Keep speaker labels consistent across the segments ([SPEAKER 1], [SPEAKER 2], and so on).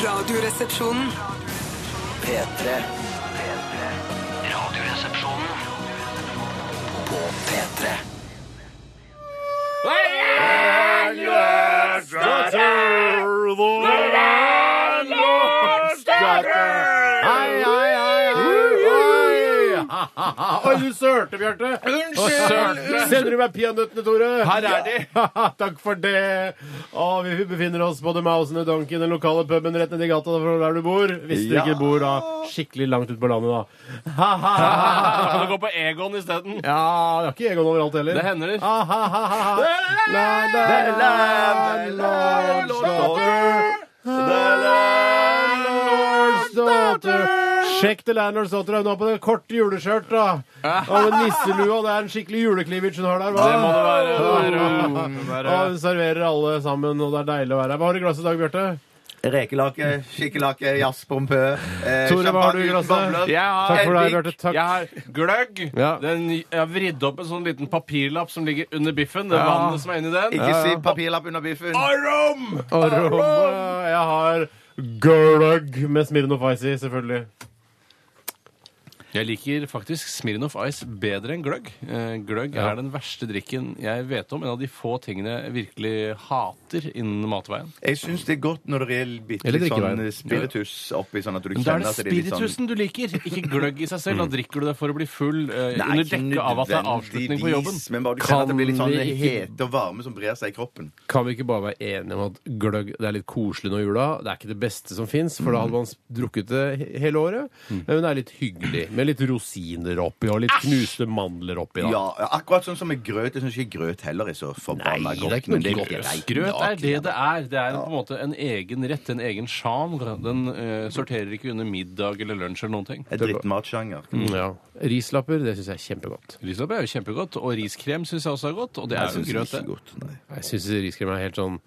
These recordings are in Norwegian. [SPEAKER 1] Radioresepsjonen.
[SPEAKER 2] P3. Radioresepsjonen på P3.
[SPEAKER 3] Hei, hei, hei, hei, hei. Oi, du sørte, Bjarte. Unnskyld. Sender du meg peanøttene, Tore? Her er de. Takk for det. Å, vi befinner oss både Mausen og Donkey i den lokale puben rett nedi gata fra der du bor. Hvis du ikke bor da skikkelig langt ut på landet, da. Ha, ha, ha,
[SPEAKER 4] Kan
[SPEAKER 3] ha.
[SPEAKER 4] du gå på Egon isteden?
[SPEAKER 3] Ja, det er ikke Egon overalt heller.
[SPEAKER 4] Det hender.
[SPEAKER 3] Ha, ha, ha, ha. La, la, la, Landsdatter. Landlord's daughter. Sjekk til Landlord's daughter. Hun har på det korte juleskjørt. da. Og med nisselua. Det er en skikkelig juleklivic hun har der. hva?
[SPEAKER 4] Det må det være. Det må være.
[SPEAKER 3] Og hun serverer alle sammen, og det er deilig å være her. Hva har du i glasset i dag, Bjarte?
[SPEAKER 5] Rekelake, skikkelake, jazzbompø eh,
[SPEAKER 3] Tore, hva har du i
[SPEAKER 5] champagne uten
[SPEAKER 3] glasset?
[SPEAKER 5] bobler.
[SPEAKER 4] Jeg har,
[SPEAKER 3] Takk for deg,
[SPEAKER 5] Elvik.
[SPEAKER 3] Bjarte. Takk.
[SPEAKER 4] jeg har gløgg.
[SPEAKER 3] Ja.
[SPEAKER 4] Den, jeg har vridd opp en sånn liten papirlapp som ligger under biffen. Det vannet som er inni den.
[SPEAKER 5] Ikke si papirlapp under biffen.
[SPEAKER 4] Arom!
[SPEAKER 3] Og rom. Jeg har gløgg med Smirnov Ice i, selvfølgelig.
[SPEAKER 4] Jeg liker faktisk Smirnov Ice bedre enn gløgg. Eh, Gløgg
[SPEAKER 3] Ja.
[SPEAKER 4] er den verste drikken jeg vet om. En av de få tingene jeg virkelig hater innen matveien.
[SPEAKER 5] Jeg syns det er godt når det er bitte
[SPEAKER 3] Eller
[SPEAKER 5] litt sånn
[SPEAKER 3] drikkeveien.
[SPEAKER 5] spiritus oppi, sånn at du
[SPEAKER 4] Men da er Mm.
[SPEAKER 5] kjenner
[SPEAKER 4] det
[SPEAKER 5] at det er litt sånn
[SPEAKER 4] spiritusen du liker, ikke gløgg i seg selv. Da drikker du det for å bli full eh,
[SPEAKER 5] Nei,
[SPEAKER 4] under
[SPEAKER 5] ikke
[SPEAKER 4] dekke av at det er
[SPEAKER 5] nødvendigvis,
[SPEAKER 4] avslutning på jobben.
[SPEAKER 5] Men bare du kjenner at det blir litt sånn
[SPEAKER 3] Kan vi ikke-
[SPEAKER 5] hete og varme som brer seg i kroppen.
[SPEAKER 3] Kan vi ikke bare være enige om at gløgg det er litt koselig nå i jula? Det er ikke det beste som fins, for da hadde man s- drukket det he- hele året.
[SPEAKER 4] Mm.
[SPEAKER 3] Men det er litt hyggelig, med litt rosiner oppi og litt knuste mandler oppi. Da.
[SPEAKER 5] Ja, akkurat sånn som med grøt. Jeg syns ikke grøt heller er så forbanna
[SPEAKER 3] Nei, det er
[SPEAKER 5] godt.
[SPEAKER 3] ikke noe
[SPEAKER 5] men
[SPEAKER 3] godt.
[SPEAKER 5] Nei,
[SPEAKER 4] Grøt er det det er. Det er
[SPEAKER 5] Ja.
[SPEAKER 4] på en måte en egen rett, en egen sjanger. Den eh, sorterer ikke under middag eller lunsj eller noen ting.
[SPEAKER 5] En drittmatsjanger.
[SPEAKER 4] Mm.
[SPEAKER 3] Ja. Rislapper, det syns jeg er kjempegodt.
[SPEAKER 4] Rislapp er jo kjempegodt, og riskrem syns jeg også er godt. Og det er jo grøt, det.
[SPEAKER 3] Jeg syns riskrem er helt sånn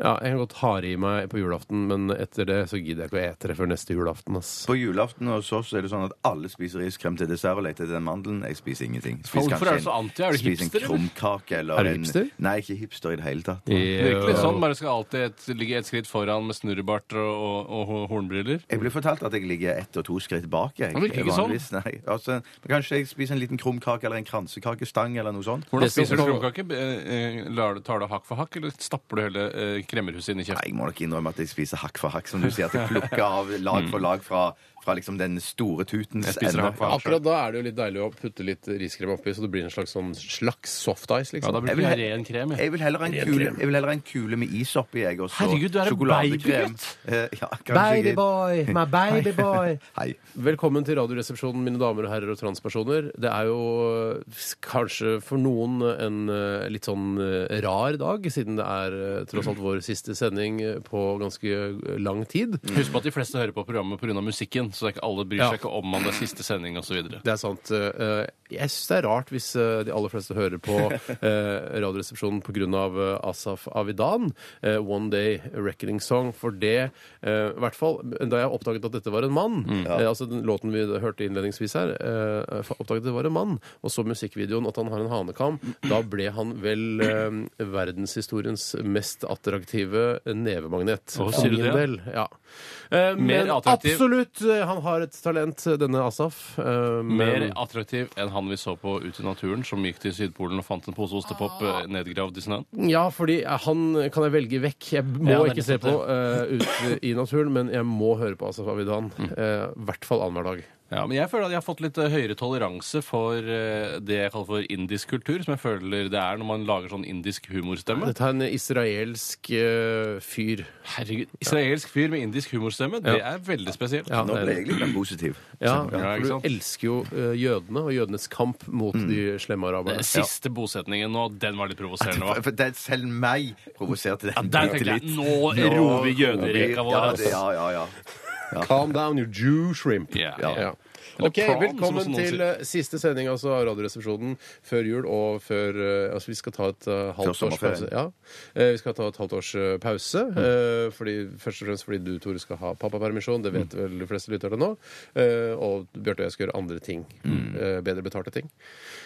[SPEAKER 3] ja, Jeg kan godt ha det i meg på julaften, men etter det så gidder jeg ikke å ete det før neste julaften. Ass.
[SPEAKER 5] På julaften hos oss er det sånn at alle spiser riskrem til dessert og leter etter den mandelen. Jeg spiser ingenting. Spiser
[SPEAKER 4] Hvorfor
[SPEAKER 5] kanskje
[SPEAKER 4] er du så
[SPEAKER 5] en-
[SPEAKER 4] anti? Er du
[SPEAKER 5] spiser en
[SPEAKER 4] hipster, eller?
[SPEAKER 5] krumkake eller
[SPEAKER 3] Er du
[SPEAKER 5] en-
[SPEAKER 3] hipster?
[SPEAKER 5] Nei, ikke hipster i det hele tatt.
[SPEAKER 4] Virkelig
[SPEAKER 3] øh,
[SPEAKER 4] sånn. Bare skal alltid et, ligge et skritt foran med snurrebart og, og, og ho- hornbriller.
[SPEAKER 5] Jeg ble fortalt at jeg ligger ett og to skritt bak. Jeg,
[SPEAKER 4] Han virker ikke sånn.
[SPEAKER 5] Vanligvis, Nei. Altså, men kanskje jeg spiser en liten krumkake eller en kransekakestang eller noe sånt.
[SPEAKER 4] Hvordan
[SPEAKER 3] Det skal-
[SPEAKER 4] spiser du krumkake? Eh, eh, lar du- Tar du hakk for hakk, eller stapper du hele eh, kremmerhuset inn i
[SPEAKER 5] Nei,
[SPEAKER 4] kjeften?
[SPEAKER 5] jeg må nok innrømme at jeg spiser hakk for hakk, som du sier. At jeg plukker av lag for lag fra, fra liksom den store tutens
[SPEAKER 4] Jeg spiser hakk for hakk.
[SPEAKER 3] Akkurat da er det jo litt deilig å putte litt riskrem oppi, så det blir en slags, sånn, slags soft ice,
[SPEAKER 4] Ja, da
[SPEAKER 3] liksom.
[SPEAKER 4] blir
[SPEAKER 5] vil
[SPEAKER 4] det
[SPEAKER 5] he-
[SPEAKER 4] ren krem. jeg.
[SPEAKER 5] Jeg vil heller ha en
[SPEAKER 3] Ren
[SPEAKER 5] kule,
[SPEAKER 3] krem.
[SPEAKER 5] jeg vil heller ha en kule med is oppi, jeg. Og så
[SPEAKER 4] Herregud, du er en
[SPEAKER 5] sjokoladekrem.
[SPEAKER 4] babygutt.
[SPEAKER 5] Eh, ja, kanskje ikke-
[SPEAKER 3] Babyboy, my babyboy.
[SPEAKER 5] Hei.
[SPEAKER 3] Velkommen til Radioresepsjonen, mine damer og herrer og transpersoner. Det er jo eh, kanskje for noen en eh, litt sånn eh, rar dag, siden det er eh, tross alt vår siste sending eh, på ganske eh, lang tid.
[SPEAKER 4] Husk på at de fleste hører på programmet pga. musikken, så det er ikke alle bryr
[SPEAKER 3] Ja.
[SPEAKER 4] seg ikke om om det er siste sending osv.
[SPEAKER 3] Det er sant. eh, Jeg syns det er rart hvis eh, de aller fleste hører på eh, Radioresepsjonen pga. eh, Asaf Avidan, eh, 'One Day Reckoning Song', for det eh, I hvert fall da jeg oppdaget at dette var en mann
[SPEAKER 4] Mm.
[SPEAKER 3] eh, Altså den låten vi hørte innledningsvis her, eh, oppdaget at det var en mann, og så musikkvideoen at han har en hanekam, da ble han vel eh, verdenshistoriens mest attraktive nevemagnet.
[SPEAKER 4] Å,
[SPEAKER 3] For
[SPEAKER 4] sier du
[SPEAKER 3] min
[SPEAKER 4] det?
[SPEAKER 3] del, Ja. Eh,
[SPEAKER 4] Mer
[SPEAKER 3] Men
[SPEAKER 4] attraktiv.
[SPEAKER 3] absolutt, eh, han har et talent, denne Asaf. eh,
[SPEAKER 4] Mer
[SPEAKER 3] men-
[SPEAKER 4] attraktiv enn han vi så på Ut i naturen, som gikk til Sydpolen og fant en pose ostepop eh, nedgravd i snøen.
[SPEAKER 3] Ja, fordi eh, han kan jeg velge vekk. Jeg må
[SPEAKER 4] Ja, det er
[SPEAKER 3] ikke se
[SPEAKER 4] nettopp
[SPEAKER 3] på eh, ute i naturen, men jeg må høre på Asaf Avidan.
[SPEAKER 4] Mm.
[SPEAKER 3] eh, I hvert fall annenhver dag.
[SPEAKER 4] Ja, men jeg føler at jeg har fått litt eh, høyere toleranse for eh, det jeg kaller for indisk kultur, som jeg føler det er når man lager sånn indisk humorstemme.
[SPEAKER 3] Dette er en israelsk eh, fyr.
[SPEAKER 4] Herregud, Israelsk fyr med indisk humorstemme, det er veldig spesielt.
[SPEAKER 3] Ja,
[SPEAKER 5] Nå ble
[SPEAKER 3] det-
[SPEAKER 5] jeg litt mer positiv.
[SPEAKER 3] ja,
[SPEAKER 4] Ja, ikke
[SPEAKER 3] for
[SPEAKER 4] sant?
[SPEAKER 3] du elsker jo eh, jødene og jødenes kamp mot de slemme araberne.
[SPEAKER 4] Den Eh, Siste bosetningen nå, den var litt provoserende.
[SPEAKER 5] For,
[SPEAKER 4] hva?
[SPEAKER 5] for det, selv meg provoserte den
[SPEAKER 4] der tenkte jeg, nå
[SPEAKER 5] Nå-
[SPEAKER 4] roer vi jødereka vår,
[SPEAKER 5] Ja,
[SPEAKER 4] ass.
[SPEAKER 5] det- ja, ja, ja.
[SPEAKER 3] Ja. Calm down, you Jew shrimp.
[SPEAKER 4] Ja.
[SPEAKER 3] Ja.
[SPEAKER 4] Eller
[SPEAKER 3] OK,
[SPEAKER 4] pran, som
[SPEAKER 3] velkommen
[SPEAKER 4] noen
[SPEAKER 3] til
[SPEAKER 4] sier.
[SPEAKER 3] eh, siste sending altså, av Radioresepsjonen før jul og før eh, Altså, vi skal ta et eh, halvt års
[SPEAKER 5] sommerferien. Mm.
[SPEAKER 3] pause. Ja. Eh, Vi skal ta et halvt års eh, pause. eh, Fordi, først og fremst fordi du, Tore, skal ha pappapermisjon. Det
[SPEAKER 5] Mm.
[SPEAKER 3] vet vel de fleste lytterne nå. Eh, Og Bjarte og jeg skal gjøre andre ting.
[SPEAKER 5] Mm.
[SPEAKER 3] eh, Bedre betalte ting.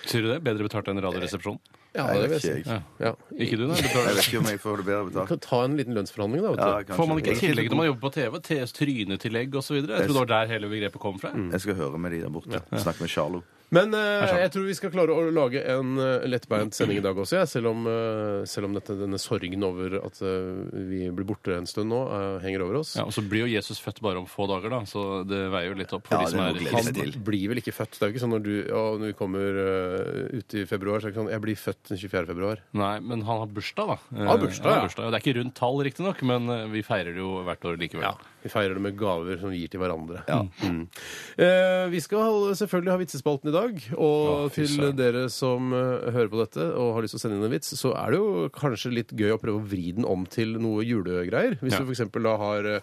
[SPEAKER 4] Sier du det? Bedre betalt enn Radioresepsjonen?
[SPEAKER 3] Ja,
[SPEAKER 5] Nei,
[SPEAKER 3] det
[SPEAKER 5] det
[SPEAKER 3] vil
[SPEAKER 5] er
[SPEAKER 3] jeg
[SPEAKER 5] ikke
[SPEAKER 3] si.
[SPEAKER 5] jeg.
[SPEAKER 3] Ja.
[SPEAKER 4] Ikke du, nei?
[SPEAKER 5] Jeg
[SPEAKER 4] Betaler.
[SPEAKER 5] vet ikke om jeg får det bedre
[SPEAKER 3] Vi kan
[SPEAKER 5] betalt.
[SPEAKER 3] ta en liten lønnsforhandling, da. vet du.
[SPEAKER 5] Ja, kanskje.
[SPEAKER 4] Får man ikke
[SPEAKER 5] Jeg-
[SPEAKER 4] tillegg når man jobber på TV? TS Trynetillegg osv.? Jeg tror det var der hele begrepet kom fra.
[SPEAKER 5] Jeg skal høre med de der borte. Snakke med Charlo.
[SPEAKER 3] Men eh, jeg tror vi skal klare å lage en eh, lettbeint sending i dag også, jeg, selv om, eh, selv om dette, denne sorgen over at eh, vi blir borte en stund nå, eh, henger over oss.
[SPEAKER 4] Ja, og så blir jo Jesus født bare om få dager, da, så det veier jo litt opp for
[SPEAKER 5] Ja,
[SPEAKER 4] de som
[SPEAKER 5] det må
[SPEAKER 4] er
[SPEAKER 5] glede
[SPEAKER 4] Han-
[SPEAKER 5] seg til.
[SPEAKER 3] Han blir vel ikke født? Det er jo ikke sånn når du ja, når vi kommer eh, ut i februar, så er det ikke sånn Jeg blir født den 24. februar.
[SPEAKER 4] Nei, men han har bursdag, da. Han
[SPEAKER 3] har bursdag, ja.
[SPEAKER 4] Det er ikke rundt tall, riktignok, men eh, vi feirer det jo hvert år likevel.
[SPEAKER 3] Vi feirer det med gaver som vi gir til hverandre. Mm. Eh, vi skal selvfølgelig ha vitsespalten i dag. Og
[SPEAKER 4] Å, fy
[SPEAKER 3] til
[SPEAKER 4] søren.
[SPEAKER 3] dere som eh, hører på dette og har lyst til å sende inn en vits, så er det jo kanskje litt gøy å prøve å vri den om til noe julegreier. Hvis
[SPEAKER 4] Ja.
[SPEAKER 3] du f.eks. da har eh,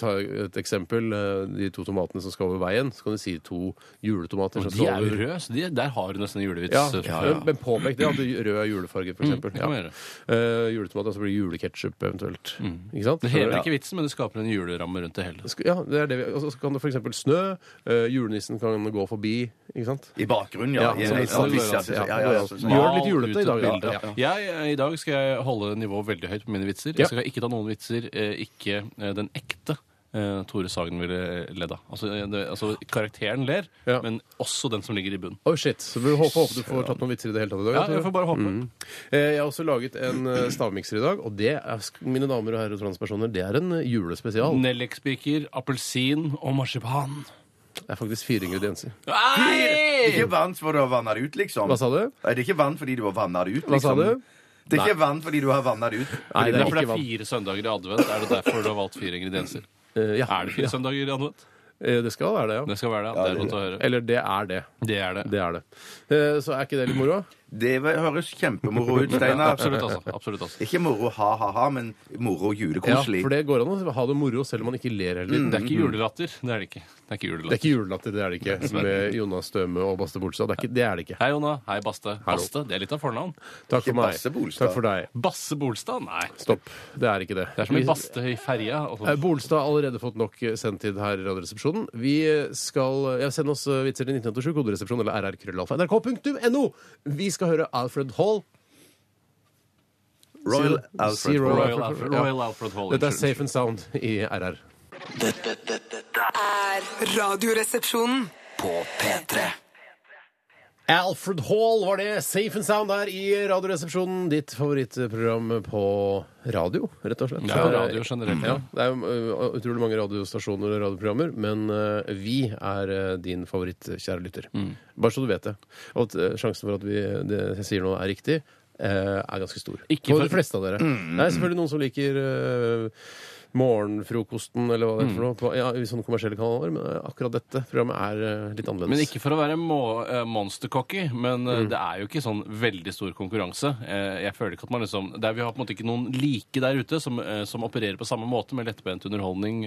[SPEAKER 3] Ta et eksempel. eh, de to tomatene som skal over veien, så kan du si to juletomater som
[SPEAKER 4] De
[SPEAKER 3] skal
[SPEAKER 4] er jo
[SPEAKER 3] over
[SPEAKER 4] røde, så de, der har du nesten en julevits.
[SPEAKER 3] ja,
[SPEAKER 4] fra-
[SPEAKER 3] men påpek det at det rød er julefarget, for eksempel.
[SPEAKER 4] Mm, det kan
[SPEAKER 3] ja.
[SPEAKER 4] være. Mm.
[SPEAKER 3] Eh, juletomat, altså blir det juleketchup eventuelt. Ikke sant?
[SPEAKER 4] Det hever ikke vitsen, men det skaper en juleramme rundt det hele.
[SPEAKER 3] Sk- Ja, det er det vi, og så kan det f.eks. snø. eh, julenissen kan gå forbi, ikke sant?
[SPEAKER 5] I bakgrunnen, ja.
[SPEAKER 3] Ja,
[SPEAKER 5] I-
[SPEAKER 3] som
[SPEAKER 5] ja,
[SPEAKER 3] i- som i-
[SPEAKER 5] hvis- ja, ja, ja, ja,
[SPEAKER 3] Gjør det litt julete i dag, da.
[SPEAKER 4] Ja, ja. Jeg, eh, I dag skal jeg holde nivået veldig høyt på mine vitser.
[SPEAKER 3] Ja.
[SPEAKER 4] Jeg skal ikke ta noen vitser, eh, ikke eh, den ekte. eh, Tore Sagen ville ledd av. Altså, eh, det- altså, karakteren ler,
[SPEAKER 3] Ja.
[SPEAKER 4] men også den som ligger i bunnen.
[SPEAKER 3] Oh shit, så vi håper, håper du får tatt noen vitser i det hele tatt i dag.
[SPEAKER 4] Ja,
[SPEAKER 3] Tore.
[SPEAKER 4] jeg får bare håpe.
[SPEAKER 3] Eh, Jeg har også laget en eh, stavmikser i dag, og det er, sk- mine damer og herrer og transpersoner, det er en eh, julespesial.
[SPEAKER 4] Nellikspiker, appelsin og marsipan.
[SPEAKER 3] Det er faktisk fire ingredienser.
[SPEAKER 5] Det er
[SPEAKER 4] Nei!
[SPEAKER 5] ikke vann for du har vanna det ut, liksom.
[SPEAKER 3] Hva sa du?
[SPEAKER 5] Nei, det er ikke vann fordi du har vanna det ut, liksom.
[SPEAKER 3] Hva sa du?
[SPEAKER 5] Det er ikke vann fordi du har vanna det ut.
[SPEAKER 3] Nei,
[SPEAKER 4] Det
[SPEAKER 3] ikke
[SPEAKER 4] er fordi det er
[SPEAKER 3] vann.
[SPEAKER 4] fire søndager i advent. Er det derfor du har valgt fire ingredienser?
[SPEAKER 3] Eh, ja.
[SPEAKER 4] Er det fire søndager i advent?
[SPEAKER 3] Eh, Det skal være det, ja.
[SPEAKER 4] Det skal være det. Det er godt å høre.
[SPEAKER 3] Eller det er det.
[SPEAKER 4] Det er det.
[SPEAKER 3] Det er det. Eh, Så er ikke det litt moro?
[SPEAKER 5] Det høres kjempemoro ut, Steinar.
[SPEAKER 4] Absolutt, altså. Absolutt, altså.
[SPEAKER 5] Ikke moro ha-ha-ha, men moro
[SPEAKER 3] Ja,
[SPEAKER 5] julekoselig.
[SPEAKER 3] for det går an å ha det moro selv om man ikke ler hele tiden.
[SPEAKER 4] Det er ikke julelatter. Det er det ikke. Det
[SPEAKER 3] Mm,
[SPEAKER 4] er ikke
[SPEAKER 3] Det er
[SPEAKER 4] julelatter.
[SPEAKER 3] ikke julelatter, det er det ikke. Som med Jonas Støme og Baste Bolstad. Det, er ikke- det er det ikke.
[SPEAKER 4] Hei, Jonna. Hei, Baste. Baste, det er litt av fornavn.
[SPEAKER 3] Takk for
[SPEAKER 5] Ikke
[SPEAKER 3] meg.
[SPEAKER 5] Basse Bolstad.
[SPEAKER 3] Takk for deg.
[SPEAKER 4] Basse Bolstad? Nei.
[SPEAKER 3] Stopp. Det er ikke det.
[SPEAKER 4] Det er som en baste i ferja. og
[SPEAKER 3] Eh,
[SPEAKER 4] sånn.
[SPEAKER 3] Bolstad har allerede fått nok eh, sendtid her i Radioresepsjonen. Vi eh, skal ja, Send oss eh, vitser til 1987, koderesepsjon eller rrkrøllalfa.nrk.no. Vi skal høre Alfred Hall.
[SPEAKER 5] Royal
[SPEAKER 3] Si- si
[SPEAKER 5] Alfred.
[SPEAKER 3] Royal
[SPEAKER 5] Hall.
[SPEAKER 4] Royal Alfred, Royal Alfred Hall.
[SPEAKER 3] Dette er
[SPEAKER 4] unnskyld.
[SPEAKER 3] Safe and Sound i RR.
[SPEAKER 2] Dette, dette, dette er
[SPEAKER 1] er Radioresepsjonen.
[SPEAKER 2] på P3.
[SPEAKER 3] Alfred Hall var det. Safe and Sound der i Radioresepsjonen. Ditt favorittprogram på radio, rett og slett.
[SPEAKER 4] Ja, på radio generelt, ja.
[SPEAKER 3] Ja, det er jo ø, utrolig mange radiostasjoner og radioprogrammer, men ø, vi er ø, din favoritt, kjære lytter.
[SPEAKER 4] Mm.
[SPEAKER 3] Bare så du vet det. Og at ø, sjansen for at vi, det jeg sier nå, er riktig, ø, er ganske stor.
[SPEAKER 4] Ikke
[SPEAKER 3] for
[SPEAKER 4] for- Mm.
[SPEAKER 3] de fleste av dere. Det er selvfølgelig noen som liker ø, morgenfrokosten eller hva det er
[SPEAKER 4] Mm.
[SPEAKER 3] for noe, på, ja, i sånne kommersielle kanaler, men ø, akkurat dette programmet er ø, litt annerledes.
[SPEAKER 4] Men ikke for å være må- eh, monstercocky, men eh,
[SPEAKER 3] Mm.
[SPEAKER 4] det er jo ikke sånn veldig stor konkurranse. Eh, Jeg føler ikke at man liksom det er, Vi har på en måte ikke noen like der ute som, eh, som opererer på samme måte med lettbent underholdning,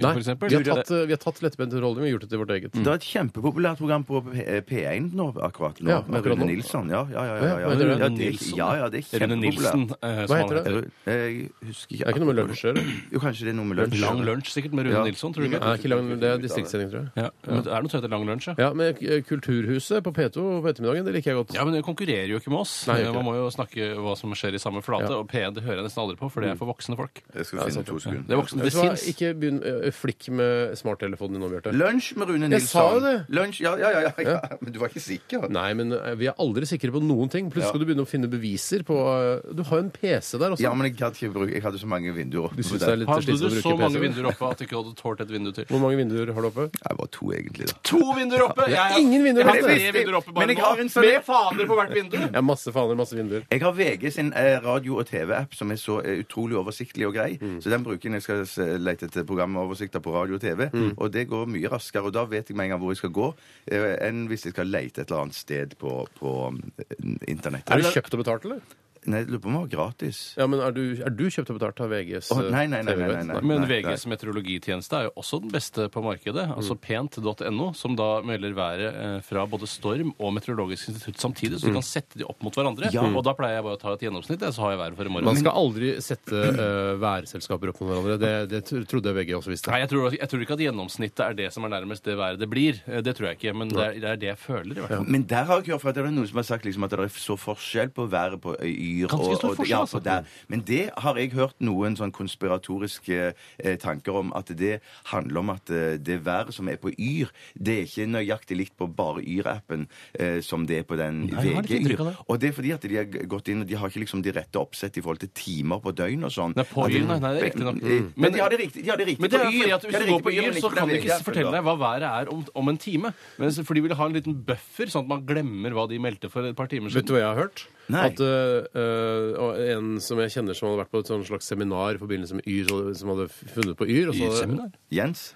[SPEAKER 3] Nei,
[SPEAKER 4] f.eks.
[SPEAKER 3] vi har tatt, ø, vi har tatt lettbent underholdning, vi har gjort det til vårt eget.
[SPEAKER 5] Det er et kjempepopulært program på P- eh, P1 nå, akkurat nå.
[SPEAKER 3] Ja,
[SPEAKER 5] med
[SPEAKER 3] akkurat
[SPEAKER 5] Rune
[SPEAKER 3] nå.
[SPEAKER 5] Nilsson. Ja, ja, ja. ja, ja,
[SPEAKER 3] Hva heter det?
[SPEAKER 5] ja, det, er- ja, ja, det er
[SPEAKER 4] Rune Nilsen.
[SPEAKER 5] kjempepopulært.
[SPEAKER 4] eh, som
[SPEAKER 3] Hva
[SPEAKER 4] han
[SPEAKER 3] heter det?
[SPEAKER 5] Eh, Jeg husker ikke
[SPEAKER 3] Det er ikke noe med lunsj å gjøre.
[SPEAKER 5] Jo, kanskje det er noe med lunsj.
[SPEAKER 4] Lang lunsj, sikkert, med Rune
[SPEAKER 5] Ja.
[SPEAKER 4] Nilsson, tror du
[SPEAKER 3] Nei,
[SPEAKER 4] ikke?
[SPEAKER 3] det er ikke lang, det er distriktssending, tror jeg.
[SPEAKER 4] Ja. Men det er noe som heter Lang lunsj, ja.
[SPEAKER 3] Ja, men eh, Kulturhuset på P2 på ettermiddagen, det liker jeg godt.
[SPEAKER 4] Ja, men det konkurrerer jo ikke med oss. Eh,
[SPEAKER 3] Nei, det gjør ikke
[SPEAKER 4] Man må jo snakke hva som skjer i samme flate.
[SPEAKER 3] Ja. Mm.
[SPEAKER 4] Og P1 det hører jeg nesten aldri på, for det er for voksne folk.
[SPEAKER 5] Jeg skal finne to sekunder.
[SPEAKER 4] Det er voksne,
[SPEAKER 3] Vet
[SPEAKER 4] det
[SPEAKER 3] du hva?
[SPEAKER 4] sinns.
[SPEAKER 3] Ikke begynn eh, flikk med smarttelefonen din nå, Bjarte.
[SPEAKER 5] Lunsj med Rune Nilsson.
[SPEAKER 3] Jeg sa jo det.
[SPEAKER 5] Lunsj, ja, ja, ja, ja, ja. Men du var ikke sikker?
[SPEAKER 3] Nei, men eh, vi er aldri sikre på noen ting. Plutselig
[SPEAKER 5] Ja.
[SPEAKER 3] skal du begynne å finne beviser på eh, Du har jo en PC der også.
[SPEAKER 5] Ja, men jeg hadde ikke bruk Jeg hadde så mange vinduer.
[SPEAKER 3] Du synes det er litt
[SPEAKER 4] Hadde du
[SPEAKER 3] slitsomt å
[SPEAKER 4] så
[SPEAKER 3] bruke
[SPEAKER 4] mange
[SPEAKER 3] PC?
[SPEAKER 4] vinduer oppe at du ikke hadde tålt et vindu til?
[SPEAKER 3] Hvor mange vinduer har du oppe?
[SPEAKER 5] Jeg var to, egentlig. da.
[SPEAKER 4] To vinduer oppe! Jeg, har-
[SPEAKER 3] ingen vinduer
[SPEAKER 4] jeg har
[SPEAKER 3] oppe.
[SPEAKER 4] tre vinduer oppe bare
[SPEAKER 5] Men jeg
[SPEAKER 4] nå.
[SPEAKER 5] har installert-
[SPEAKER 4] Med faner på hvert vindu!
[SPEAKER 3] Ja, masse faner, masse vinduer.
[SPEAKER 5] Jeg har VG sin eh, radio- og TV-app som er så eh, utrolig oversiktlig og grei. Så den bruker jeg når jeg skal s- lete etter programoversikter på radio og TV. Og det går mye raskere, og da vet jeg med en gang hvor jeg skal gå, eh, enn hvis jeg skal lete et eller annet sted på, på eh, internettet.
[SPEAKER 3] Er det kjøpt og betalt, eller?
[SPEAKER 5] Nei, jeg lurer på om det var gratis.
[SPEAKER 3] Ja, men er du, er du kjøpt og betalt av eh, VGs
[SPEAKER 5] Å, nei, nei, nei, nei,
[SPEAKER 3] TV-vett?
[SPEAKER 5] nei, nei.
[SPEAKER 4] Men
[SPEAKER 5] nei.
[SPEAKER 4] VGs meteorologitjeneste er jo også den beste på markedet.
[SPEAKER 3] Mm.
[SPEAKER 4] Altså pent.no, som da melder været eh, fra både Storm og Meteorologisk institutt
[SPEAKER 3] Mm.
[SPEAKER 4] samtidig, så du kan sette de opp mot hverandre. Og da pleier jeg bare å ta et gjennomsnitt, jeg, så har jeg været for i morgen.
[SPEAKER 3] Man skal aldri sette eh, værselskaper opp mot hverandre. Det, det tro- trodde jeg VG også visste.
[SPEAKER 4] Nei, jeg tror, jeg tror ikke at gjennomsnittet er det som er nærmest det været det blir. Eh, Det tror jeg ikke, men det er det, er det jeg føler, i hvert fall.
[SPEAKER 5] Men der har jeg hørt fra at det er noen som har sagt liksom at det er så forskjell på været på Øyer
[SPEAKER 4] Ganske stor
[SPEAKER 5] og, og
[SPEAKER 4] forskjell,
[SPEAKER 5] ja,
[SPEAKER 4] altså.
[SPEAKER 5] på der. Men det har jeg hørt noen sånn konspiratoriske eh, tanker om. At det handler om at eh, det været som er på Yr, det er ikke nøyaktig likt på bare Yr-appen eh, som det er på den
[SPEAKER 4] Nei, jeg har litt inntrykk av
[SPEAKER 5] VG-Yr.
[SPEAKER 4] det.
[SPEAKER 5] Og det er fordi at de har g- gått inn og de har ikke liksom de rette oppsett i forhold til timer på døgn og sånn.
[SPEAKER 4] Nei, på
[SPEAKER 5] At det-
[SPEAKER 4] Yr,
[SPEAKER 5] Mm.
[SPEAKER 4] nei, nei, det er riktig nok.
[SPEAKER 5] Men,
[SPEAKER 4] Men-
[SPEAKER 5] de har det riktig, de har det riktig
[SPEAKER 4] Men det er
[SPEAKER 5] på Yr.
[SPEAKER 4] fordi at
[SPEAKER 5] De
[SPEAKER 4] Hvis du
[SPEAKER 5] har det
[SPEAKER 4] går
[SPEAKER 5] riktig
[SPEAKER 4] på
[SPEAKER 5] Yr,
[SPEAKER 4] Yr, så
[SPEAKER 5] men på
[SPEAKER 4] kan de
[SPEAKER 5] den
[SPEAKER 4] ikke
[SPEAKER 5] VG-appen,
[SPEAKER 4] fortelle
[SPEAKER 5] da.
[SPEAKER 4] deg hva været er om, om en time. Men så- For de vil ha en liten buffer, sånn at man glemmer hva de meldte for et par
[SPEAKER 3] Vet
[SPEAKER 4] timer
[SPEAKER 3] du
[SPEAKER 4] siden.
[SPEAKER 3] hva jeg har hørt?
[SPEAKER 5] Nei.
[SPEAKER 3] At eh, eh, og En som jeg kjenner som hadde vært på et sånn slags seminar i forbindelse med Yr, så- som hadde funnet på Yr og så hadde-
[SPEAKER 4] Seminar.
[SPEAKER 5] Jens?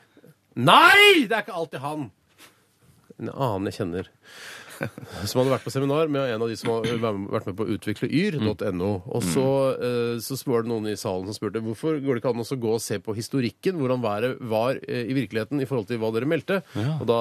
[SPEAKER 3] Nei! Det er ikke alltid han! En annen jeg kjenner. Som hadde vært på seminar med en av de som har vært med på å utvikle yr.no. Og så, eh, så var det noen i salen som spurte hvorfor går det ikke an å gå og se på historikken, hvordan været var eh, i virkeligheten i forhold til hva dere meldte. Og da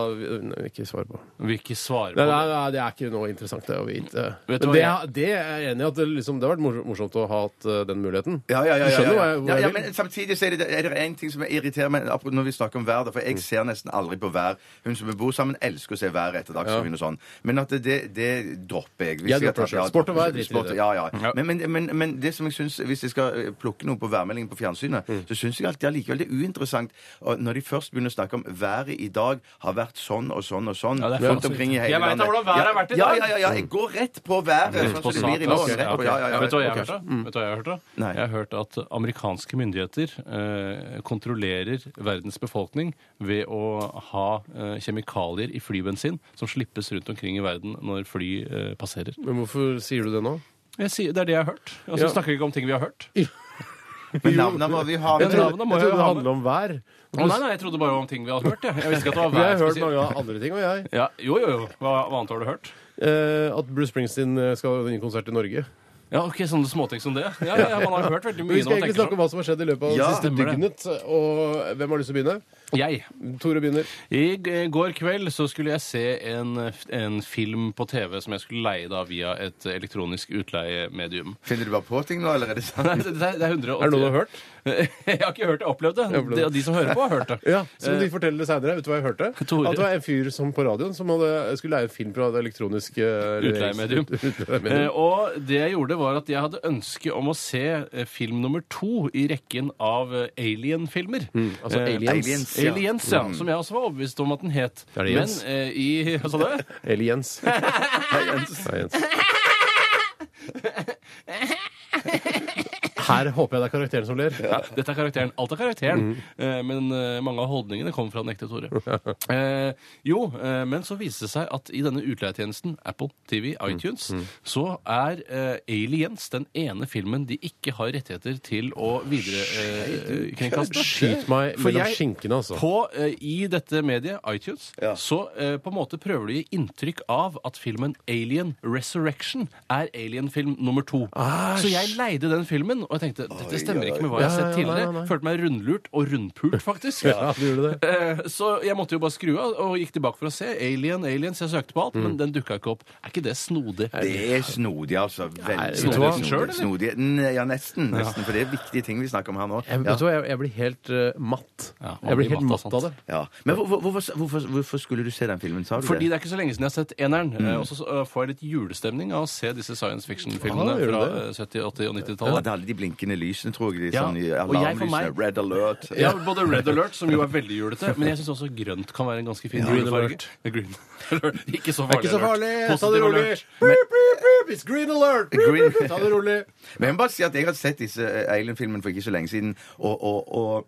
[SPEAKER 3] nei, Ikke svar på.
[SPEAKER 4] Vil ikke svare på
[SPEAKER 3] Nei, nei,
[SPEAKER 4] det.
[SPEAKER 3] nei, det er ikke noe interessant det å vite.
[SPEAKER 4] Vet du
[SPEAKER 3] Men
[SPEAKER 4] hva
[SPEAKER 3] det,
[SPEAKER 4] jeg-
[SPEAKER 3] det er jeg enig i at det, liksom, det har vært mor- morsomt å ha hatt eh, den muligheten.
[SPEAKER 5] Ja, ja, ja.
[SPEAKER 3] Du
[SPEAKER 5] ja,
[SPEAKER 3] skjønner
[SPEAKER 5] ja,
[SPEAKER 3] hva jeg- hvor
[SPEAKER 5] ja,
[SPEAKER 3] jeg
[SPEAKER 5] ja
[SPEAKER 3] vil?
[SPEAKER 5] men samtidig så er det, er det en ting som irriterer meg apropos når vi snakker om vær. da, For
[SPEAKER 4] Mm.
[SPEAKER 5] jeg ser nesten aldri på vær. Hun som vi bor sammen, elsker å se vær etter Dagsrevyen og sånn. Men at det, det dropper jeg. Hvis
[SPEAKER 3] Jeg dropper
[SPEAKER 5] tar-
[SPEAKER 3] det selv. Sport og vær, driter i
[SPEAKER 5] sport-
[SPEAKER 3] det.
[SPEAKER 5] Ja, ja.
[SPEAKER 4] Ja.
[SPEAKER 5] Men, men, men, men det som jeg syns, hvis jeg skal eh, plukke noe på værmeldingen på fjernsynet,
[SPEAKER 4] Mm.
[SPEAKER 5] så syns jeg alltid allikevel det er uinteressant og når de først begynner å snakke om været i dag har vært sånn og sånn og sånn
[SPEAKER 4] Ja, det er
[SPEAKER 5] rundt
[SPEAKER 4] fasit.
[SPEAKER 5] omkring i hele
[SPEAKER 4] Jeg vet da hvordan været har vært i dag. Mm.
[SPEAKER 5] Ja, ja, ja, ja. Jeg går rett på været. Sånn som det blir i morgen.
[SPEAKER 4] Eh, Ok, altså. ok. Mm.
[SPEAKER 5] Rett på, ja, ja, ja.
[SPEAKER 4] Vet du hva jeg har
[SPEAKER 5] Ok.
[SPEAKER 4] hørt, da? Vet du hva Jeg har hørt da?
[SPEAKER 5] Nei.
[SPEAKER 4] Jeg har hørt at amerikanske myndigheter eh, kontrollerer verdens befolkning ved å ha eh, kjemikalier i flybensin som slippes rundt omkring i verden når fly eh, passerer.
[SPEAKER 3] Men hvorfor sier du det nå?
[SPEAKER 4] Jeg sier, det er det jeg har hørt. Og så
[SPEAKER 3] Ja.
[SPEAKER 4] snakker vi ikke om ting vi har hørt.
[SPEAKER 5] Men navnet må vi ha.
[SPEAKER 4] Jeg tror-
[SPEAKER 3] Jeg
[SPEAKER 4] Navnet må
[SPEAKER 3] trodde
[SPEAKER 4] jeg
[SPEAKER 3] det
[SPEAKER 4] ha
[SPEAKER 3] handla om vær.
[SPEAKER 4] Å, nei, nei, jeg trodde bare om ting vi hadde hørt. Jeg, jeg visste ikke at det var
[SPEAKER 3] Vi har
[SPEAKER 4] hver
[SPEAKER 3] hørt
[SPEAKER 4] spesiell-
[SPEAKER 3] mange andre ting, og jeg.
[SPEAKER 4] ja, Jo, jo, jo. Hva, hva annet har du hørt?
[SPEAKER 3] Eh, at Bruce Springsteen eh, skal ha en konsert i Norge.
[SPEAKER 4] Ja, ok, Sånne småting som det? Ja, ja, ja, Man har hørt veldig
[SPEAKER 3] Vi
[SPEAKER 4] mye.
[SPEAKER 3] skal
[SPEAKER 4] når man
[SPEAKER 3] egentlig
[SPEAKER 4] tenker sånn.
[SPEAKER 3] snakke om hva som har skjedd i løpet av
[SPEAKER 5] Ja,
[SPEAKER 3] det siste
[SPEAKER 4] stemmer det.
[SPEAKER 3] døgnet. Og hvem har lyst til å begynne?
[SPEAKER 4] sånn. Jeg
[SPEAKER 3] Tore begynner.
[SPEAKER 4] I g- går kveld så skulle jeg se en, en film på TV som jeg skulle leie da via et elektronisk utleiemedium.
[SPEAKER 5] Finner du bare på ting nå, eller er det sant?
[SPEAKER 4] Nei, det, sånn? det er
[SPEAKER 3] Er
[SPEAKER 4] 180.
[SPEAKER 3] det noe du har hørt?
[SPEAKER 4] jeg har ikke hørt det. Jeg opplevde det.
[SPEAKER 3] opplevde
[SPEAKER 4] De,
[SPEAKER 3] det.
[SPEAKER 4] de som hører på, har hørt det.
[SPEAKER 3] Ja, Som de forteller det seinere. Vet du hva jeg hørte?
[SPEAKER 4] Eh, Tore.
[SPEAKER 3] At det var en fyr som på radioen som hadde, skulle leie en film fra det elektroniske eh,
[SPEAKER 4] Utleiemedium. Eh,
[SPEAKER 3] utleiemedium.
[SPEAKER 4] og det jeg gjorde, var at jeg hadde ønske om å se eh, film nummer to i rekken av eh, alien-filmer.
[SPEAKER 3] altså
[SPEAKER 4] eh,
[SPEAKER 3] Aliens.
[SPEAKER 5] Aliens,
[SPEAKER 4] ja.
[SPEAKER 5] ja.
[SPEAKER 4] Aliens, ja. Som jeg også var overbevist om at den het.
[SPEAKER 3] Er det Jens?
[SPEAKER 4] Men eh, i Hva sa du?
[SPEAKER 3] Aliens. Hei, Jens. Her håper jeg det er karakteren som ler.
[SPEAKER 4] Ja, dette er karakteren. Alt er karakteren. Eh, men eh, mange av holdningene kommer fra den ekte Tore. Eh, jo, eh, men så viste det seg at i denne utleietjenesten Apple TV, iTunes, så er eh, Aliens den ene filmen de ikke har rettigheter til å eh, viderekringkaste.
[SPEAKER 3] Skyt meg
[SPEAKER 4] For
[SPEAKER 3] mellom
[SPEAKER 4] jeg-
[SPEAKER 3] skinkene, altså.
[SPEAKER 4] På, eh, I dette mediet, iTunes, så eh, på en måte prøver du å gi inntrykk av at filmen Alien Resurrection er Alien-film nummer to. Så jeg leide den filmen, og jeg tenkte dette stemmer ikke med hva
[SPEAKER 3] Ja,
[SPEAKER 4] jeg har
[SPEAKER 3] ja,
[SPEAKER 4] sett
[SPEAKER 3] ja, nei,
[SPEAKER 4] tidligere.
[SPEAKER 3] nei, nei.
[SPEAKER 4] Følte meg rundlurt og rundpult, faktisk.
[SPEAKER 3] Ja, du gjorde det.
[SPEAKER 4] Eh, Så jeg måtte jo bare skru av og gikk tilbake for å se. Alien, Aliens. Jeg søkte på alt, men den dukka ikke opp. Er ikke det snodig?
[SPEAKER 5] Det er snodig, altså. Veldig
[SPEAKER 3] Snodig
[SPEAKER 5] snodig.
[SPEAKER 3] han
[SPEAKER 4] selv, eller?
[SPEAKER 5] Snodig. N- Ja, nesten. nesten For det er viktige ting vi snakker om her nå.
[SPEAKER 3] Jeg, vet du hva, jeg, jeg blir helt eh, matt.
[SPEAKER 4] Ja, man
[SPEAKER 3] jeg blir
[SPEAKER 4] blir
[SPEAKER 3] helt
[SPEAKER 4] matt
[SPEAKER 3] matt
[SPEAKER 4] av
[SPEAKER 3] av det.
[SPEAKER 4] sånt.
[SPEAKER 5] Ja. Men hvor, hvor, hvorfor, hvorfor, hvorfor skulle du se den filmen, sa du
[SPEAKER 4] Fordi
[SPEAKER 5] det?
[SPEAKER 4] det er ikke så lenge siden jeg har sett eneren. eh, Og så eh, får jeg litt julestemning av å se disse science fiction-filmene
[SPEAKER 3] Ah, gjør du
[SPEAKER 4] fra
[SPEAKER 3] det?
[SPEAKER 4] eh, 70-, 80- og
[SPEAKER 5] Ja,
[SPEAKER 4] 90-tallet.
[SPEAKER 5] det er alle de blinkende lysene, tror jeg. De,
[SPEAKER 4] Ja,
[SPEAKER 5] sånn,
[SPEAKER 4] og jeg for
[SPEAKER 5] alarmlysene.
[SPEAKER 4] meg-
[SPEAKER 5] Red alert.
[SPEAKER 4] Ja, både Red Alert, som jo er veldig julete, men jeg syns også grønt kan være en ganske fin
[SPEAKER 3] Green
[SPEAKER 4] julefarge.
[SPEAKER 3] alert.
[SPEAKER 4] Green alert. Ikke så
[SPEAKER 3] Det er
[SPEAKER 4] farlig.
[SPEAKER 3] ikke så farlig!
[SPEAKER 4] alert.
[SPEAKER 3] Ta det
[SPEAKER 4] Positiv
[SPEAKER 3] rolig!
[SPEAKER 4] alert.
[SPEAKER 3] Beep, beep, beep. It's green alert! Beep,
[SPEAKER 5] Green-
[SPEAKER 3] beep, beep. Ta det rolig!
[SPEAKER 5] Men jeg må bare si at jeg har sett disse eh, Alien-filmene for ikke så lenge siden, og, og, og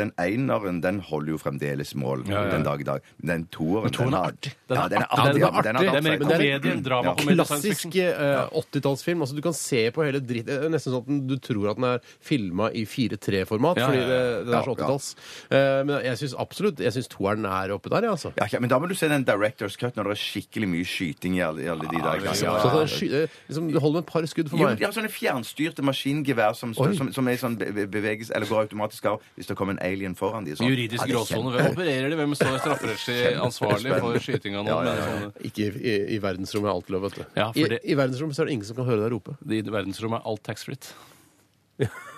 [SPEAKER 5] den eineren den holder jo fremdeles mål den dag i dag. Men den toeren
[SPEAKER 4] toeren
[SPEAKER 5] den
[SPEAKER 4] er
[SPEAKER 5] har-
[SPEAKER 4] artig. Den
[SPEAKER 5] Ja,
[SPEAKER 4] er
[SPEAKER 5] den er
[SPEAKER 4] artig.
[SPEAKER 5] artig. ja, men Den
[SPEAKER 3] Det er
[SPEAKER 5] har tatt
[SPEAKER 4] mer
[SPEAKER 5] seg-
[SPEAKER 4] komedie enn drama.
[SPEAKER 5] Ja.
[SPEAKER 4] komedie, science
[SPEAKER 3] Klassisk eh, 80-tallsfilm. Altså, du kan se på hele dritt eh, Nesten sånn at du tror at den er filma i 4-3-format,
[SPEAKER 4] Ja,
[SPEAKER 3] fordi
[SPEAKER 4] ja,
[SPEAKER 3] det,
[SPEAKER 4] ja.
[SPEAKER 3] den er så
[SPEAKER 5] Ja, ja.
[SPEAKER 3] 80-talls. Eh, men jeg syns absolutt jeg synes toeren er oppe der, jeg, altså.
[SPEAKER 5] Ja, ikke- men da må du se den Directors Cut når det er skikkelig mye skyting i alle, i alle
[SPEAKER 4] Ah,
[SPEAKER 5] de der
[SPEAKER 3] Så
[SPEAKER 5] greiene.
[SPEAKER 3] at den sky- eh, liksom, det holder med et par skudd for
[SPEAKER 5] Jo, men
[SPEAKER 3] meg.
[SPEAKER 5] de har sånne fjernstyrte maskingevær som,
[SPEAKER 3] Oi.
[SPEAKER 5] som, som er sånn be- be- beveges, eller går automatisk av hvis det kommer en alien foran de. Sånn.
[SPEAKER 4] Juridisk
[SPEAKER 5] Ja, det er
[SPEAKER 4] gråsone. Hvem opererer de? Hvem står strafferettslig ansvarlig for skyting av noen? Ja,
[SPEAKER 3] Ikke i, i, i verdensrommet er alt lov, vet du.
[SPEAKER 4] Ja, for det-
[SPEAKER 3] I, I verdensrommet så er det ingen som kan høre deg rope.
[SPEAKER 4] I verdensrommet er alt taxfree.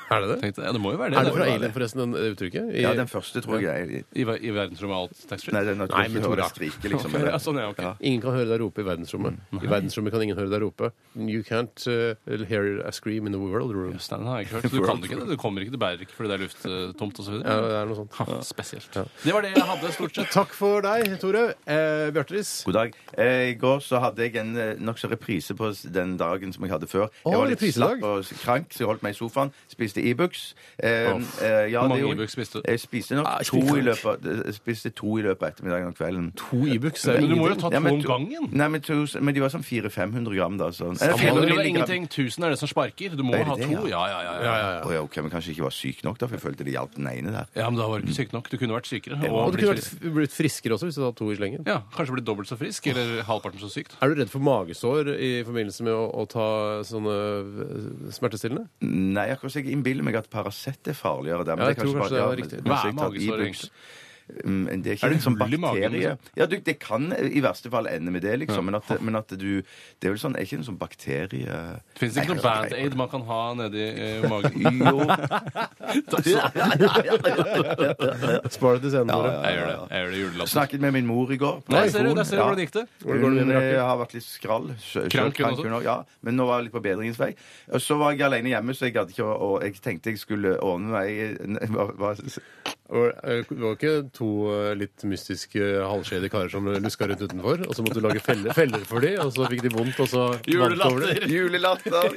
[SPEAKER 3] Er det det?
[SPEAKER 4] Tenkte jeg, Ja, det må jo være det.
[SPEAKER 3] Er det
[SPEAKER 4] det
[SPEAKER 3] fra
[SPEAKER 4] må jo være
[SPEAKER 3] Alien, forresten, den- det uttrykket? I-
[SPEAKER 5] kjempe- Ja, den første tror jeg er
[SPEAKER 4] det. I, ver- I verdensrommet er alt
[SPEAKER 5] Nei,
[SPEAKER 4] taxfree.
[SPEAKER 5] den
[SPEAKER 3] Nei,
[SPEAKER 5] naturlige
[SPEAKER 3] men
[SPEAKER 5] hører
[SPEAKER 3] Tora.
[SPEAKER 5] skrike, liksom.
[SPEAKER 4] Ok,
[SPEAKER 5] eller-
[SPEAKER 4] ja, sånn, ja, ok.
[SPEAKER 5] Ja.
[SPEAKER 3] Ingen kan høre deg rope i verdensrommet. I verdensrommet kan ingen høre deg rope. You can't uh, hear a scream in the world room.
[SPEAKER 4] Nei, den har jeg ikke hørt. Du kan ikke det. Du kommer ikke, du bærer ikke fordi det er eh, lufttomt osv.
[SPEAKER 3] Ja, det er noe sånt.
[SPEAKER 4] Spesielt. Det var det jeg hadde, stort sett.
[SPEAKER 3] Takk for deg, Tore. Eh, Bjartris.
[SPEAKER 5] God dag. Eh, I går så hadde jeg en eh, nokså reprise på s- den dagen som jeg hadde før.
[SPEAKER 3] Å,
[SPEAKER 5] jeg var litt
[SPEAKER 3] reprisedag.
[SPEAKER 5] slapp og s- krank, så jeg holdt meg i sofaen. Spiste Ibux. Eh,
[SPEAKER 4] Uff.
[SPEAKER 5] eh, ja,
[SPEAKER 4] Hvor
[SPEAKER 5] det
[SPEAKER 4] mange
[SPEAKER 5] gjorde-
[SPEAKER 4] Ibux spiste du?
[SPEAKER 5] Jeg spiste nok
[SPEAKER 3] Ah,
[SPEAKER 5] to,
[SPEAKER 3] spiste
[SPEAKER 5] i løpet, av- eh, spiste to i løpet av ettermiddagen og kvelden.
[SPEAKER 3] To Ibux er
[SPEAKER 4] Men du må jo
[SPEAKER 3] ingenting.
[SPEAKER 4] ta
[SPEAKER 5] Ja,
[SPEAKER 4] to
[SPEAKER 5] men
[SPEAKER 4] om
[SPEAKER 5] to-
[SPEAKER 4] gangen.
[SPEAKER 5] Nei, men, to, men de var sånn 400-500 gram, da. Sånn. Eh,
[SPEAKER 4] Ja, men det er
[SPEAKER 5] 500 milligram.
[SPEAKER 4] ingenting. 1000 er det som sparker. Du må
[SPEAKER 5] Er det
[SPEAKER 4] ha
[SPEAKER 5] det,
[SPEAKER 4] to. Ja,
[SPEAKER 5] ja?
[SPEAKER 4] ja, ja.
[SPEAKER 3] ja,
[SPEAKER 4] ja.
[SPEAKER 3] ja, ja.
[SPEAKER 5] Å ja, ok, men kanskje ikke var syk nok, da, for jeg følte det hjalp den ene der.
[SPEAKER 4] ja men da var du ikke syk nok. Du kunne vært sykere.
[SPEAKER 3] Og
[SPEAKER 4] Og
[SPEAKER 3] du kunne
[SPEAKER 4] blitt,
[SPEAKER 3] vært, blitt friskere også hvis du hadde hatt to i slengen.
[SPEAKER 4] ja, kanskje blitt dobbelt så frisk, eller halvparten så syk. da.
[SPEAKER 3] Er du redd for magesår i forbindelse med å, å ta sånne eh, smertestillende?
[SPEAKER 5] Nei, akkurat så jeg innbiller meg at Paracet er farligere der. men
[SPEAKER 3] Ja, jeg
[SPEAKER 5] det er kanskje
[SPEAKER 3] tror kanskje det
[SPEAKER 5] bare-
[SPEAKER 3] er riktig.
[SPEAKER 5] men-
[SPEAKER 4] Hva er
[SPEAKER 5] men så jeg tar
[SPEAKER 4] magesår,
[SPEAKER 5] Ibux.
[SPEAKER 4] egentlig?
[SPEAKER 5] Mm, Det er ikke
[SPEAKER 4] Er det
[SPEAKER 5] en sånn
[SPEAKER 4] hull i magen,
[SPEAKER 5] bakterie.
[SPEAKER 4] liksom?
[SPEAKER 5] Ja, du, det kan i verste fall ende med det, liksom. Men at, men at du Det er vel sånn, er ikke en sånn bakterie
[SPEAKER 4] Fins det ikke noe
[SPEAKER 5] Nei,
[SPEAKER 4] Band-Aid man kan ha nedi eh, magen?
[SPEAKER 5] Jo.
[SPEAKER 3] Spar det til scenen, Tore.
[SPEAKER 4] Jeg gjør det. Jeg gjør det i julelappen.
[SPEAKER 5] Snakket med min mor i går. på
[SPEAKER 4] Nei, ser du,
[SPEAKER 5] telefon.
[SPEAKER 4] der ser du
[SPEAKER 5] Ja.
[SPEAKER 4] hvordan det gikk det.
[SPEAKER 3] Hvordan går det med
[SPEAKER 5] Hun,
[SPEAKER 3] Bjarke?
[SPEAKER 5] eh, har vært litt skrall. Sjø-
[SPEAKER 4] Krank hun
[SPEAKER 5] sjølkrank hun
[SPEAKER 4] også?
[SPEAKER 5] også, Ja, men nå var jeg litt på bedringens vei. Og Så var jeg alene hjemme, så jeg gadd ikke å Og jeg tenkte jeg skulle ordne meg eh, hva, hva,
[SPEAKER 3] Og, eh, Det var ikke to eh, litt mystiske eh, halvskjede karer som luska rundt utenfor, og så måtte du lage feller, feller for dem, og så fikk de vondt, og så vant over det?
[SPEAKER 5] Julelatter!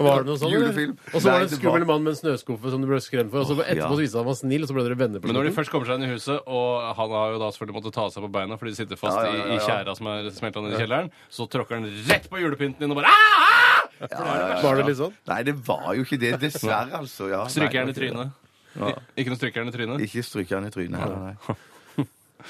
[SPEAKER 3] Var det noe sånt? eller?
[SPEAKER 5] Julefilm.
[SPEAKER 3] Og så var
[SPEAKER 5] Nei,
[SPEAKER 3] det en skummel mann med en snøskuffe som du ble skremt for, og så etterpå
[SPEAKER 5] ja.
[SPEAKER 3] så viste det seg at han var snill, og så ble dere venner på
[SPEAKER 4] Men når de
[SPEAKER 5] Mm.
[SPEAKER 3] slutten.
[SPEAKER 4] først kommer seg inn i huset, og han har jo da selvfølgelig måttet ta seg på beina fordi de sitter fast
[SPEAKER 5] Ja, ja, ja,
[SPEAKER 4] i- i
[SPEAKER 5] ja.
[SPEAKER 4] tjæra som er smelta ned i kjelleren, så tråkker han rett på julepynten din og bare «Ah, ah!»
[SPEAKER 3] Var det litt sånn?
[SPEAKER 5] Nei, det var jo ikke det. Dessverre, altså. Ja.
[SPEAKER 4] Stryker han i
[SPEAKER 5] Nei,
[SPEAKER 4] trynet. Ik- Ikke noe stryker han i trynet.
[SPEAKER 5] Ikke stryker han i trynet heller, nei.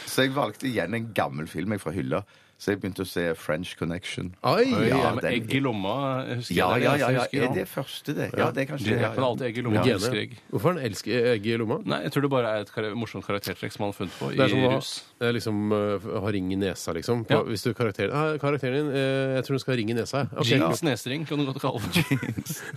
[SPEAKER 5] Så jeg valgte igjen en gammel film jeg fra hylla. Så jeg begynte å se French Connection.
[SPEAKER 3] Oi!
[SPEAKER 5] Ja,
[SPEAKER 4] Ja, med
[SPEAKER 5] den-
[SPEAKER 4] egg i lomma, jeg husker
[SPEAKER 5] Ja,
[SPEAKER 4] jeg.
[SPEAKER 5] ja,
[SPEAKER 4] Det
[SPEAKER 5] ja.
[SPEAKER 4] er
[SPEAKER 5] ja.
[SPEAKER 4] det eneste jeg
[SPEAKER 5] Er
[SPEAKER 4] husker.
[SPEAKER 5] det første, det? Ja, det er kanskje
[SPEAKER 4] Det
[SPEAKER 5] ja,
[SPEAKER 4] heter
[SPEAKER 5] ja.
[SPEAKER 4] alltid egg i lomma.
[SPEAKER 3] Gene.
[SPEAKER 4] Elsker egg.
[SPEAKER 3] Hvorfor han elsker egg i lomma?
[SPEAKER 4] Nei, jeg tror det bare er et kar morsomt karaktertrekk som han har funnet på
[SPEAKER 3] Det er
[SPEAKER 4] i
[SPEAKER 3] som å
[SPEAKER 4] rus.
[SPEAKER 3] det er liksom, eh, ha ring i nesa, liksom. På,
[SPEAKER 4] Ja.
[SPEAKER 3] Hvis du karakterer, ah, karakteren din eh, Jeg tror hun skal ha ring i nesa. jeg. Ok.
[SPEAKER 4] Jeans nesering kan du godt kalle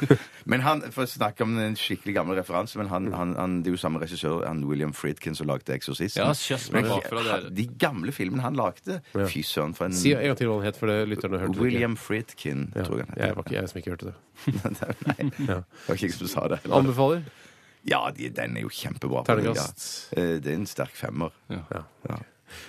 [SPEAKER 4] det.
[SPEAKER 5] Men han, for å snakke om en skikkelig gammel referanse, men han, han, han, det er jo samme regissør, han William Friedkin, som lagde 'Eksorsisten'.
[SPEAKER 4] Ja, kjøss meg
[SPEAKER 5] Men
[SPEAKER 4] bakfra, det er-
[SPEAKER 5] han- de gamle filmene han lagde Fy søren, for en
[SPEAKER 3] Si en gang til hva han het, for det lytterne hørte det ikke.
[SPEAKER 5] William Friedkin,
[SPEAKER 3] ja.
[SPEAKER 5] tror jeg han
[SPEAKER 3] Jeg
[SPEAKER 5] heter.
[SPEAKER 3] var ikke jeg som ikke hørte det.
[SPEAKER 5] Nei, det var ikke jeg som sa det. heller.
[SPEAKER 3] Anbefaler.
[SPEAKER 5] Ja, de, den er jo kjempebra. på den,
[SPEAKER 3] Terningkast.
[SPEAKER 5] Ja. Eh, Det er en sterk femmer.
[SPEAKER 4] Ja.
[SPEAKER 5] Ja.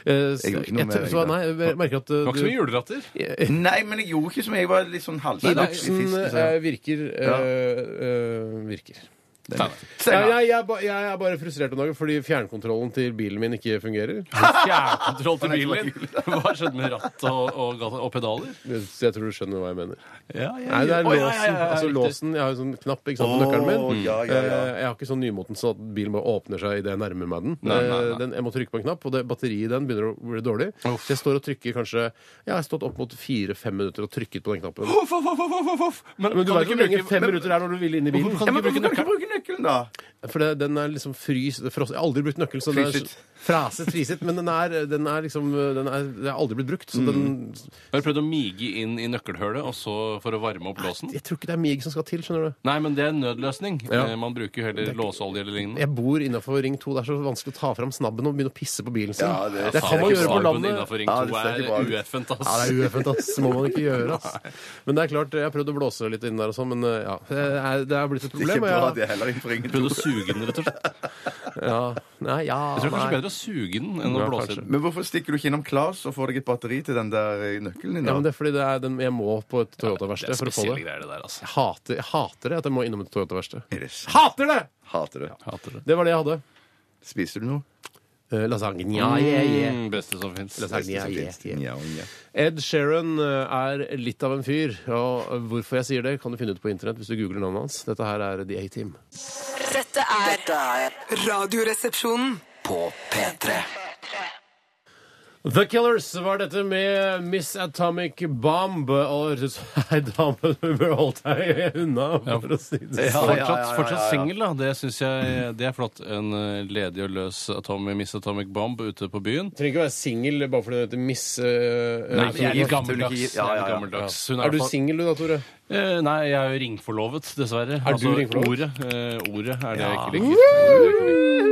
[SPEAKER 3] Eh,
[SPEAKER 5] Jeg gjorde ikke noe
[SPEAKER 3] jeg tror-
[SPEAKER 5] med
[SPEAKER 3] så,
[SPEAKER 5] det.
[SPEAKER 3] nei, jeg merker at
[SPEAKER 4] Det
[SPEAKER 3] eh,
[SPEAKER 4] var ikke så mye juleratter.
[SPEAKER 3] du
[SPEAKER 5] Nei, men jeg gjorde ikke som jeg var litt sånn halvslags i
[SPEAKER 3] Voksen
[SPEAKER 5] fisken. Så.
[SPEAKER 3] eh, virker. eh,
[SPEAKER 5] Ja.
[SPEAKER 3] eh, virker.
[SPEAKER 4] Nei, nei.
[SPEAKER 3] Jeg,
[SPEAKER 5] Steinar.
[SPEAKER 3] jeg, jeg, er ba- jeg er bare frustrert om dagen fordi fjernkontrollen til bilen min ikke fungerer.
[SPEAKER 4] Fjernkontroll til bilen din. Hva skjedde med rattet og, og, gata- og pedaler?
[SPEAKER 3] Så jeg tror du skjønner hva jeg mener.
[SPEAKER 4] Ja, ja,
[SPEAKER 3] Nei, det er
[SPEAKER 4] Å,
[SPEAKER 3] låsen.
[SPEAKER 4] ja, ja, ja, ja,
[SPEAKER 3] altså
[SPEAKER 4] riktig.
[SPEAKER 3] låsen, Jeg har jo sånn knapp ikke sant, på
[SPEAKER 5] Åh,
[SPEAKER 3] nøkkelen min.
[SPEAKER 5] ja, ja, ja.
[SPEAKER 3] Eh, Jeg har ikke sånn nymoten sånn at bilen bare åpner seg idet jeg nærmer meg den.
[SPEAKER 4] Nei, nei, nei.
[SPEAKER 3] Eh, den. Jeg må trykke på en knapp, og det, batteriet i den begynner å bli dårlig.
[SPEAKER 4] Uff.
[SPEAKER 3] Så jeg står og trykker kanskje Jeg har stått opp mot fire-fem minutter og trykket på den knappen.
[SPEAKER 4] Voff, voff, voff, voff, voff, voff. Men,
[SPEAKER 3] Men du
[SPEAKER 4] kan
[SPEAKER 3] vet
[SPEAKER 4] ikke
[SPEAKER 3] hvor lenge
[SPEAKER 4] bruke-
[SPEAKER 3] fem
[SPEAKER 4] men-
[SPEAKER 3] minutter er når du vil inn i bilen?
[SPEAKER 4] Hvorfor kan
[SPEAKER 5] Ja,
[SPEAKER 4] du
[SPEAKER 5] men
[SPEAKER 4] ikke bruke
[SPEAKER 5] hvorfor kan du ikke
[SPEAKER 4] nøkkelen?
[SPEAKER 5] bruke nøkkelen, da?
[SPEAKER 3] For det, den er liksom frys... Frost, jeg har aldri brukt nøkkel, så den er
[SPEAKER 5] Fryset.
[SPEAKER 3] fraset, friset, men den er, den er liksom den er, den er aldri blitt brukt. Så den
[SPEAKER 4] Mm. Har du prøvd å mige inn i nøkkelhullet og så for å varme opp låsen?
[SPEAKER 3] Jeg tror ikke det er mig som skal til, skjønner du.
[SPEAKER 4] Nei, men det er en nødløsning.
[SPEAKER 3] Ja.
[SPEAKER 4] Eh, Man bruker jo heller låseolje eller lignende.
[SPEAKER 3] Jeg bor innafor Ring 2. Det er så vanskelig å ta fram snabben og begynne å pisse på bilen sin.
[SPEAKER 5] Ja, det-
[SPEAKER 3] det
[SPEAKER 5] faen,
[SPEAKER 3] kan man
[SPEAKER 5] det er
[SPEAKER 3] gjøre på
[SPEAKER 5] ikke
[SPEAKER 3] landet.
[SPEAKER 4] Innenfor ring
[SPEAKER 5] Ja,
[SPEAKER 4] 2
[SPEAKER 5] det ser
[SPEAKER 4] er
[SPEAKER 5] ikke bra ut.
[SPEAKER 4] ueffent, ass.
[SPEAKER 3] Ja, det er ueffent, ass. Må man ikke gjøre, ass. Men det er klart, jeg har prøvd å blåse litt inn der og sånn, men eh, ja. Det er, det er blitt et
[SPEAKER 5] Det er
[SPEAKER 3] problem.
[SPEAKER 5] ikke
[SPEAKER 3] og
[SPEAKER 5] bra,
[SPEAKER 3] jeg-
[SPEAKER 5] det er heller ikke for ingen
[SPEAKER 4] Prøvde å suge den, rett og slett.
[SPEAKER 3] Ja, nei, ja,
[SPEAKER 4] Jeg tror kanskje
[SPEAKER 3] nei.
[SPEAKER 4] bedre å suge den enn å
[SPEAKER 3] Ja,
[SPEAKER 4] blåse i
[SPEAKER 3] kanskje.
[SPEAKER 4] den.
[SPEAKER 5] Men hvorfor stikker du ikke innom Claes og får deg et batteri til den der eh, nøkkelen din,
[SPEAKER 3] Ja,
[SPEAKER 5] da?
[SPEAKER 3] men det er fordi det er den, jeg må på et
[SPEAKER 4] Det er
[SPEAKER 3] Toyota-verksted for å få
[SPEAKER 4] spesielle
[SPEAKER 3] det.
[SPEAKER 4] greier, det der, altså.
[SPEAKER 3] Jeg hater, jeg hater det at jeg må innom et Toyota-verksted.
[SPEAKER 5] Er det sant?
[SPEAKER 3] Hater det!
[SPEAKER 5] Hater det.
[SPEAKER 4] Hater det.
[SPEAKER 3] Det var det jeg hadde.
[SPEAKER 5] Spiser du noe?
[SPEAKER 3] Eh, eh, lasagne. Ja, yeah, yeah.
[SPEAKER 4] Mm, beste som fins.
[SPEAKER 3] Lasagne, ja, yeah, yeah.
[SPEAKER 5] Ja, ja.
[SPEAKER 3] Ed Sheeran eh, er litt av en fyr. Og hvorfor jeg sier det, kan du finne ut på internett hvis du googler navnet hans. Dette her er The A-Team.
[SPEAKER 6] Dette er
[SPEAKER 2] Dette er
[SPEAKER 1] Radioresepsjonen.
[SPEAKER 2] på P3.
[SPEAKER 3] The Killers var dette med Miss Atomic Bomb. Og hørtes Hei, dame, du bør holde deg unna, for å si det
[SPEAKER 4] Ja,
[SPEAKER 3] sånn.
[SPEAKER 4] fortsatt fortsatt singel, da. Det syns jeg det er flott. En eh, ledig og løs atomi, Miss Atomic Bomb ute på byen.
[SPEAKER 3] Trenger ikke være singel bare fordi du heter Miss eh,
[SPEAKER 4] Nei,
[SPEAKER 3] eh,
[SPEAKER 4] jeg er litt gammeldags.
[SPEAKER 5] ikke- ja, ja, ja.
[SPEAKER 4] Jeg er litt gammeldags. Hun
[SPEAKER 3] Er
[SPEAKER 4] i
[SPEAKER 3] du
[SPEAKER 4] hvert fall-
[SPEAKER 3] singel du da, Tore?
[SPEAKER 4] Eh, Nei, jeg er jo ringforlovet, dessverre. Altså,
[SPEAKER 3] Er du ringforlovet?
[SPEAKER 4] Ordet, eh, ordet er det jeg
[SPEAKER 5] Ja.
[SPEAKER 4] ikke liker.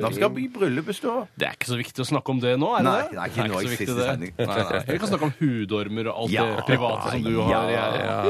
[SPEAKER 5] Når skal vi bryllupet stå?
[SPEAKER 4] Det er ikke så viktig å snakke om det nå, er det
[SPEAKER 5] Nei,
[SPEAKER 4] det?
[SPEAKER 5] det er ikke nå i
[SPEAKER 4] så viktig
[SPEAKER 5] siste
[SPEAKER 4] det.
[SPEAKER 5] sending.
[SPEAKER 4] Nei, nei. Vi kan snakke om hudormer og alt
[SPEAKER 5] Ja.
[SPEAKER 4] det private som du har.
[SPEAKER 5] Ja.
[SPEAKER 4] Ja.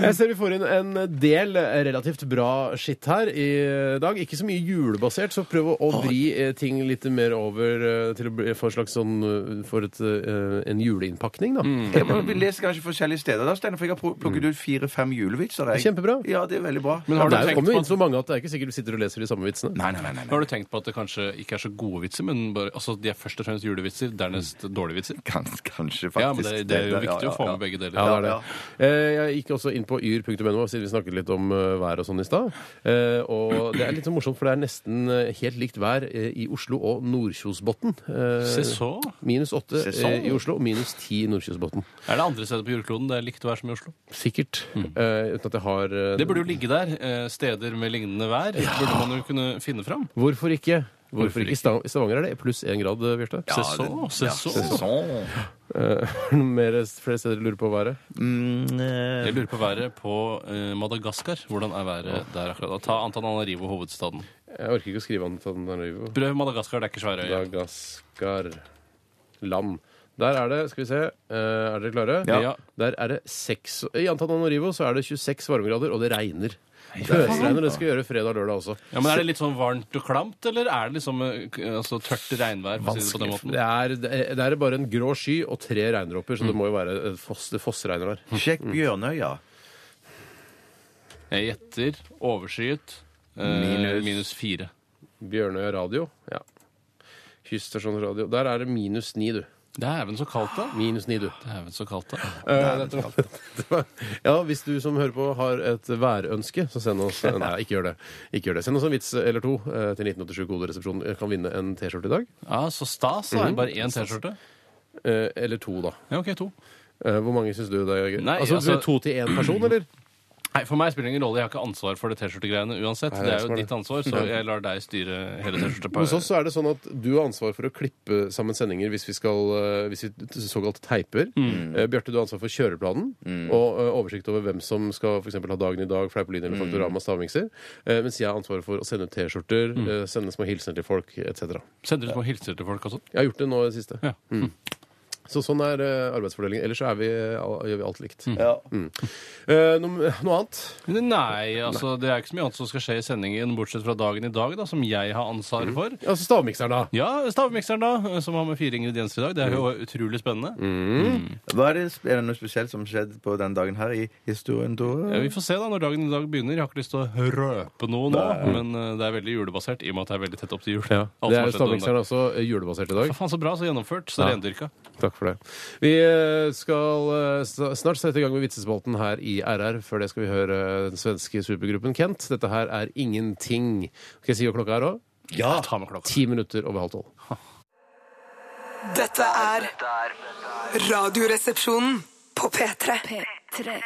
[SPEAKER 3] Jeg ser vi får inn en del relativt bra skitt her i dag. Ikke så mye julebasert, så prøv å vri eh, ting litt mer over eh, til å bli for, en slags sånn, eh, for et, eh, en juleinnpakning, da.
[SPEAKER 4] Mm.
[SPEAKER 5] Jeg må, vi leser kanskje forskjellige steder, da, Steiner, for jeg har pl- plukket ut fire-fem julevitser. jeg.
[SPEAKER 3] Kjempebra.
[SPEAKER 5] Ja, det er veldig bra.
[SPEAKER 4] Men har du
[SPEAKER 3] det er jo
[SPEAKER 4] tenkt
[SPEAKER 3] kommer
[SPEAKER 4] på
[SPEAKER 3] jo inn så mange at det er ikke sikkert du sitter og leser de samme vitsene.
[SPEAKER 5] Nei, nei, nei. nei, nei.
[SPEAKER 4] Har du tenkt på at det kanskje ikke er så gode vitser, men bare, altså, de er først og fremst julevitser, dernest dårlige vitser?
[SPEAKER 5] Kans, kanskje, faktisk.
[SPEAKER 4] Ja, men Mm. det, det er jo
[SPEAKER 5] Ja,
[SPEAKER 4] viktig
[SPEAKER 5] ja,
[SPEAKER 4] å få
[SPEAKER 5] ja.
[SPEAKER 4] med begge deler.
[SPEAKER 3] Ja, det er det. Eh, Jeg gikk også inn på yr.no, siden vi snakket litt om eh, vær og sånn i stad. Eh, Og det er litt så morsomt, for det er nesten eh, helt likt vær eh, i Oslo og Nordkjosbotn. Eh,
[SPEAKER 4] Se så.
[SPEAKER 3] Minus åtte
[SPEAKER 5] Se sånn.
[SPEAKER 3] eh, i Oslo og minus ti i Nordkjosbotn.
[SPEAKER 4] Er det andre steder på jordkloden det er likt vær som i Oslo?
[SPEAKER 3] Sikkert. Eh, uten at jeg har eh,
[SPEAKER 4] Det burde jo ligge der. eh, Steder med lignende vær burde man jo kunne finne fram.
[SPEAKER 3] Hvorfor ikke? Hvorfor, ikke? Stavanger- Stavanger er det pluss én grad, eh, Bjarte.
[SPEAKER 4] Se så, se så.
[SPEAKER 5] Sånn.
[SPEAKER 3] Eh, mer- flere steder du lurer på været?
[SPEAKER 4] Jeg lurer på været på eh, Madagaskar. Hvordan er været der akkurat? da? Ta Antananarivo, hovedstaden.
[SPEAKER 3] Jeg orker ikke å skrive sånn an til Antananarivo.
[SPEAKER 4] Prøv Madagaskar, det er ikke svære øyer.
[SPEAKER 3] Madagaskar land. Der er det, skal vi se, eh, er dere klare?
[SPEAKER 4] Ja.
[SPEAKER 3] Der er det seks I Antananarivo så er det 26 varmegrader, og det regner. Pøsregner. Det skal gjøre fredag og lørdag også.
[SPEAKER 4] Ja, men Er det litt sånn varmt og klamt, eller er det liksom eh, k- altså, tørt regnvær? for å si det på den måten?
[SPEAKER 3] Det er, det er bare en grå sky og tre regndråper, så det må jo være eh, foss, det fossregner der.
[SPEAKER 5] Sjekk Bjørnøya.
[SPEAKER 4] Jeg gjetter overskyet eh,
[SPEAKER 5] Minus.
[SPEAKER 4] minus fire.
[SPEAKER 3] Bjørnøya radio. Ja. Kyststasjon radio. Der er det minus ni, du.
[SPEAKER 4] Dæven så kaldt, da.
[SPEAKER 3] Minus ni, du.
[SPEAKER 4] Dæven så kaldt, da.
[SPEAKER 3] Eh, dette var- dette var- ja, hvis du som hører på har et værønske, så send oss Nei, ikke gjør det. Ikke gjør det. Send oss en vits eller to eh, til 1987 Koderesepsjonen. Jeg Kan vinne en T-skjorte i dag.
[SPEAKER 4] Ja, Så stas, da. Bare én T-skjorte?
[SPEAKER 3] Eh, Eller to, da.
[SPEAKER 4] Ja, OK, to.
[SPEAKER 3] Eh, Hvor mange syns du det er gøy?
[SPEAKER 4] Nei,
[SPEAKER 3] altså,
[SPEAKER 4] altså-
[SPEAKER 3] to til én person, eller?
[SPEAKER 4] Nei, For meg spiller det ingen rolle. Jeg har ikke ansvar for det T-skjortegreiene uansett.
[SPEAKER 3] Nei,
[SPEAKER 4] det er
[SPEAKER 3] jeg
[SPEAKER 4] jo
[SPEAKER 3] spør det.
[SPEAKER 4] ditt ansvar, så jeg lar deg styre hele
[SPEAKER 3] Hos oss
[SPEAKER 4] T-skjorteparet.
[SPEAKER 3] så er det sånn at du har ansvar for å klippe sammen sendinger hvis vi, skal, eh, hvis vi t- såkalt teiper.
[SPEAKER 4] Mm.
[SPEAKER 3] Eh, Bjarte, du har ansvar for kjøreplanen og eh, oversikt over hvem som skal for eksempel ha Dagen i dag, Fleipolini
[SPEAKER 4] Mm.
[SPEAKER 3] eller Faktorama stavmikser. Eh, Mens jeg har ansvaret for å sende ut T-skjorter,
[SPEAKER 4] Mm.
[SPEAKER 3] eh, sende små hilsener til folk etc.
[SPEAKER 4] Sender du små hilser til folk og sånn?
[SPEAKER 3] Jeg har gjort det nå i det siste. Mm.
[SPEAKER 4] Ja.
[SPEAKER 3] Så sånn er eh, arbeidsfordelingen. Ellers så er vi, al- gjør vi alt likt.
[SPEAKER 4] Mm.
[SPEAKER 5] Ja.
[SPEAKER 3] Eh, Noe, noe annet?
[SPEAKER 4] Nei, altså det er ikke så mye annet som skal skje i sendingen, bortsett fra dagen i dag, da, som jeg har ansvaret for.
[SPEAKER 3] Altså stavmikseren, da.
[SPEAKER 4] Ja, stavmikseren, da, eh, som har med fire ingredienser i dag. Det er jo utrolig spennende.
[SPEAKER 5] Hva er, det, er det noe spesielt som skjedde på den dagen her i historien,
[SPEAKER 4] Ja,
[SPEAKER 5] Tore?
[SPEAKER 4] vi får se da når dagen i dag begynner. Jeg har ikke lyst til å røpe noe nå, men eh, det er veldig julebasert i og med at det er veldig tett opp til jul. Alt
[SPEAKER 3] Det
[SPEAKER 4] som
[SPEAKER 3] er jo
[SPEAKER 4] har skjedd den
[SPEAKER 3] stavmikseren
[SPEAKER 4] dagen.
[SPEAKER 3] også eh, julebasert i dag.
[SPEAKER 4] Så faen så bra, så gjennomført, så
[SPEAKER 3] Ja.
[SPEAKER 4] rendyrka.
[SPEAKER 3] Takk for det. Vi eh, skal eh, sta- snart sette i gang med vitsespalten her i RR. Før det skal vi høre eh, den svenske supergruppen Kent. Dette her er ingenting. Skal jeg si hva klokka er òg?
[SPEAKER 4] Ja. Ta med klokka.
[SPEAKER 3] Ti minutter over halv tolv.
[SPEAKER 1] Dette er Radioresepsjonen på P3.
[SPEAKER 6] P3.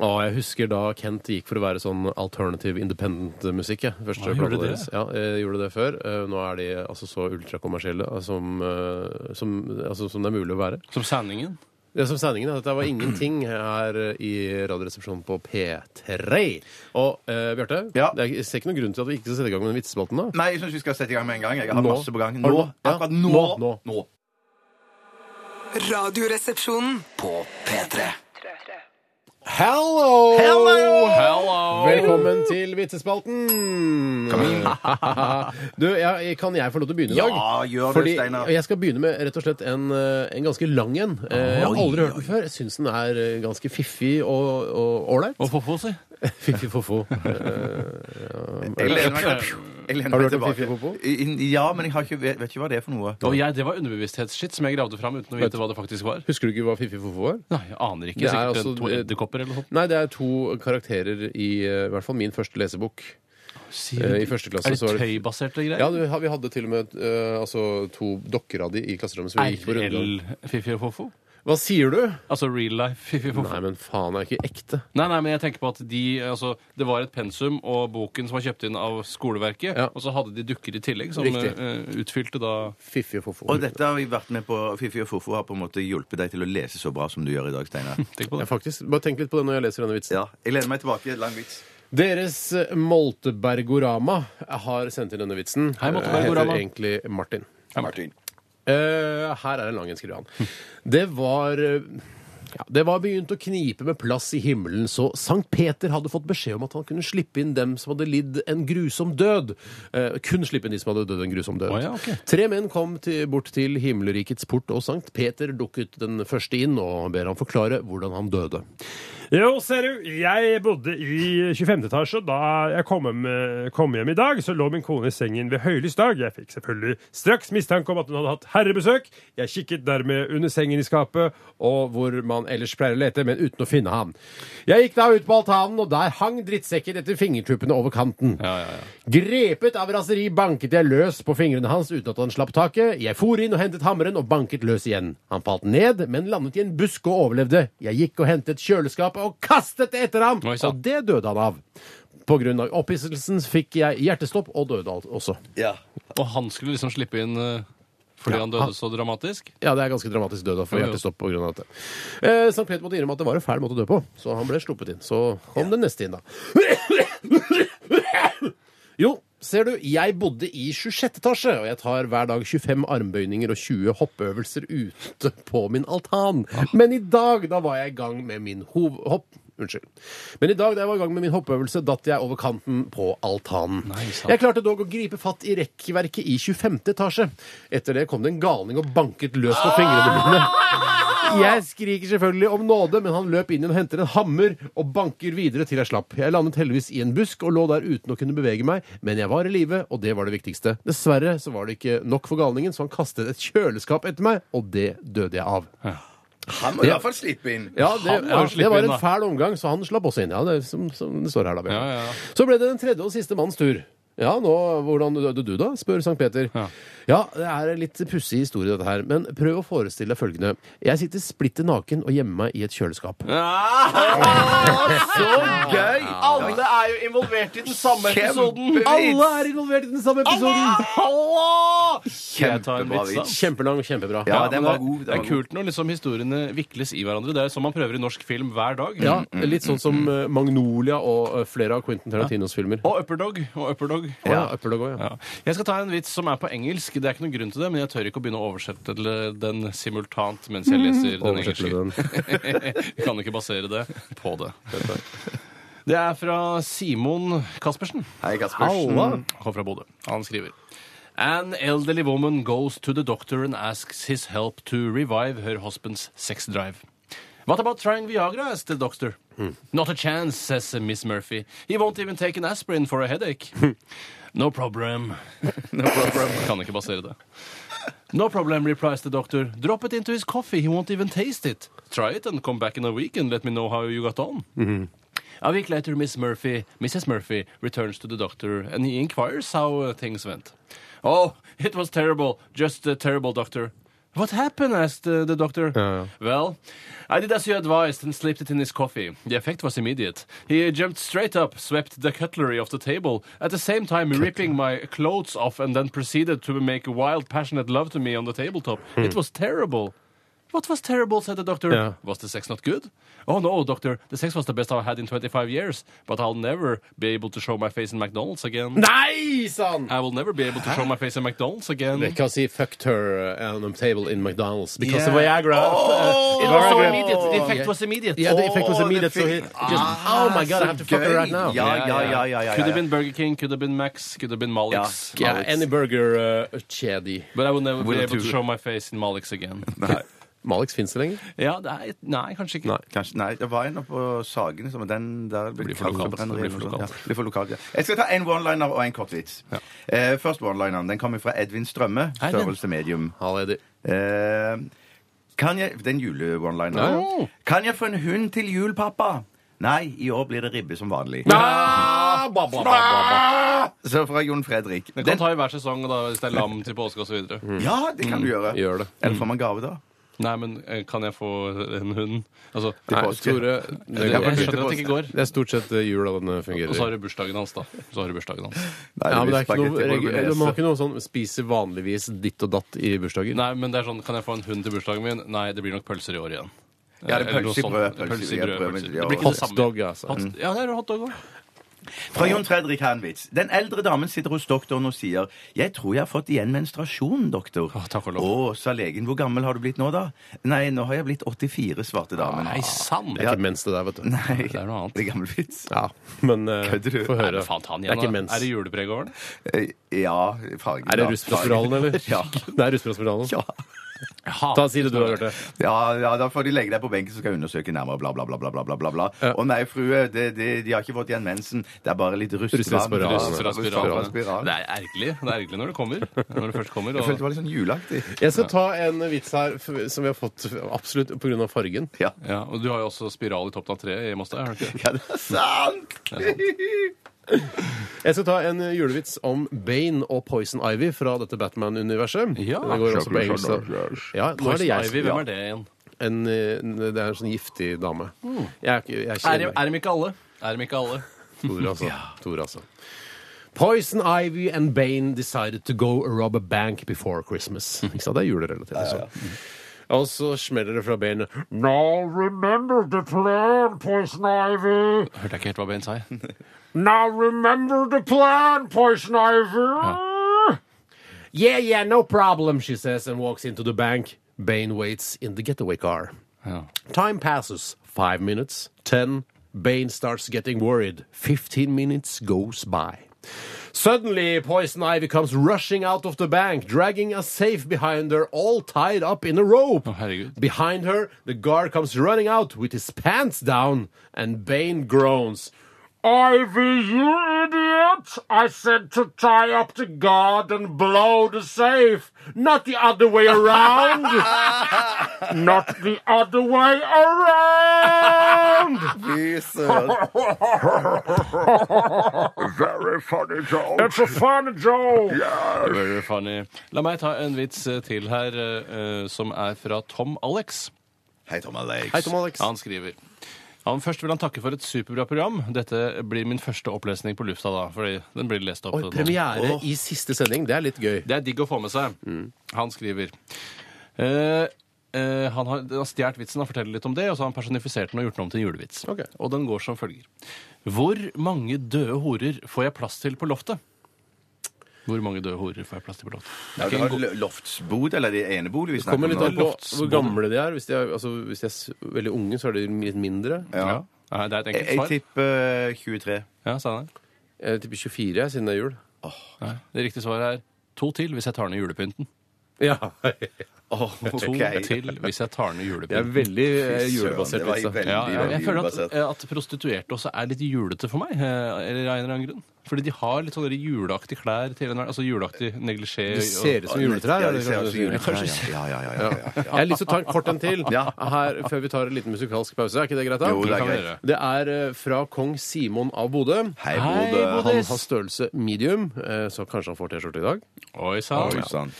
[SPEAKER 3] Å, jeg husker da Kent gikk for å være sånn alternative independent musikk. Jeg. Første
[SPEAKER 4] Ah, gjorde
[SPEAKER 3] plata
[SPEAKER 4] det?
[SPEAKER 3] deres. Ja, jeg gjorde det før. Eh, Nå er de altså så ultrakommersielle eh, som, eh, som, altså, som det er mulig å være.
[SPEAKER 4] Som sendingen.
[SPEAKER 3] Det er som sendingen er at dette var ingenting her i Radioresepsjonen på P3. Og eh, Bjarte,
[SPEAKER 5] Ja.
[SPEAKER 3] det er- jeg ser ikke noen grunn til at vi ikke skal sette i gang med den vitsespalten da.
[SPEAKER 5] Nei, jeg syns vi skal sette i gang med en gang. Jeg har
[SPEAKER 3] Nå.
[SPEAKER 5] masse på
[SPEAKER 3] Har
[SPEAKER 5] gang.
[SPEAKER 3] du
[SPEAKER 5] Nå.
[SPEAKER 3] noe? Ja.
[SPEAKER 5] Akkurat
[SPEAKER 3] Nå,
[SPEAKER 5] nå.
[SPEAKER 3] nå.
[SPEAKER 5] Nå.
[SPEAKER 1] Radioresepsjonen.
[SPEAKER 2] På P3.
[SPEAKER 3] Hello!
[SPEAKER 4] Hello!
[SPEAKER 3] Velkommen til vitsespalten! du, jeg, kan jeg få lov til å begynne i dag?
[SPEAKER 5] Ja, gjør det,
[SPEAKER 3] Fordi
[SPEAKER 5] Steinar.
[SPEAKER 3] Jeg skal begynne med rett og slett en, eh, en ganske lang en. Eh, Jeg har aldri hørt den før. Jeg syns den er eh, ganske fiffig og og ålreit.
[SPEAKER 4] Og Fofo, si.
[SPEAKER 3] Fiffig fofo. Eh,
[SPEAKER 5] Jeg lener meg, jeg jeg lener
[SPEAKER 3] Har du
[SPEAKER 5] meg
[SPEAKER 3] hørt om
[SPEAKER 5] tilbake.
[SPEAKER 3] Fifi Popo?
[SPEAKER 5] I- i- Ja, men jeg har ikke, vet, vet ikke hva det er for noe.
[SPEAKER 4] Og jeg, det var underbevissthetsskitt som jeg gravde fram uten å vite hva det faktisk var.
[SPEAKER 3] Husker du ikke hva Fifi Fofo var?
[SPEAKER 4] Nei, jeg aner ikke.
[SPEAKER 3] Det er
[SPEAKER 4] Sikkert
[SPEAKER 3] altså-
[SPEAKER 4] to edderkopper eller noe sånt.
[SPEAKER 3] Nei, det er to karakterer i eh, i hvert fall min første lesebok. Eh, I første klasse
[SPEAKER 4] Er
[SPEAKER 3] så var
[SPEAKER 4] det
[SPEAKER 3] det
[SPEAKER 4] tøybaserte greier?
[SPEAKER 3] Ja, du, ha- vi hadde til og med eh, altså, to dokker av de i klasserommet. som vi gikk på runde.
[SPEAKER 4] RL-Fifi og Fofo?
[SPEAKER 3] Hva sier du?
[SPEAKER 4] Altså real life Fifi og Fofo?
[SPEAKER 3] Nei, men faen, er ikke ekte.
[SPEAKER 4] Nei, nei, men jeg tenker på at de, altså, Det var et pensum og boken som var kjøpt inn av skoleverket.
[SPEAKER 3] Ja.
[SPEAKER 4] Og så hadde de dukker i tillegg som
[SPEAKER 3] Riktig.
[SPEAKER 4] eh, utfylte da
[SPEAKER 3] Fiffi og fofo.
[SPEAKER 5] Og dette har vi vært med på. Fifi og Fofo har på en måte hjulpet deg til å lese så bra som du gjør i dag, Steinar.
[SPEAKER 4] Tenk på
[SPEAKER 3] Ja,
[SPEAKER 4] det.
[SPEAKER 3] faktisk. Bare tenk litt på det når jeg leser denne vitsen.
[SPEAKER 5] Ja, jeg lener meg tilbake. Lang vits.
[SPEAKER 3] Deres eh, Moltebergorama har sendt inn denne vitsen. Eh,
[SPEAKER 4] Hei,
[SPEAKER 3] Heter
[SPEAKER 4] Moltebergorama.
[SPEAKER 3] egentlig Martin.
[SPEAKER 4] Ja, Martin.
[SPEAKER 3] Eh, her er en lang en, skriver han. Det var eh, ja, det var begynt å knipe med plass i himmelen, så Sankt Peter hadde fått beskjed om at han kunne slippe inn dem som hadde lidd en grusom død. Eh, kun slippe inn de som hadde dødd en grusom død.
[SPEAKER 4] Å ja, ok.
[SPEAKER 3] Tre menn kom til, bort til himmelrikets port, og Sankt Peter dukket den første inn og ber han forklare hvordan han døde.
[SPEAKER 7] Jo, ser du, jeg bodde i 25. etasje, og da jeg kom hjem, kom hjem i dag, så lå min kone i sengen ved høylys dag. Jeg fikk selvfølgelig straks mistanke om at hun hadde hatt herrebesøk. Jeg kikket dermed under sengen i skapet,
[SPEAKER 3] og hvor man ellers pleier å lete, men uten å finne ham. Jeg gikk da ut på altanen, og der hang drittsekker etter fingertuppene over kanten. Grepet av raseri banket jeg løs på fingrene hans uten at han slapp taket. Jeg for inn og hentet hammeren og banket løs igjen. Han falt ned, men landet i en busk og overlevde. Jeg gikk og hentet kjøleskapet og kastet det etter ham,
[SPEAKER 4] Oi, sann.
[SPEAKER 3] og det døde han av. På grunn av opphisselsen fikk jeg hjertestopp og døde alt også.
[SPEAKER 5] Ja.
[SPEAKER 4] Og han skulle liksom slippe inn eh, fordi han døde
[SPEAKER 3] han-
[SPEAKER 4] så dramatisk?
[SPEAKER 3] Ja, det er ganske dramatisk død å få
[SPEAKER 4] Ja, ja.
[SPEAKER 3] hjertestopp pga. dette. Eh, Sankt Peter måtte innrømme at det var en fæl måte å dø på, så han ble sluppet inn. Så kom den neste inn, da. Jo, ser du, jeg bodde i 26. etasje, og jeg tar hver dag 25 armbøyninger og 20 hoppeøvelser ute på min altan.
[SPEAKER 4] Ah.
[SPEAKER 3] Men i dag, da var jeg i gang med min hov... Hopp. Unnskyld. Men i dag da jeg var i gang med min hoppeøvelse, datt jeg over kanten på altanen.
[SPEAKER 4] sant.
[SPEAKER 3] jeg klarte dog å gripe fatt i rekkverket i 25. etasje. Etter det kom det en galning og banket løs
[SPEAKER 4] Ah!
[SPEAKER 3] på fingrene mine. Jeg skriker selvfølgelig om nåde, men han løp inn igjen og henter en hammer og banker videre til jeg slapp. Jeg landet heldigvis i en busk og lå der uten å kunne bevege meg, men jeg var i live, og det var det viktigste. Dessverre så var det ikke nok for galningen, så han kastet et kjøleskap etter meg, og det døde jeg av.
[SPEAKER 5] Han må i hvert fall slippe inn.
[SPEAKER 3] Ja, det,
[SPEAKER 4] Han må jo
[SPEAKER 3] ja, det
[SPEAKER 4] slippe
[SPEAKER 3] var
[SPEAKER 4] inn,
[SPEAKER 3] en
[SPEAKER 4] da.
[SPEAKER 3] fæl omgang, så han slapp også inn. Ja, det, er som, som det står her, da. Bjørn.
[SPEAKER 4] Ja, ja, ja.
[SPEAKER 3] Så ble det den tredje og siste manns tur. Ja, nå, hvordan døde du da? spør Sankt Peter. Ja.
[SPEAKER 4] Ja.
[SPEAKER 3] det er en litt pussig historie, dette her, men prøv å forestille deg følgende. Jeg sitter splitter naken og gjemmer meg i et kjøleskap.
[SPEAKER 5] Gøy!
[SPEAKER 4] Alle er jo involvert i den samme
[SPEAKER 5] Kjempevits!
[SPEAKER 3] Alle er involvert i den samme episoden!
[SPEAKER 4] Jeg tar en
[SPEAKER 5] Kjempebra
[SPEAKER 4] vits, da.
[SPEAKER 5] vits.
[SPEAKER 3] Kjempelang, kjempebra.
[SPEAKER 5] Ja,
[SPEAKER 4] Ja,
[SPEAKER 5] den
[SPEAKER 4] men
[SPEAKER 5] var
[SPEAKER 4] det er-
[SPEAKER 5] god. den
[SPEAKER 4] Det
[SPEAKER 5] var
[SPEAKER 4] er kult når liksom historiene vikles i hverandre. Det er som man prøver i norsk film hver dag.
[SPEAKER 3] Ja, litt sånn som eh, Magnolia og eh, flere av Quentin Tarantinos filmer.
[SPEAKER 4] Og Upperdog. Og Upperdog.
[SPEAKER 3] Å ja, Upperdog også, ja.
[SPEAKER 4] Ja. Jeg skal ta en vits som er på engelsk. Det er ikke noen grunn til det, men jeg tør ikke å begynne å oversette til eh, den simultant mens jeg leser Mm. den
[SPEAKER 3] Oversett
[SPEAKER 4] engelske.
[SPEAKER 3] den.
[SPEAKER 4] Vi kan ikke basere det på det. Det er fra Simon Caspersen.
[SPEAKER 5] god. Hei, Kaspersen.
[SPEAKER 4] Han kommer fra Bodø. Han skriver An elderly woman goes to the doctor and asks his help to revive her husband's sex drive. What about trying Viagra? asks the doctor. Not a chance, says uh, Miss Murphy. He won't even take an aspirin for a headache. no problem. kan ikke basere det. No problem, replies the doctor. Drop it into his coffee. He won't even taste it. Try it and come back in a week and let me know how you got on. A week later, Miss Murphy, Mrs. Murphy returns to the doctor and he inquires how uh, things went. Oh, it was terrible. Just uh, terrible, doctor. What happened? asked uh, the doctor. Well, I did as you advised and slipped it in his coffee. The effect was immediate. He jumped straight up, swept the cutlery off the table, at the same time ripping my clothes off, and then proceeded to make wild, passionate love to me on the tabletop. It was terrible. What was terrible, said the doctor.
[SPEAKER 3] Yeah.
[SPEAKER 4] Was the sex not good? Oh no, doctor, the sex was the best I've had in 25 years, but I'll never be able to show my face in McDonald's again.
[SPEAKER 3] Nei, sann!
[SPEAKER 4] I will never be able to show my face in McDonald's again.
[SPEAKER 3] Because he fucked her uh, on a table in McDonald's because
[SPEAKER 5] Yeah.
[SPEAKER 3] of Viagra.
[SPEAKER 4] Oh!
[SPEAKER 3] Uh,
[SPEAKER 4] It was so immediate. The effect was immediate.
[SPEAKER 3] Yeah, the effect was
[SPEAKER 5] Oh, the
[SPEAKER 3] immediate, so he
[SPEAKER 5] thing-
[SPEAKER 3] just,
[SPEAKER 4] Ah,
[SPEAKER 3] oh my god, I have to fuck her right now.
[SPEAKER 5] Ja, ja, ja. ja, ja, ja.
[SPEAKER 4] Could have been Burger King, could have been Max, could have been Malik's.
[SPEAKER 3] Yeah, any burger uh, chedi.
[SPEAKER 4] But I will never be
[SPEAKER 5] Will
[SPEAKER 4] able to
[SPEAKER 5] do.
[SPEAKER 4] show my face in Malik's again.
[SPEAKER 5] Nei.
[SPEAKER 3] Malix fins det lenger.
[SPEAKER 4] Ja, det er, nei, kanskje ikke.
[SPEAKER 3] Nei.
[SPEAKER 5] Kanskje, nei, det var en oppe på Sagene som var den der Det
[SPEAKER 4] blir for lokalt. Det blir for lokalt.
[SPEAKER 5] sånn, Ja, det blir for lokalt ja. Jeg skal ta en one-liner og en kort vits. Eh, først one-lineren. Den kommer fra Edvin Strømme.
[SPEAKER 4] Hei, den.
[SPEAKER 5] Størrelse medium.
[SPEAKER 3] Ha det, Eddie.
[SPEAKER 5] Eh, kan jeg, den jule-one-lineren.
[SPEAKER 4] Ja, ja.
[SPEAKER 5] Kan jeg få en hund til jul, pappa? Nei, i år blir det ribbe som vanlig.
[SPEAKER 4] Ah, ba, ba, ba, ba, ba.
[SPEAKER 5] Så fra Jon Fredrik.
[SPEAKER 4] Den
[SPEAKER 5] Den-
[SPEAKER 4] kan ta i hver sesong da, hvis det er lam til påske osv. videre
[SPEAKER 5] ja, det
[SPEAKER 4] Mm,
[SPEAKER 5] kan du gjøre.
[SPEAKER 3] Gjør det.
[SPEAKER 5] Eller får man gave, da?
[SPEAKER 4] Nei, men eh, kan jeg få en hund? Altså,
[SPEAKER 5] Til
[SPEAKER 3] Nei,
[SPEAKER 5] påske.
[SPEAKER 3] Tore, det,
[SPEAKER 4] jeg
[SPEAKER 3] går
[SPEAKER 5] kan
[SPEAKER 3] ikke.
[SPEAKER 4] skjønner at det ikke går.
[SPEAKER 3] det er stort sett eh, jul da den
[SPEAKER 4] Og
[SPEAKER 3] fungerer.
[SPEAKER 4] så har du bursdagen hans, da. Så har du bursdagen hans.
[SPEAKER 5] Nei,
[SPEAKER 3] Ja, men det er ikke
[SPEAKER 5] blir
[SPEAKER 3] noe,
[SPEAKER 5] spagetti
[SPEAKER 3] regu-
[SPEAKER 5] bolognese.
[SPEAKER 3] de har ikke noe sånn 'spiser vanligvis ditt og datt' i bursdager.
[SPEAKER 4] Nei, men det er sånn, kan jeg få en hund til bursdagen min? Nei, det blir nok pølser i år igjen.
[SPEAKER 5] Ja, det er
[SPEAKER 4] Eh, eller noe
[SPEAKER 5] pølse i
[SPEAKER 4] sånt.
[SPEAKER 5] brød,
[SPEAKER 4] Det er
[SPEAKER 5] pølse i
[SPEAKER 4] pølse i
[SPEAKER 5] brød,
[SPEAKER 4] brød,
[SPEAKER 5] pølse i
[SPEAKER 4] pølse.
[SPEAKER 5] brød.
[SPEAKER 4] Det blir ikke det samme.
[SPEAKER 3] Hotdog, altså.
[SPEAKER 4] Hot, ja, det er hotdog òg.
[SPEAKER 5] Fra Jon Fredrik Hanwitz. Den eldre damen sitter hos doktoren og sier 'Jeg tror jeg har fått igjen menstruasjon, doktor'.
[SPEAKER 4] Å, takk og lov.
[SPEAKER 5] Å, sa legen. 'Hvor gammel har du blitt nå, da?' 'Nei, nå har jeg blitt 84', svarte damen.
[SPEAKER 4] Nei, sann!
[SPEAKER 3] Det er ikke mens det der, vet du.
[SPEAKER 5] Nei,
[SPEAKER 4] det er noe annet.
[SPEAKER 5] Det er gammel vits.
[SPEAKER 3] Ja, men eh,
[SPEAKER 5] Kødder du?
[SPEAKER 3] få
[SPEAKER 4] Nei,
[SPEAKER 3] høre.
[SPEAKER 4] men faen, ta den
[SPEAKER 3] det er
[SPEAKER 4] igjen,
[SPEAKER 3] ikke
[SPEAKER 4] da.
[SPEAKER 3] mens.
[SPEAKER 4] Er det julepreg over den?
[SPEAKER 5] Eh, Ja, fargen
[SPEAKER 3] Er det
[SPEAKER 5] da.
[SPEAKER 3] russprosperalen, eller?
[SPEAKER 5] Ja.
[SPEAKER 3] Det er russprosperalen.
[SPEAKER 5] Ja.
[SPEAKER 3] Ta Si det du har hørt det.
[SPEAKER 5] Ja, ja, da får de legge deg på benken, så skal jeg undersøke nærmere, bla, bla, bla, bla, bla, bla, bla, bla. Å nei, frue, det, det, de har ikke fått igjen mensen. Det er bare litt rustvann.
[SPEAKER 3] Russespiralen.
[SPEAKER 4] Fra
[SPEAKER 5] Russespiralen.
[SPEAKER 4] spiralen. Det er ergerlig. Det er ergerlig når det kommer. Når det først kommer.
[SPEAKER 5] Jeg følte det
[SPEAKER 4] Og...
[SPEAKER 5] var litt sånn juleaktig.
[SPEAKER 3] Jeg skal ta en vits her f- som vi har fått absolutt pga. fargen.
[SPEAKER 5] Ja.
[SPEAKER 4] Ja, og du har jo også spiral i toppen av treet hjemme hos deg. har du ikke det?
[SPEAKER 5] ja, det er sant!
[SPEAKER 3] Jeg skal ta en julevits om Bane og Poison Ivy fra dette Batman-universet.
[SPEAKER 4] Ja.
[SPEAKER 3] det går også på engelsk. da. Ja, nå er det jeg
[SPEAKER 4] Ivy,
[SPEAKER 3] som
[SPEAKER 4] hvem er det igjen?
[SPEAKER 3] en, eh, Det er en sånn giftig dame. Jeg er ikke, jeg Hmm. er ikke
[SPEAKER 4] Er, er dem ikke alle? Er dem ikke alle?
[SPEAKER 3] Tore, altså. Tore, altså. Poison Ivy and Bane decided to go rob a bank before Christmas. Ikke sant? Det er julerelatert. altså. Og så smeller det fra Bane Now remember the plan, Poison Ivy!
[SPEAKER 4] Hørte jeg ikke helt hva Ben sa. jeg.
[SPEAKER 3] Now remember the plan, Poison Ivy! Yeah, yeah, no problem, she says and walks into the bank. Bane waits in the getaway car.
[SPEAKER 4] Ja.
[SPEAKER 3] Time passes. Five minutes, ten. Bane starts getting worried. Fifteen minutes goes by. Suddenly, Poison Ivy comes rushing out of the bank, dragging a safe behind her, all tied up in a rope.
[SPEAKER 4] Å, herregud.
[SPEAKER 3] behind her, the guard comes running out with his pants down, and Bane groans. Ivy, you idiot! I said to tie up the guard and blow the safe, not the other way around! not the other way around!
[SPEAKER 5] Fy søren.
[SPEAKER 3] That's a funny joke!
[SPEAKER 4] Very funny. La meg ta en vits eh, til her, eh, eh, som er fra Tom Alex.
[SPEAKER 5] Hei, Tom Alex.
[SPEAKER 3] Hei, Tom Alex.
[SPEAKER 4] Han skriver han først vil han takke for et superbra program. Dette blir min første opplesning på lufta da. fordi den blir lest opp.
[SPEAKER 3] Oi,
[SPEAKER 4] nå.
[SPEAKER 3] premiere Mm. i siste sending. Det er litt gøy.
[SPEAKER 4] Det er digg å få med seg. Han skriver eh, eh, Han har han har stjålet vitsen og forteller litt om det, og så har han personifisert den og gjort den om til en julevits.
[SPEAKER 3] Ok.
[SPEAKER 4] Og den går som følger. Hvor mange døde horer får jeg plass til på loftet? Hvor mange døde horer får jeg plass til på loftet?
[SPEAKER 5] Ja, det var lo- loftsbod, eller det ene bolig vi snakker
[SPEAKER 3] Kommer
[SPEAKER 5] om
[SPEAKER 3] litt
[SPEAKER 5] nå.
[SPEAKER 3] an på hvor gamle de er. Hvis de er, altså, hvis de er s- veldig unge, så er de litt mindre.
[SPEAKER 5] Ja.
[SPEAKER 4] Nei, Det er et
[SPEAKER 5] Jeg, jeg
[SPEAKER 4] enkelt svar.
[SPEAKER 5] tipper eh, 23.
[SPEAKER 4] Ja, Steinar.
[SPEAKER 3] Jeg tipper 24 jeg, siden det er jul.
[SPEAKER 4] Nei, Det riktige svaret er to til hvis jeg tar ned julepynten.
[SPEAKER 3] Ja.
[SPEAKER 4] To
[SPEAKER 5] Ok.
[SPEAKER 4] til hvis jeg tar ned
[SPEAKER 3] Det er
[SPEAKER 4] julepynten.
[SPEAKER 3] veldig eh,
[SPEAKER 5] Fy søren,
[SPEAKER 3] julebasert.
[SPEAKER 5] det var
[SPEAKER 3] altså.
[SPEAKER 5] veldig,
[SPEAKER 4] Ja, jeg, jeg
[SPEAKER 5] veldig
[SPEAKER 4] føler at, eh,
[SPEAKER 5] julebasert.
[SPEAKER 4] at prostituerte også er litt julete for meg. eh, Eller av en eller annen grunn. Fordi de har litt sånne juleaktige klær. til en, Altså juleaktig neglisjé.
[SPEAKER 3] Det ser ut som juletrær.
[SPEAKER 5] Ja,
[SPEAKER 3] er
[SPEAKER 5] de
[SPEAKER 3] det
[SPEAKER 5] ser
[SPEAKER 3] kanskje du
[SPEAKER 5] også
[SPEAKER 3] sier?
[SPEAKER 5] juletrær. Ja, ja, ja. ja, ja, ja,
[SPEAKER 3] Jeg har lyst til å ta en kort en til
[SPEAKER 5] Ja.
[SPEAKER 3] her før vi tar en liten musikalsk pause. Er ikke det greit? da?
[SPEAKER 5] Jo, det er
[SPEAKER 3] Kan vi
[SPEAKER 5] greit.
[SPEAKER 3] gjøre. Det er eh, fra kong Simon av Bodø.
[SPEAKER 5] Hei,
[SPEAKER 4] Hei,
[SPEAKER 5] Bodø.
[SPEAKER 4] Bodø.
[SPEAKER 3] Han har størrelse medium, eh, så kanskje han får T-skjorte i dag.
[SPEAKER 4] Oi sann.
[SPEAKER 5] Oi, sånn. sann.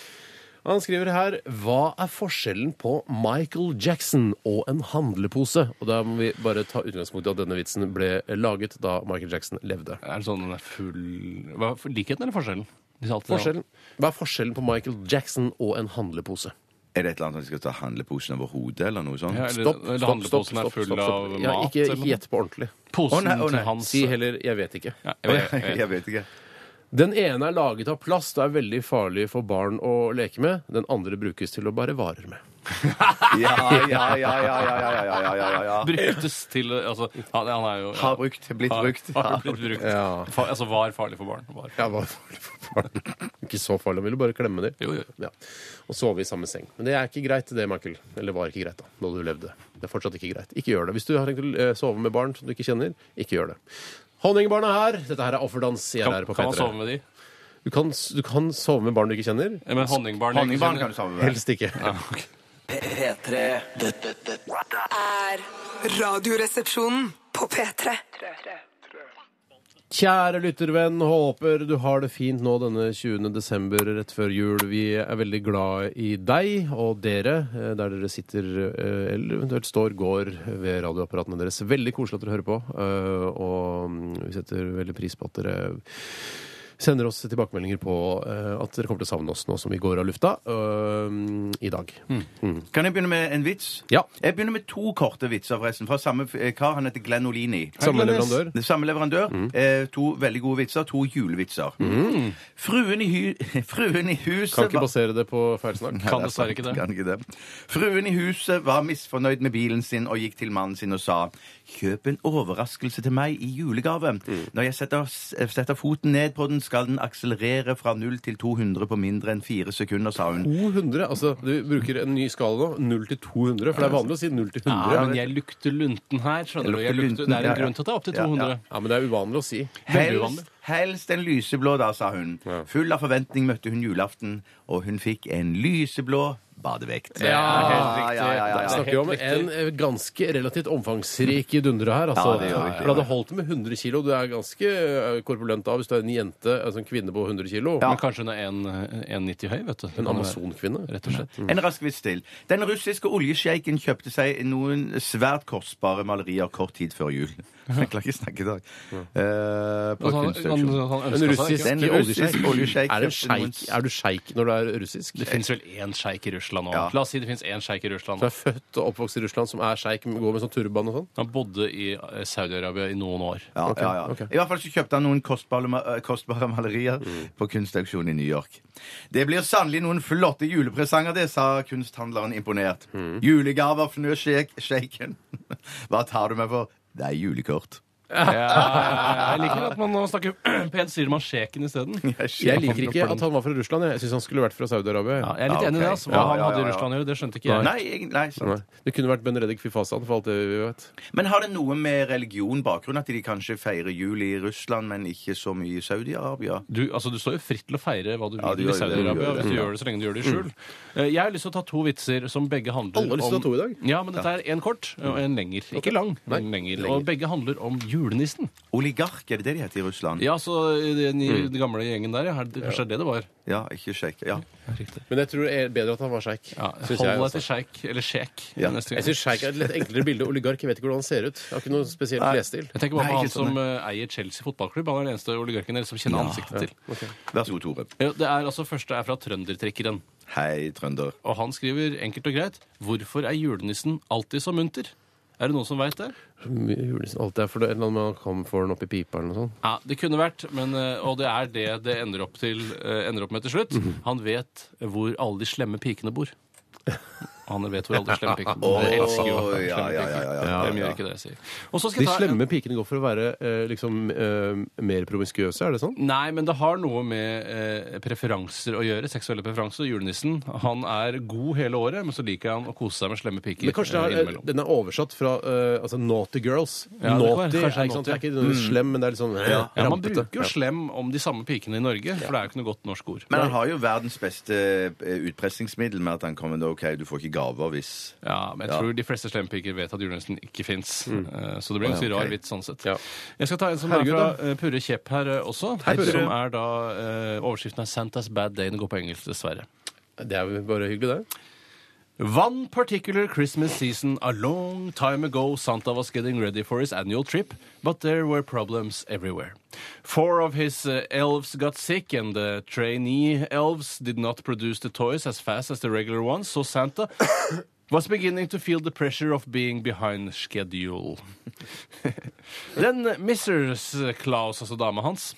[SPEAKER 3] Han skriver her Hva er forskjellen på Michael Jackson og en handlepose? Og da må vi bare ta utgangspunkt i at denne vitsen ble laget da Michael Jackson levde.
[SPEAKER 4] Er det sånn den er full Hva, Likheten eller forskjellen? Hvis alt er-
[SPEAKER 3] Forskjellen. Hva er forskjellen på Michael Jackson og en handlepose?
[SPEAKER 5] Er det et eller annet som skal ta handleposen over hodet, eller noe sånt?
[SPEAKER 4] Ja,
[SPEAKER 5] Å
[SPEAKER 4] eller,
[SPEAKER 3] Stopp, stopp,
[SPEAKER 4] eller
[SPEAKER 3] stopp.
[SPEAKER 4] handleposen er
[SPEAKER 3] stopp,
[SPEAKER 4] full
[SPEAKER 3] stopp, stopp.
[SPEAKER 4] av
[SPEAKER 3] Ja,
[SPEAKER 4] mat?
[SPEAKER 3] ikke
[SPEAKER 4] eller
[SPEAKER 3] ikke
[SPEAKER 4] noe?
[SPEAKER 3] gjett på ordentlig.
[SPEAKER 4] Posen
[SPEAKER 5] Å, nei, å, nei.
[SPEAKER 4] til hans
[SPEAKER 3] Si heller 'jeg vet ikke'.
[SPEAKER 4] ja, jeg, vet- jeg, vet.
[SPEAKER 5] Jeg, vet ikke.
[SPEAKER 3] Den ene er laget av plast og er veldig farlig for barn å leke med. Den andre brukes til å bære varer med.
[SPEAKER 5] Ja, ja, ja, ja, ja, ja, ja, ja, ja, ja, ja.
[SPEAKER 4] Bruktes til altså, han, han er jo ja.
[SPEAKER 5] Har brukt, blitt
[SPEAKER 4] Har-
[SPEAKER 5] brukt.
[SPEAKER 4] Har blitt brukt.
[SPEAKER 3] Ja.
[SPEAKER 4] Fa, altså var farlig for barn. Var.
[SPEAKER 3] Ja, hva farlig for barn? Ikke så farlig, han ville bare klemme dem.
[SPEAKER 4] Jo, jo.
[SPEAKER 3] Ja. Og sove i samme seng. Men det er ikke greit, det, Michael. Eller var ikke greit, da da du levde. Det er fortsatt ikke greit. Ikke gjør det. Hvis du har tenkt å eh, sove med barn som du ikke kjenner, ikke gjør det. Honningbarna er her. Dette her er offerdans. Jeg er
[SPEAKER 4] Kan,
[SPEAKER 3] her på
[SPEAKER 4] kan man
[SPEAKER 3] P3.
[SPEAKER 4] sove med de?
[SPEAKER 3] Du, kan, s- du kan sove med barn du ikke kjenner.
[SPEAKER 4] Eh, Men honningbarn er ikke
[SPEAKER 5] Honningbarn
[SPEAKER 4] sånn-
[SPEAKER 5] kan du sammen med.
[SPEAKER 3] Helst ikke.
[SPEAKER 2] P3 Dette, dette
[SPEAKER 6] er
[SPEAKER 1] Radioresepsjonen på P3.
[SPEAKER 3] Kjære lyttervenn, håper du har det fint nå denne 20. desember rett før jul. Vi er veldig glad i deg og dere eh, der dere sitter eh, eller eventuelt står, går ved radioapparatene deres. Veldig koselig at dere hører på, eh, og mm, vi setter veldig pris på at dere sender oss tilbakemeldinger på eh, at dere kommer til å savne oss nå som vi går av lufta eh, i dag.
[SPEAKER 5] Kan jeg begynne med en vits?
[SPEAKER 3] Ja.
[SPEAKER 5] Jeg begynner med to korte vitser, forresten. Fra samme eh, kar. Han heter Glenn Olini.
[SPEAKER 3] Samme leverandør.
[SPEAKER 5] Det er samme leverandør.
[SPEAKER 4] Mm.
[SPEAKER 5] Eh, to veldig gode vitser. To julevitser. Fruen, i hu fruen i huset
[SPEAKER 3] Kan ikke
[SPEAKER 5] var-
[SPEAKER 3] basere det på feilsnakk.
[SPEAKER 4] Kan dessverre ikke det.
[SPEAKER 5] Kan ikke det. Fruen i huset var misfornøyd med bilen sin og gikk til mannen sin og sa kjøp en overraskelse til meg i
[SPEAKER 4] Mm.
[SPEAKER 5] julegave. Når jeg setter, setter foten ned på den, skal den akselerere fra 0 til 200 på mindre enn fire sekunder, sa hun.
[SPEAKER 3] 200, altså Du bruker en ny skala nå. 0 til 200. For det er vanlig å si 0 til 100.
[SPEAKER 4] Ja, men jeg lukter lunten her, skjønner du.
[SPEAKER 5] Jeg
[SPEAKER 4] Jeg
[SPEAKER 5] lukter
[SPEAKER 4] lukter, det er
[SPEAKER 5] lunten,
[SPEAKER 4] en
[SPEAKER 5] ja,
[SPEAKER 4] grunn til at det er opptil
[SPEAKER 5] ja.
[SPEAKER 4] 200.
[SPEAKER 3] Ja, men det er uvanlig å si.
[SPEAKER 4] Veldig
[SPEAKER 5] Helst,
[SPEAKER 4] uvanlig.
[SPEAKER 5] helst en lyseblå, da, sa hun. Full av forventning møtte hun julaften, og hun fikk en lyseblå badevekt.
[SPEAKER 4] helt riktig.
[SPEAKER 5] ja, ja, ja,
[SPEAKER 3] Vi
[SPEAKER 5] ja.
[SPEAKER 3] snakker jo om en eh, ganske relativt omfangsrik dundre her. Altså.
[SPEAKER 5] Ja, det gjør vi.
[SPEAKER 3] For det hadde holdt med 100 kilo. Du er ganske eh, korpulent da hvis du er en jente, altså en kvinne på 100 kilo.
[SPEAKER 4] Men kanskje hun er en- 1,90 høy, vet du.
[SPEAKER 3] En amazonkvinne.
[SPEAKER 4] Rett og slett.
[SPEAKER 5] En rask vits til. Den russiske oljesjeiken kjøpte seg noen svært kostbare malerier kort tid før jul. Jeg klarer ikke snakke i dag. Eh, på
[SPEAKER 4] Altså, han, han,
[SPEAKER 5] kunstauksjon.
[SPEAKER 4] han
[SPEAKER 3] En
[SPEAKER 4] ønsket
[SPEAKER 3] russisk
[SPEAKER 4] seg ikke
[SPEAKER 5] En russisk oljesjeik.
[SPEAKER 3] Er, det en
[SPEAKER 5] kjøpte noen-
[SPEAKER 3] sjeik, er du sjeik når du er russisk?
[SPEAKER 4] Det fins vel én sjeik i Russland nå.
[SPEAKER 5] Ja.
[SPEAKER 4] La oss si det fins én sjeik i Russland.
[SPEAKER 3] Du er født og oppvokst i Russland, som er sjeik, men går med sånn turban og sånn?
[SPEAKER 4] Han bodde i eh, Saudi-Arabia i noen år.
[SPEAKER 5] Ja, ja, ja. I hvert fall så kjøpte han noen kostbare, ma- eh, kostbare malerier
[SPEAKER 3] Mm.
[SPEAKER 5] på kunstauksjon i New York. Det blir sannelig noen flotte julepresanger, det, sa kunsthandleren imponert.
[SPEAKER 3] Mm.
[SPEAKER 5] Julegaver fnøs sjek- sjeiken. Hva tar du meg for? Det er julekort.
[SPEAKER 4] Jeg liker at man nå snakker pent, sier man sjeken isteden.
[SPEAKER 3] Jeg liker ikke at han var fra Russland. Jeg syns han skulle vært fra Saudi-Arabia.
[SPEAKER 4] Ja, jeg er litt
[SPEAKER 5] Ja,
[SPEAKER 4] enig i det.
[SPEAKER 5] ok.
[SPEAKER 4] Altså. Hva
[SPEAKER 5] Ja,
[SPEAKER 4] han
[SPEAKER 5] ja,
[SPEAKER 4] hadde i
[SPEAKER 5] ja, ja.
[SPEAKER 4] Russland å gjøre, det skjønte ikke jeg.
[SPEAKER 5] Nei, egentlig- nei, sant.
[SPEAKER 3] Nei. Det kunne vært Benedek Fifasan, for alt det vi vet.
[SPEAKER 5] Men har det noe med religion bakgrunn at de kanskje feirer jul i Russland, men ikke så mye i Saudi-Arabia?
[SPEAKER 4] Du, altså, du står jo fritt til å feire hva du vil
[SPEAKER 5] Ja, du
[SPEAKER 4] i
[SPEAKER 5] gjør det, du
[SPEAKER 4] Saudi-Arabia
[SPEAKER 5] gjør det.
[SPEAKER 4] hvis du gjør det så lenge du gjør det i skjul. Eh, Jeg har lyst til å ta to vitser som begge handler
[SPEAKER 3] Alle har lyst til å ta to i dag.
[SPEAKER 4] Ja, men dette er en kort og en lenger. Ikke lang, men lenger. Og begge handler om julenissen.
[SPEAKER 5] Oligark, er det det de heter i Russland?
[SPEAKER 4] Ja, så den, den gamle gjengen der, ja. her- Kanskje det er det det var.
[SPEAKER 5] Ja, ikke sjekk. Ja.
[SPEAKER 3] Men jeg tror det er bedre at han var sjeik.
[SPEAKER 4] Ja,
[SPEAKER 3] synes
[SPEAKER 4] hold
[SPEAKER 3] jeg,
[SPEAKER 4] deg
[SPEAKER 3] altså.
[SPEAKER 4] til sjeik, eller sjek,
[SPEAKER 5] Ja.
[SPEAKER 4] neste
[SPEAKER 3] Jeg
[SPEAKER 4] gang.
[SPEAKER 3] syns sjeik er et litt enklere bilde. Oligark, jeg vet ikke hvordan han ser ut. Jeg har ikke noe spesielt klesstil.
[SPEAKER 4] Jeg tenker bare
[SPEAKER 5] Nei,
[SPEAKER 4] på
[SPEAKER 5] ikke
[SPEAKER 4] han som
[SPEAKER 5] sånn.
[SPEAKER 4] eh, eier Chelsea fotballklubb. Han er den eneste oligarken der som kjenner ansiktet til.
[SPEAKER 5] Vær så god, Tore.
[SPEAKER 4] Ja, Det er altså første er fra trøndertrekkeren.
[SPEAKER 5] Hei, trønder.
[SPEAKER 4] Og han skriver enkelt og greit Hvorfor er julenissen alltid så munter? Er det noen som veit det?
[SPEAKER 3] Julenissen alltid er for det, eller annet med han kom for den opp i pipa eller noe sånt.
[SPEAKER 4] Ja, Det kunne vært, men, eh, og det er det det ender opp, til, eh, ender opp med til slutt.
[SPEAKER 5] Mhm.
[SPEAKER 4] Han vet hvor alle de slemme pikene bor. Han vet hvor alle de slemme pikene bor. Jeg elsker jo
[SPEAKER 5] Åh, ja,
[SPEAKER 4] slemme
[SPEAKER 5] ja, ja, ja,
[SPEAKER 4] piker.
[SPEAKER 5] ja.
[SPEAKER 4] Hvem gjør ikke det, jeg sier. Og så skal
[SPEAKER 3] De
[SPEAKER 4] jeg ta en-
[SPEAKER 3] slemme pikene går for å være eh, liksom eh, mer promiskuøse, er det sånn?
[SPEAKER 4] Nei, men det har noe med eh, preferanser å gjøre. Seksuelle preferanser. Julenissen han er god hele året, men så liker han å kose seg med slemme piker.
[SPEAKER 3] Men kanskje det
[SPEAKER 4] eh,
[SPEAKER 3] har, eh,
[SPEAKER 4] innimellom.
[SPEAKER 3] den er oversatt fra eh, altså Naughty Girls.
[SPEAKER 4] Ja, det kan være-
[SPEAKER 3] naughty,
[SPEAKER 4] kanskje det er sånn
[SPEAKER 3] er ikke sant? Det er
[SPEAKER 4] naughty.
[SPEAKER 3] ikke noe slem, men det er litt sånn eh,
[SPEAKER 4] Mm. ja, man
[SPEAKER 3] rampete.
[SPEAKER 4] bruker jo slem om de samme pikene i Norge, for det er jo ikke noe godt norsk ord.
[SPEAKER 5] Men han har jo verdens beste eh, utpressingsmiddel med at han kommer da, OK, du får ikke gaver hvis
[SPEAKER 4] Ja, men jeg
[SPEAKER 5] Ja.
[SPEAKER 4] tror de fleste slempiker vet at julenissen ikke fins. Så det blir en ganske rar vits sånn sett.
[SPEAKER 3] Ja.
[SPEAKER 4] Jeg skal ta en som
[SPEAKER 3] Herregud,
[SPEAKER 4] er fra eh, Purre Kjepp her eh, også.
[SPEAKER 3] Purre.
[SPEAKER 4] Som er da eh, Overskriften er 'Santa's Bad Day'. Den går på engelsk, dessverre.
[SPEAKER 3] Det er jo bare hyggelig, det.
[SPEAKER 4] One particular Christmas season, a long time ago, Santa was getting ready for his annual trip, but there were problems everywhere. Four of his uh, elves got sick, and the trainee elves did not produce the toys as fast as the regular ones, so Santa was beginning to feel the pressure of being behind schedule. Then Mrs. Claus, altså dama hans,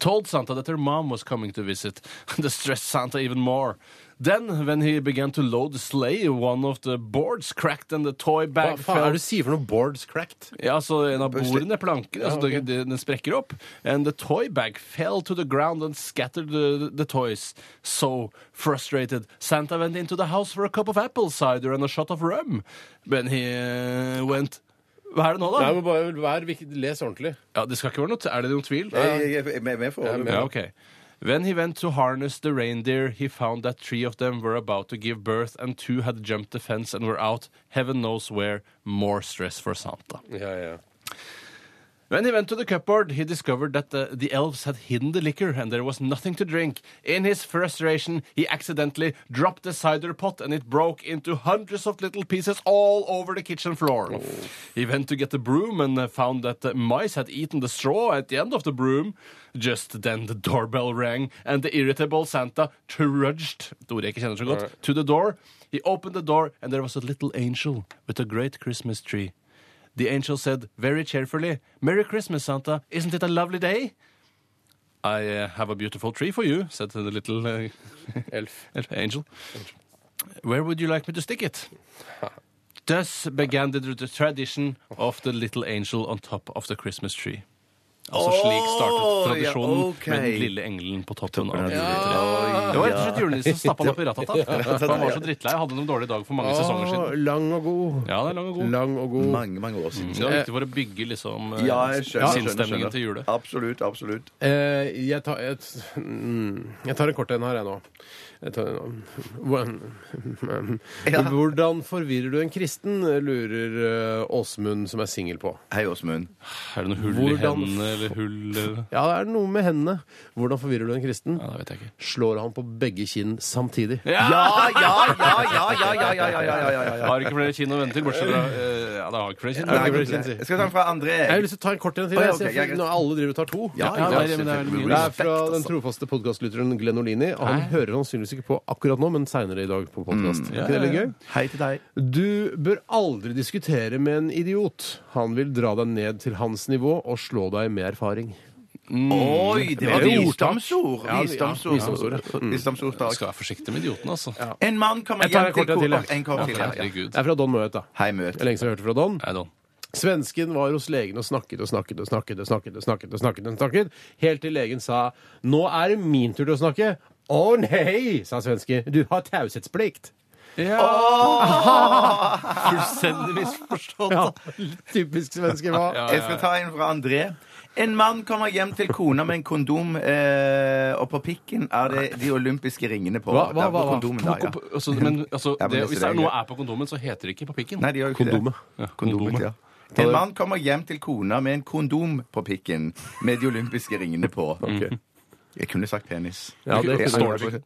[SPEAKER 4] told Santa that her mom was coming to visit. This stressed Santa even more. Then, when he began to load the sleigh, one of the boards cracked and the toy
[SPEAKER 3] Hva
[SPEAKER 4] bag
[SPEAKER 3] faen er
[SPEAKER 4] fell.
[SPEAKER 3] det du sier for noe? Boards cracked?
[SPEAKER 4] Ja, altså En av bordene, planken, altså, det- det- den sprekker opp. And the toy bag fell to the ground and scattered the, the toys. So frustrated, Santa went into the house for a cup of apple cider and a shot of rum. When he eh, went Hva er det nå, da?
[SPEAKER 3] Nei, men bare vær, viktig- Les ordentlig.
[SPEAKER 4] Ja, det skal ikke være noe, Er det noen tvil?
[SPEAKER 5] Jeg jeg- jeg er med- med for det.
[SPEAKER 4] Ja, ok. When he went to harness the reindeer, he found that three of them were about to give birth, and two had jumped the fence and were out, heaven knows where, more stress for Santa.
[SPEAKER 3] Ja, ja.
[SPEAKER 4] When he went to the cupboard, he discovered that the, the elves had hidden the liquor and there was nothing to drink. In his frustration, he accidentally dropped the cider pot and it broke into hundreds of little pieces all over the kitchen floor. He went to get the broom and uh, found that the mice had eaten the straw at the end of the broom. Just then the doorbell rang and the irritable Santa trudged et ord jeg ikke kjenner så godt, to the door. He opened the door and there was a little angel with a great Christmas tree. The angel said very cheerfully, Merry Christmas, Santa. Isn't it a lovely day? I uh, have a beautiful tree for you, said the little uh,
[SPEAKER 3] Elf.
[SPEAKER 4] angel. Where would you like me to stick it? Thus began the, the tradition of the little angel on top of the Christmas tree. Altså slik startet
[SPEAKER 5] Åh, ja,
[SPEAKER 4] tradisjonen
[SPEAKER 5] ok.
[SPEAKER 4] med den lille engelen på toppen av
[SPEAKER 5] av
[SPEAKER 4] juletreet. Det var rett og slett julenissen som stappa den opp i ratata. Han var så drittlei og hadde en dårlig dag for mange sesonger
[SPEAKER 3] Å,
[SPEAKER 4] siden.
[SPEAKER 3] lang og god.
[SPEAKER 4] Ja, det er lang og god.
[SPEAKER 3] Lang og god.
[SPEAKER 5] Mange, mange år siden.
[SPEAKER 4] Så det er viktig for å bygge liksom eh,
[SPEAKER 5] Eh, Ja, jeg skjønner. skjønner,
[SPEAKER 4] sinnsstemningen
[SPEAKER 5] skjønner.
[SPEAKER 4] til julet.
[SPEAKER 5] Absolutt, absolutt.
[SPEAKER 3] Eh, jeg, tar, jeg, mm, jeg tar en kort en her, jeg nå. Jeg tar en, Hvordan- Hvordan forvirrer du en kristen, lurer eh, Åsmund, som er singel, på.
[SPEAKER 5] Hei, Åsmund.
[SPEAKER 4] Er det noe hull i
[SPEAKER 3] Hvordan-
[SPEAKER 4] hendene eller hull eh?
[SPEAKER 3] Ja, det er noe med hendene. Hvordan forvirrer du en kristen?
[SPEAKER 4] Ja, det vet jeg ikke.
[SPEAKER 3] Slår han på begge kinn samtidig.
[SPEAKER 5] Ja, ja, ja, ja, ja, ja, ja, ja, ja, ja,
[SPEAKER 4] Jeg har ikke flere kinn å vende til, bortsett fra eh, Ja, det har ikke flere kinn.
[SPEAKER 3] Nei,
[SPEAKER 4] Ja,
[SPEAKER 3] det blir
[SPEAKER 5] Jeg skal ta den fra André.
[SPEAKER 3] Jeg har lyst til å ta en kort en til.
[SPEAKER 5] Å, ja,
[SPEAKER 3] Jeg,
[SPEAKER 5] ok,
[SPEAKER 3] ser-
[SPEAKER 5] ja, greit.
[SPEAKER 3] Når alle driver og tar to.
[SPEAKER 5] Ja,
[SPEAKER 4] ja,
[SPEAKER 5] ja,
[SPEAKER 4] det er- men det er
[SPEAKER 5] selvfølgelig.
[SPEAKER 4] mye.
[SPEAKER 3] Det er
[SPEAKER 5] Respekt,
[SPEAKER 3] fra den
[SPEAKER 5] altså.
[SPEAKER 3] trofaste podkastlytteren Glenn Olini. og Han hører sannsynligvis ikke på akkurat nå, men seinere i dag på
[SPEAKER 5] Mm,
[SPEAKER 3] podkast. Er ikke det litt gøy?
[SPEAKER 5] Hei til deg.
[SPEAKER 3] Du bør aldri diskutere med en idiot. Han vil dra deg ned til hans nivå og slå deg med erfaring.
[SPEAKER 5] Oi, det
[SPEAKER 3] Mm. Det
[SPEAKER 5] var
[SPEAKER 3] er jo
[SPEAKER 5] visdomsord.
[SPEAKER 3] Ja, ja,
[SPEAKER 5] Visdomsord.
[SPEAKER 3] visdomsord, ja. Mm.
[SPEAKER 5] Visdomsord,
[SPEAKER 4] Du
[SPEAKER 5] takk.
[SPEAKER 4] skal være forsiktig med idioten, altså.
[SPEAKER 5] En mann kommer
[SPEAKER 3] Jeg tar en
[SPEAKER 5] hjem til
[SPEAKER 3] kort en til,
[SPEAKER 5] kor-
[SPEAKER 3] jeg.
[SPEAKER 5] En kort til, ja, ja.
[SPEAKER 4] Herregud.
[SPEAKER 3] Det er fra Don Møet, da.
[SPEAKER 5] Hei,
[SPEAKER 3] Det
[SPEAKER 5] møt.
[SPEAKER 3] er lenge siden jeg hørte fra Don.
[SPEAKER 4] Nei, Don.
[SPEAKER 3] Svensken var hos legen og snakket og snakket og snakket og snakket og snakket og snakket, og snakket helt til legen sa 'Nå er det min tur til å snakke'. 'Å nei', sa svensken. 'Du har taushetsplikt'.
[SPEAKER 4] Fullstendig misforstått.
[SPEAKER 3] Ja, typisk svenske hva?
[SPEAKER 5] Jeg skal ta en fra André. En mann kommer hjem til kona med en kondom, eh, og på pikken er det de olympiske ringene på.
[SPEAKER 3] Hva- hva-
[SPEAKER 5] Det er på
[SPEAKER 3] hva- hva?
[SPEAKER 5] kondomen
[SPEAKER 4] På
[SPEAKER 5] der, ja.
[SPEAKER 4] kom- Altså, men altså,
[SPEAKER 5] Ja, men
[SPEAKER 4] det,
[SPEAKER 5] det
[SPEAKER 4] hvis
[SPEAKER 5] ser
[SPEAKER 4] det
[SPEAKER 5] jeg
[SPEAKER 4] er noe
[SPEAKER 5] greit.
[SPEAKER 4] er på kondomen, så heter det ikke på pikken.
[SPEAKER 5] Nei, de gjør jo ikke
[SPEAKER 3] Kondomet.
[SPEAKER 5] det. Kondomet, ja. En mann kommer hjem til kona med en kondom på pikken med de olympiske ringene på. Jeg kunne sagt penis.
[SPEAKER 3] Ja, det
[SPEAKER 5] Jeg-
[SPEAKER 3] står det.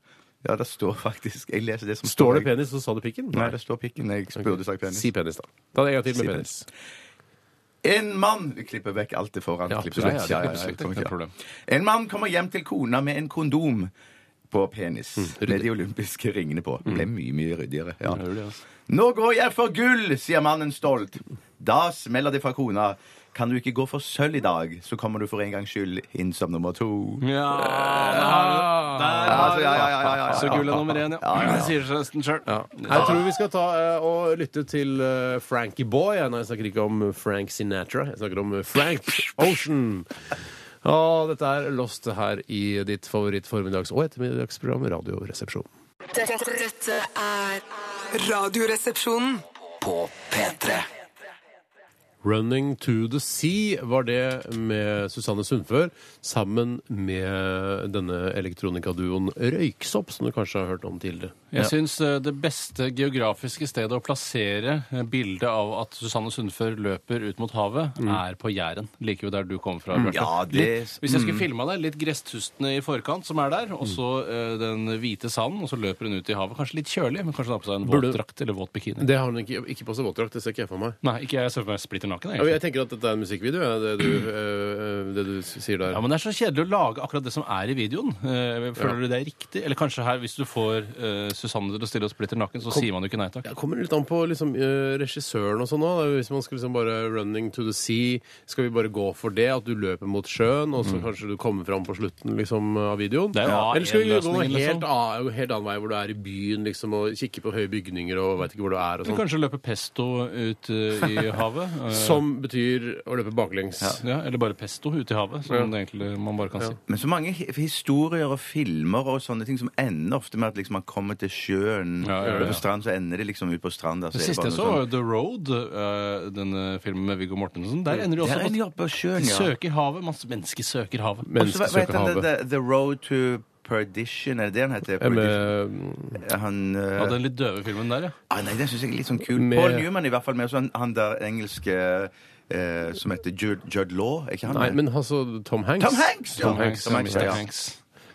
[SPEAKER 5] Ja, det står faktisk Jeg leser det som
[SPEAKER 3] Står det penis, så sa du pikken?
[SPEAKER 5] Nei, det står pikken. Jeg burde sagt penis.
[SPEAKER 3] Si penis, da. Ta det en gang til
[SPEAKER 5] Si
[SPEAKER 3] med penis.
[SPEAKER 5] penis. En mann Du klipper vekk alt det foran.
[SPEAKER 4] Ja,
[SPEAKER 5] Klipper
[SPEAKER 4] absolutt.
[SPEAKER 5] vekk.
[SPEAKER 4] Ja, ja, ja, ja,
[SPEAKER 5] Kommer
[SPEAKER 4] ikke noe
[SPEAKER 5] til-
[SPEAKER 4] problem.
[SPEAKER 5] En mann kommer hjem til kona med en kondom på penis.
[SPEAKER 4] Mm,
[SPEAKER 5] med de olympiske ringene på. Ble mye, mye ryddigere. Ja.
[SPEAKER 4] det, altså.
[SPEAKER 5] Nå går jeg for gull, sier mannen stolt. Da smeller det fra kona. Kan du ikke gå for sølv i dag, så kommer du for en gangs skyld inn som nummer to.
[SPEAKER 4] Ja, der har du- der har
[SPEAKER 5] Altså,
[SPEAKER 4] du
[SPEAKER 5] ja,
[SPEAKER 4] det.
[SPEAKER 5] ja, ja, ja, ja, ja.
[SPEAKER 4] Så gull er nummer én, ja.
[SPEAKER 5] ja, ja.
[SPEAKER 4] Det sier seg nesten sjøl.
[SPEAKER 3] Jeg tror vi skal ta eh, og lytte til eh, Frankie Boy. Ja, Nei, jeg snakker ikke om eh, Frank Sinatra. Jeg snakker om eh, Frank Ocean. Og dette er Lost her i ditt favoritt-formiddags- og ettermiddagsprogram Radioresepsjon.
[SPEAKER 6] Dette, dette er
[SPEAKER 1] Radioresepsjonen.
[SPEAKER 2] På P3.
[SPEAKER 3] Running to the Sea var det med Susanne Sundfør sammen med denne elektronikaduoen Røyksopp, som du kanskje har hørt om tidligere.
[SPEAKER 4] Jeg syns eh, det beste geografiske stedet å plassere eh, bildet av at Susanne Sundfør løper ut mot havet,
[SPEAKER 3] Mm.
[SPEAKER 4] er på Jæren. Like ved der du kommer fra. Bjarte.
[SPEAKER 5] Ja, det-
[SPEAKER 4] litt,
[SPEAKER 3] mm.
[SPEAKER 4] hvis jeg skulle filma det, litt gresstustene i forkant som er der, og så eh, den hvite sanden, og så løper hun ut i havet. Kanskje litt kjølig, men kanskje hun har på seg en
[SPEAKER 3] Burde-
[SPEAKER 4] våt drakt eller våt bikini.
[SPEAKER 3] Det har hun ikke, ikke på seg våtdrakt, det ser ikke jeg for meg.
[SPEAKER 4] Nei, ikke jeg. Jeg ser for meg splitter naken.
[SPEAKER 3] Ja, men
[SPEAKER 4] egentlig.
[SPEAKER 3] jeg tenker at dette er en musikkvideo, ja, det, du, eh, det du s- sier der.
[SPEAKER 4] Ja, men Det er så kjedelig å lage akkurat det som er i videoen. Eh, Føler du det er riktig? Eller kanskje her, hvis du får eh, Susanne til å stille oss splitter naken, så sier man jo ikke nei takk.
[SPEAKER 3] Det kommer litt an på liksom, eh, regissøren og sånn òg. Hvis man skal liksom bare 'running to the sea', skal vi bare gå for det? At du løper mot sjøen, og så kanskje du kommer fram på slutten liksom, av videoen?
[SPEAKER 4] Mm. Det er jo A1-løsningen,
[SPEAKER 3] Eller skal vi gå en
[SPEAKER 4] liksom.
[SPEAKER 3] helt, a- helt annen vei, hvor du er i byen liksom, og kikker på høye bygninger og veit ikke hvor du er og
[SPEAKER 4] Eller
[SPEAKER 3] sånn?
[SPEAKER 4] kanskje løpe pesto ut eh, i havet. eh,
[SPEAKER 3] Som betyr å løpe baklengs.
[SPEAKER 4] ja, Eller bare pesto ut i havet, som det egentlig man bare kan si.
[SPEAKER 5] Men så mange hi- historier og filmer og sånne ting som ender ofte med at liksom man kommer til sjøen
[SPEAKER 4] Ja, ja, ja.
[SPEAKER 5] og på strand, så ender det sånn- liksom ut på stranda.
[SPEAKER 4] Det siste jeg så, var jo The Road, eh, denne filmen med Viggo Mortensen. Der ender de også
[SPEAKER 5] Der ender de opp
[SPEAKER 4] på
[SPEAKER 5] på sjøen,
[SPEAKER 4] De
[SPEAKER 5] ja.
[SPEAKER 4] søker havet. Masse mennesker søker havet.
[SPEAKER 5] Og så hva- hva heter
[SPEAKER 3] Menneskesøker
[SPEAKER 5] han,
[SPEAKER 3] havet.
[SPEAKER 5] The, the Road to Perdition, er det det han heter?
[SPEAKER 3] Eh,
[SPEAKER 5] Perdition?
[SPEAKER 3] Med,
[SPEAKER 5] Han, eh,
[SPEAKER 4] Ja, den litt døve filmen der, ja.
[SPEAKER 5] ah, nei, den syns jeg er litt sånn kul.
[SPEAKER 3] Med-
[SPEAKER 5] Paul Newman i hvert fall, med sånn, han der engelske eh, som heter Judd, Judd Law, er ikke han
[SPEAKER 3] nei,
[SPEAKER 5] med?
[SPEAKER 3] men altså Tom Hanks.
[SPEAKER 5] Tom Hanks!
[SPEAKER 3] Tom Hanks,
[SPEAKER 5] Tom Hanks,
[SPEAKER 4] Mr.
[SPEAKER 5] ja.
[SPEAKER 4] Hanks.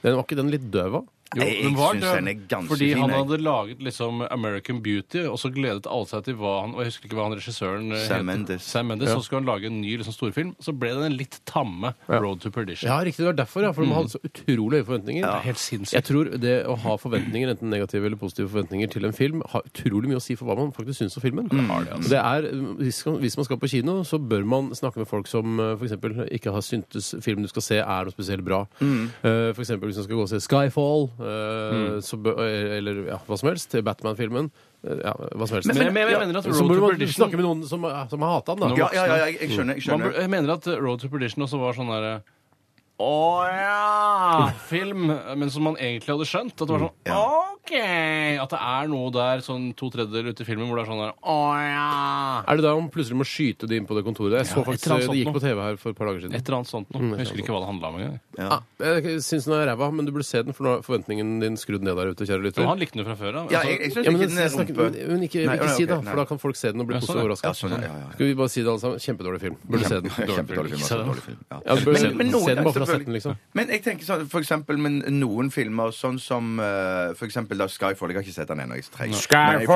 [SPEAKER 3] Den var ikke den litt døv av?
[SPEAKER 4] Jo,
[SPEAKER 5] Nei, jeg
[SPEAKER 4] den var
[SPEAKER 5] synes
[SPEAKER 4] døv,
[SPEAKER 5] den er ganske
[SPEAKER 4] fordi
[SPEAKER 5] fin,
[SPEAKER 4] han
[SPEAKER 5] jeg.
[SPEAKER 4] hadde laget liksom American Beauty, og så gledet alle seg til hva han Og jeg husker ikke hva han regissøren eh,
[SPEAKER 5] Sam
[SPEAKER 4] heter.
[SPEAKER 5] Mendes.
[SPEAKER 4] Sam Mendes Så skulle han lage en ny liksom, storfilm. Så ble det den litt tamme Road to Perdition.
[SPEAKER 3] Ja, riktig. Det var derfor, ja. For man hadde så utrolig høye forventninger.
[SPEAKER 4] Det er Helt
[SPEAKER 3] Mm. Jeg
[SPEAKER 4] sinnssykt.
[SPEAKER 3] tror det å ha forventninger, enten negative eller positive forventninger til en film, har utrolig mye å si for hva man faktisk syns om filmen.
[SPEAKER 4] altså.
[SPEAKER 3] Det er, hvis, hvis man skal på kino, så bør man snakke med folk som f.eks. ikke har syntes filmen du skal se, er noe spesielt bra.
[SPEAKER 4] Mm.
[SPEAKER 3] Eh, For eksempel hvis man skal gå og se Skyfall, eh, så bør, eller ja, hva som helst, til Batman-filmen. eh, Ja, hva som helst.
[SPEAKER 4] Men- men- men jeg mener at
[SPEAKER 3] så
[SPEAKER 4] Road to
[SPEAKER 3] burde man
[SPEAKER 4] Perdition-
[SPEAKER 3] snakke med noen som, som har hata den, da.
[SPEAKER 5] Ja, ja, ja, jeg, jeg skjønner. Jeg
[SPEAKER 4] Man, bur-
[SPEAKER 5] skjønner.
[SPEAKER 4] jeg mener at eh, Road to Perdition også var sånn derre å ja! Film. eh, Men som man egentlig hadde skjønt. At det var
[SPEAKER 5] Mm,
[SPEAKER 4] sånn OK! At det er noe der sånn to tredjedeler ute i filmen hvor det er sånn der Å ja!
[SPEAKER 3] Er det da man plutselig må skyte de inn på det kontoret? Jeg så
[SPEAKER 4] et
[SPEAKER 3] faktisk eh,
[SPEAKER 4] eller annet
[SPEAKER 3] Det gikk
[SPEAKER 4] sånt
[SPEAKER 3] på TV her for et par dager siden.
[SPEAKER 4] Et eller annet sånt
[SPEAKER 5] Mm,
[SPEAKER 4] noe. Jeg husker ikke hva det handla om engang.
[SPEAKER 3] Ja. Jeg syns den er ræva, men du burde se den, for nå er forventningen din skrudd ned der ute, kjære lytter.
[SPEAKER 4] Men han likte den jo fra før av.
[SPEAKER 5] Ja,
[SPEAKER 4] Altså,
[SPEAKER 5] jeg, jeg syns
[SPEAKER 3] Ja, men,
[SPEAKER 5] ikke
[SPEAKER 3] den-
[SPEAKER 5] den er
[SPEAKER 3] snakker-
[SPEAKER 5] rumpe.
[SPEAKER 3] men ikke,
[SPEAKER 5] Nei,
[SPEAKER 3] ikke
[SPEAKER 5] nei,
[SPEAKER 3] si
[SPEAKER 5] ok,
[SPEAKER 3] det,
[SPEAKER 5] nei.
[SPEAKER 3] for da kan folk se den og bli
[SPEAKER 4] Ja,
[SPEAKER 3] positivt
[SPEAKER 4] sånn, ja.
[SPEAKER 5] Ja,
[SPEAKER 3] overraska.
[SPEAKER 5] sånn, ja, ja, ja.
[SPEAKER 3] Skal vi bare si det alle sammen? Kjempedårlig film. Burde se den.
[SPEAKER 5] Kjempedårlig film. altså, Dårlig film. Ja.
[SPEAKER 3] Ja, bør
[SPEAKER 5] Men-
[SPEAKER 3] se, den.
[SPEAKER 5] men noen
[SPEAKER 3] se den bare for å ha sett
[SPEAKER 5] selvfølgelig-
[SPEAKER 3] den, liksom.
[SPEAKER 5] Men jeg tenker sånn, for eksempel men noen filmer, sånn som eh, for eksempel da Skyfall Jeg har ikke sett den ennå. jeg trenger- Men jeg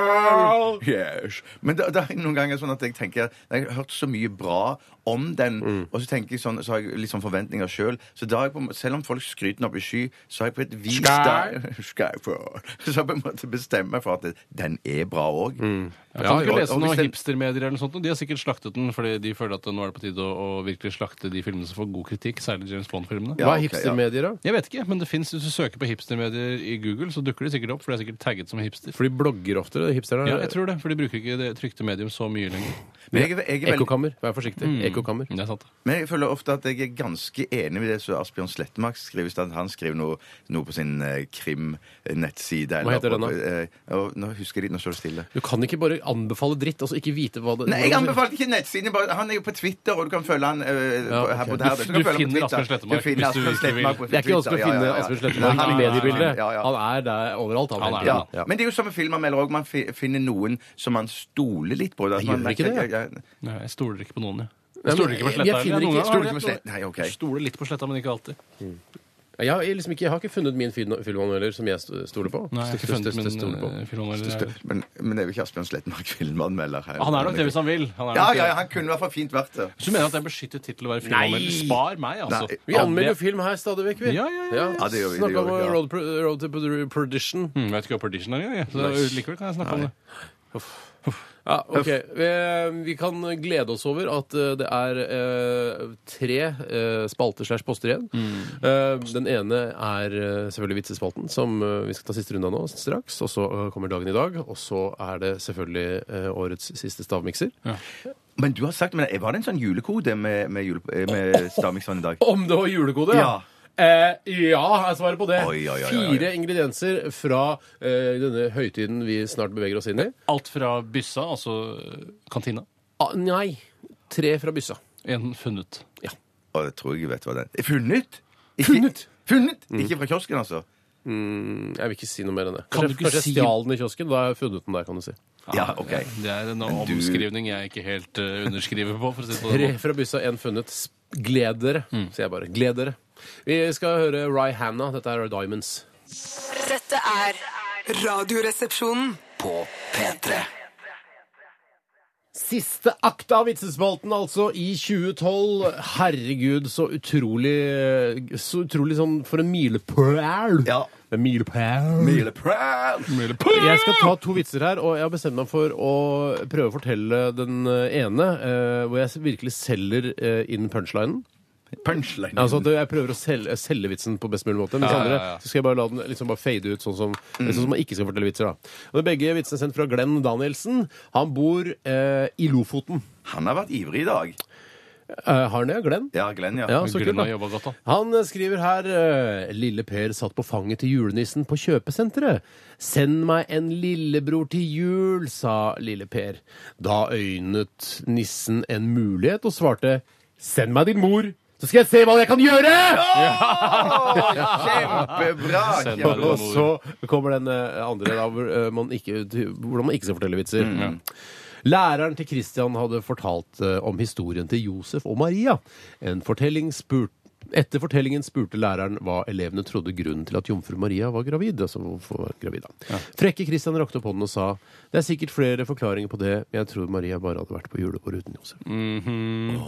[SPEAKER 5] får- Yes. Men det, det er noen ganger sånn at jeg tenker Jeg har hørt så mye bra om den, og så tenker jeg sånn, så har jeg litt sånn forventninger sjøl. Så da har jeg på, en måte- selv om folk skryter den opp i sky, så har jeg på et vis da, Skyfall. Så har jeg på en måte bestemt meg for at den er bra òg.
[SPEAKER 4] jeg kan
[SPEAKER 5] ja,
[SPEAKER 4] ikke
[SPEAKER 5] og-
[SPEAKER 4] lese
[SPEAKER 5] og hvis
[SPEAKER 4] noen
[SPEAKER 5] den-
[SPEAKER 4] hipstermedier eller noe sånt. og De har sikkert slaktet den fordi de føler at nå er det på tide å, å virkelig slakte de filmene som får god kritikk, særlig James Bond-filmene.
[SPEAKER 5] Ja,
[SPEAKER 3] Hva er
[SPEAKER 5] ok, ja.
[SPEAKER 3] hipstermedier, da?
[SPEAKER 4] Jeg vet ikke, men det fins hvis du søker på hipstermedier i Google, så dukker de sikkert opp, for de er sikkert tagget som hipster.
[SPEAKER 3] For de blogger oftere, hipsterne.
[SPEAKER 4] Ja, jeg tror det, for de bruker ikke det trykte medium så mye lenger. Mm,
[SPEAKER 5] Men jeg, er- jeg er veldig Hmm.
[SPEAKER 3] Ekkokammer. Vær forsiktig. Mm. Ekkokammer.
[SPEAKER 4] Det er sant.
[SPEAKER 5] Men jeg føler ofte at jeg er ganske enig med det som Asbjørn Slettemark skriver. i stedet. Han skriver noe, noe på sin eh, krim-nettside. eller
[SPEAKER 3] heter den da?
[SPEAKER 5] på- eh, og nå husker jeg det, nå står det stille.
[SPEAKER 3] Du kan ikke bare anbefale dritt, altså ikke vite hva det
[SPEAKER 5] Nei, jeg anbefalte ikke nettsiden. jeg bare- Han er jo på Twitter, og du kan følge han eh, på- her på
[SPEAKER 3] ok.
[SPEAKER 5] der.
[SPEAKER 4] Du-
[SPEAKER 5] kan
[SPEAKER 4] du
[SPEAKER 5] følge han på
[SPEAKER 4] finner
[SPEAKER 5] Twitter.
[SPEAKER 4] Asbjørn Slettemark
[SPEAKER 5] Du finner
[SPEAKER 4] hvis du
[SPEAKER 5] Asbjørn
[SPEAKER 4] ikke vil.
[SPEAKER 5] Slettemark på
[SPEAKER 3] Det er ikke vanskelig å
[SPEAKER 5] Twitter, ja,
[SPEAKER 3] finne
[SPEAKER 5] ja, ja.
[SPEAKER 3] Asbjørn
[SPEAKER 5] Nei,
[SPEAKER 3] Slettemark
[SPEAKER 5] nei,
[SPEAKER 3] i
[SPEAKER 5] nei,
[SPEAKER 3] mediebildet.
[SPEAKER 5] ja, ja.
[SPEAKER 3] Han er der overalt, han.
[SPEAKER 4] Han er
[SPEAKER 5] Ja.
[SPEAKER 3] der. Ja.
[SPEAKER 5] Men det er jo som med film han melder òg. Man fi- finner noen som man stoler litt på. da.
[SPEAKER 3] Jeg gjør
[SPEAKER 5] Man
[SPEAKER 3] ikke
[SPEAKER 5] merker-
[SPEAKER 3] det,
[SPEAKER 5] ja, ja.
[SPEAKER 4] Nei, jeg stoler ikke på noen, jeg.
[SPEAKER 3] Nei,
[SPEAKER 4] Jeg stoler
[SPEAKER 3] men
[SPEAKER 4] ikke på
[SPEAKER 3] jeg- jeg
[SPEAKER 4] sletta.
[SPEAKER 3] finner
[SPEAKER 4] heller.
[SPEAKER 3] ikke-
[SPEAKER 4] Noen ganger
[SPEAKER 5] Stoler ikke på
[SPEAKER 4] har jeg
[SPEAKER 5] Slett- Nei, OK.
[SPEAKER 4] det. Stoler litt på sletta, men ikke alltid.
[SPEAKER 3] Jeg har, liksom ikke, jeg har ikke funnet min film- filmanmelder som jeg st- stoler på.
[SPEAKER 4] Nei, jeg har ikke
[SPEAKER 3] St- st-
[SPEAKER 4] funnet
[SPEAKER 3] st- stoler på.
[SPEAKER 4] min eh, filmanmelder.
[SPEAKER 5] Men, men det er jo ikke Asbjørn Slettemark filmanmelder her.
[SPEAKER 4] Han er nok det hvis han vil. Han er
[SPEAKER 5] Ja,
[SPEAKER 4] nok det.
[SPEAKER 5] ja, ja, han kunne i hvert fall fint vært det.
[SPEAKER 4] Så du mener at det er beskyttet tittel å være filmanmelder? Spar meg, altså.
[SPEAKER 5] Nei.
[SPEAKER 3] Vi anmelder jo film her stadig vekk, vi.
[SPEAKER 4] Ja, ja, ja, ja.
[SPEAKER 5] Ja, det gjør vi, det
[SPEAKER 3] Snakka
[SPEAKER 5] gjør
[SPEAKER 3] om
[SPEAKER 5] vi, ja.
[SPEAKER 3] Road, Pro- Road to Pro- Perdition.
[SPEAKER 4] Hmm, vet ikke hva partition er engang, jeg. så likevel kan jeg snakke om det.
[SPEAKER 3] Ja, ok. Vi, vi kan glede oss over at eh, det er eh, tre eh, spalter slash poster igjen.
[SPEAKER 5] Mm.
[SPEAKER 3] Eh, den ene er eh, selvfølgelig vitsespalten, som eh, vi skal ta siste runde av nå straks. Og så eh, kommer dagen i dag. Og så er det selvfølgelig eh, årets siste stavmikser.
[SPEAKER 5] Men du har sagt, men var det en sånn julekode med, med, jule, eh, med stavmikseren i dag?
[SPEAKER 3] Om det var julekode?
[SPEAKER 5] Ja.
[SPEAKER 3] Eh, ja, jeg svarer på det.
[SPEAKER 5] Oi, oi, oi, oi, oi.
[SPEAKER 3] Fire ingredienser fra eh, denne høytiden vi snart beveger oss inn i.
[SPEAKER 4] Alt fra byssa, altså kantina,
[SPEAKER 3] Ah, nei. Tre fra byssa.
[SPEAKER 4] en funnet.
[SPEAKER 5] Å, det tror jeg jeg vet hva den er. Funnet? Ikke, funnet? Ikke fra kiosken, altså?
[SPEAKER 3] Jeg vil ikke si noe mer enn det.
[SPEAKER 4] Kan
[SPEAKER 3] Kanskje,
[SPEAKER 4] du ikke
[SPEAKER 3] kanskje
[SPEAKER 4] si-
[SPEAKER 3] jeg stjal den i kiosken? Da har jeg funnet den der, kan du si.
[SPEAKER 5] Ja, ok.
[SPEAKER 4] Det er en
[SPEAKER 5] du-
[SPEAKER 4] omskrivning jeg ikke helt eh, underskriver på, for å si det på
[SPEAKER 3] Tre
[SPEAKER 4] den måten.
[SPEAKER 3] fra byssa, én funnet. S- Gled dere, sier jeg bare. Gled dere. Vi skal høre Ry Hanna. Dette er Diamonds.
[SPEAKER 6] Dette er
[SPEAKER 1] Radioresepsjonen.
[SPEAKER 2] På P3.
[SPEAKER 3] Siste akt av vitsespalten, altså, i 2012. Herregud, så utrolig Så utrolig sånn for en milepæl.
[SPEAKER 5] Ja.
[SPEAKER 3] En milepæl. Jeg skal ta to vitser her, og jeg har bestemt meg for å prøve å fortelle den ene, eh, hvor jeg virkelig selger eh, inn punchlinen.
[SPEAKER 5] Punchline.
[SPEAKER 3] Altså at Jeg prøver å selge, selge vitsen på best mulig måte. Mens
[SPEAKER 4] Ja, ja, ja.
[SPEAKER 3] andre så skal jeg bare la den liksom bare fade ut, sånn som, sånn som man ikke skal fortelle vitser. da. Og det er Begge vitsene er sendt fra Glenn Danielsen. Han bor eh, i Lofoten.
[SPEAKER 5] Han har vært ivrig i dag.
[SPEAKER 3] Eh, har han det, Glenn?
[SPEAKER 5] Ja, Glenn, ja.
[SPEAKER 3] Ja, så kult,
[SPEAKER 4] Grønland
[SPEAKER 3] da.
[SPEAKER 4] jobba godt, da.
[SPEAKER 3] Han skriver her eh, Lille Per satt på fanget til julenissen på kjøpesenteret. Send meg en lillebror til jul, sa Lille Per. Da øynet nissen en mulighet og svarte Send meg din mor, så skal jeg se hva jeg kan gjøre!
[SPEAKER 5] Kjempebra!
[SPEAKER 4] Send meg
[SPEAKER 5] kjempebra.
[SPEAKER 4] det.
[SPEAKER 3] Og så kommer den eh, andre, da, hvor, eh, man ikke, hvordan man ikke skal fortelle vitser.
[SPEAKER 5] Mm,
[SPEAKER 3] Læreren til Christian hadde fortalt eh, om historien til Josef og Maria. En fortelling spurt etter fortellingen spurte læreren hva elevene trodde grunnen til at jomfru Maria var gravid. altså hvorfor var hun gravid da. Frekke Christian rakte opp hånden og sa det er sikkert flere forklaringer på det, men jeg tror Maria bare hadde vært på julebord uten Josef.
[SPEAKER 5] Mm,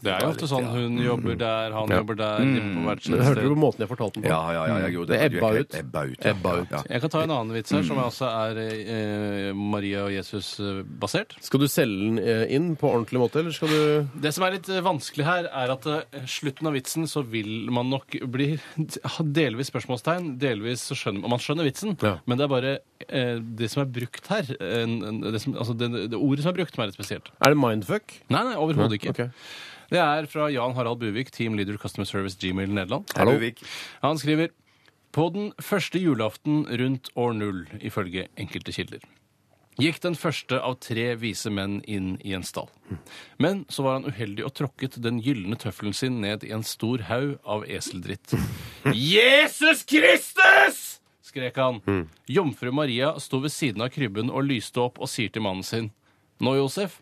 [SPEAKER 4] Det er jo ofte sånn hun jobber der,
[SPEAKER 3] Mm.
[SPEAKER 4] han
[SPEAKER 3] Ja. Mm.
[SPEAKER 4] jobber der, hjemme på hvert sitt
[SPEAKER 3] Hørte du
[SPEAKER 4] sted.
[SPEAKER 3] på måten jeg fortalte den på?
[SPEAKER 5] Ja, ja, ja, jeg gjorde
[SPEAKER 3] Det
[SPEAKER 5] Du Mm. er
[SPEAKER 3] ebba
[SPEAKER 5] helt
[SPEAKER 3] ut.
[SPEAKER 5] Ebba ut. ja,
[SPEAKER 3] Ebba ut.
[SPEAKER 5] Ja, ja.
[SPEAKER 4] Jeg kan ta en annen vits her, som også er eh, Maria og eh, Jesus-basert.
[SPEAKER 3] Skal du selge den eh, inn på ordentlig måte, eller skal du
[SPEAKER 4] Det som er litt eh, vanskelig her, er at eh, slutten av vitsen så vil man nok bli ha delvis spørsmålstegn, delvis så skjønner man Man skjønner vitsen,
[SPEAKER 3] Ja.
[SPEAKER 4] men det er bare eh, det som er brukt her eh, en- en- det, som, altså det, det ordet som er brukt, som er litt spesielt.
[SPEAKER 3] Er det mindfuck?
[SPEAKER 4] Nei, nei, overhodet ikke.
[SPEAKER 3] Ok.
[SPEAKER 4] Det er fra Jan Harald Buvik, Team Leader Customer Service Gmail Nederland.
[SPEAKER 5] Hallo. Buvik.
[SPEAKER 4] Han skriver på den første julaften rundt år null, ifølge enkelte kilder, gikk den første av tre vise menn inn i en stall. Men så var han uheldig og tråkket den gylne tøffelen sin ned i en stor haug av eseldritt. Jesus Kristus! skrek han. Jomfru Maria sto ved siden av krybben og lyste opp og sier til mannen sin Nå, Josef,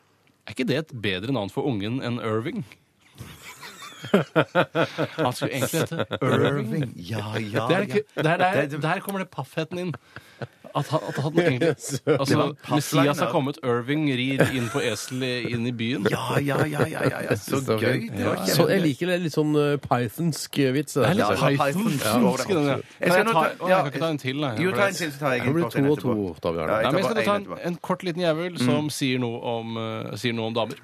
[SPEAKER 4] er ikke det et bedre navn for ungen enn Irving? Han skulle egentlig hete Irving.
[SPEAKER 5] Ja, ja,
[SPEAKER 4] Det er,
[SPEAKER 5] ja.
[SPEAKER 4] ikke- der, der,
[SPEAKER 5] Det er-
[SPEAKER 4] der kommer det paffheten inn. At han, at han egentlig altså,
[SPEAKER 5] var paff
[SPEAKER 4] Messias
[SPEAKER 5] line,
[SPEAKER 4] har
[SPEAKER 5] da.
[SPEAKER 4] kommet, Irving rir inn på esel i- inn i byen.
[SPEAKER 5] Ja, ja, ja, ja, ja, ja. Så
[SPEAKER 3] synes det var
[SPEAKER 5] gøy.
[SPEAKER 3] fint.
[SPEAKER 5] Det var
[SPEAKER 3] Så jeg
[SPEAKER 5] kjempegøy.
[SPEAKER 3] liker det litt sånn eh, pythonsk vits. Det, der,
[SPEAKER 5] Ja,
[SPEAKER 3] synes jeg.
[SPEAKER 5] ja, sånn Python. Ja,
[SPEAKER 4] Skal den, ja.
[SPEAKER 5] Jeg
[SPEAKER 4] Nei,
[SPEAKER 5] skal
[SPEAKER 4] jeg
[SPEAKER 5] nå
[SPEAKER 4] tar-
[SPEAKER 5] ta-
[SPEAKER 4] å,
[SPEAKER 5] ja,
[SPEAKER 4] jeg kan ikke ta en til, nei,
[SPEAKER 5] Jo,
[SPEAKER 4] for
[SPEAKER 5] ta
[SPEAKER 4] det-
[SPEAKER 5] en til, så tar jeg en
[SPEAKER 3] Det blir
[SPEAKER 5] kort en
[SPEAKER 3] to og to,
[SPEAKER 5] etterpå.
[SPEAKER 3] Tav Jarle.
[SPEAKER 5] Ja,
[SPEAKER 4] Nei, men
[SPEAKER 5] jeg
[SPEAKER 4] jeg skal
[SPEAKER 5] tar
[SPEAKER 4] nå ta
[SPEAKER 5] bare en
[SPEAKER 4] en,
[SPEAKER 5] etterpå.
[SPEAKER 4] en kort liten jævel som sier, noe om, eh, sier noe om damer.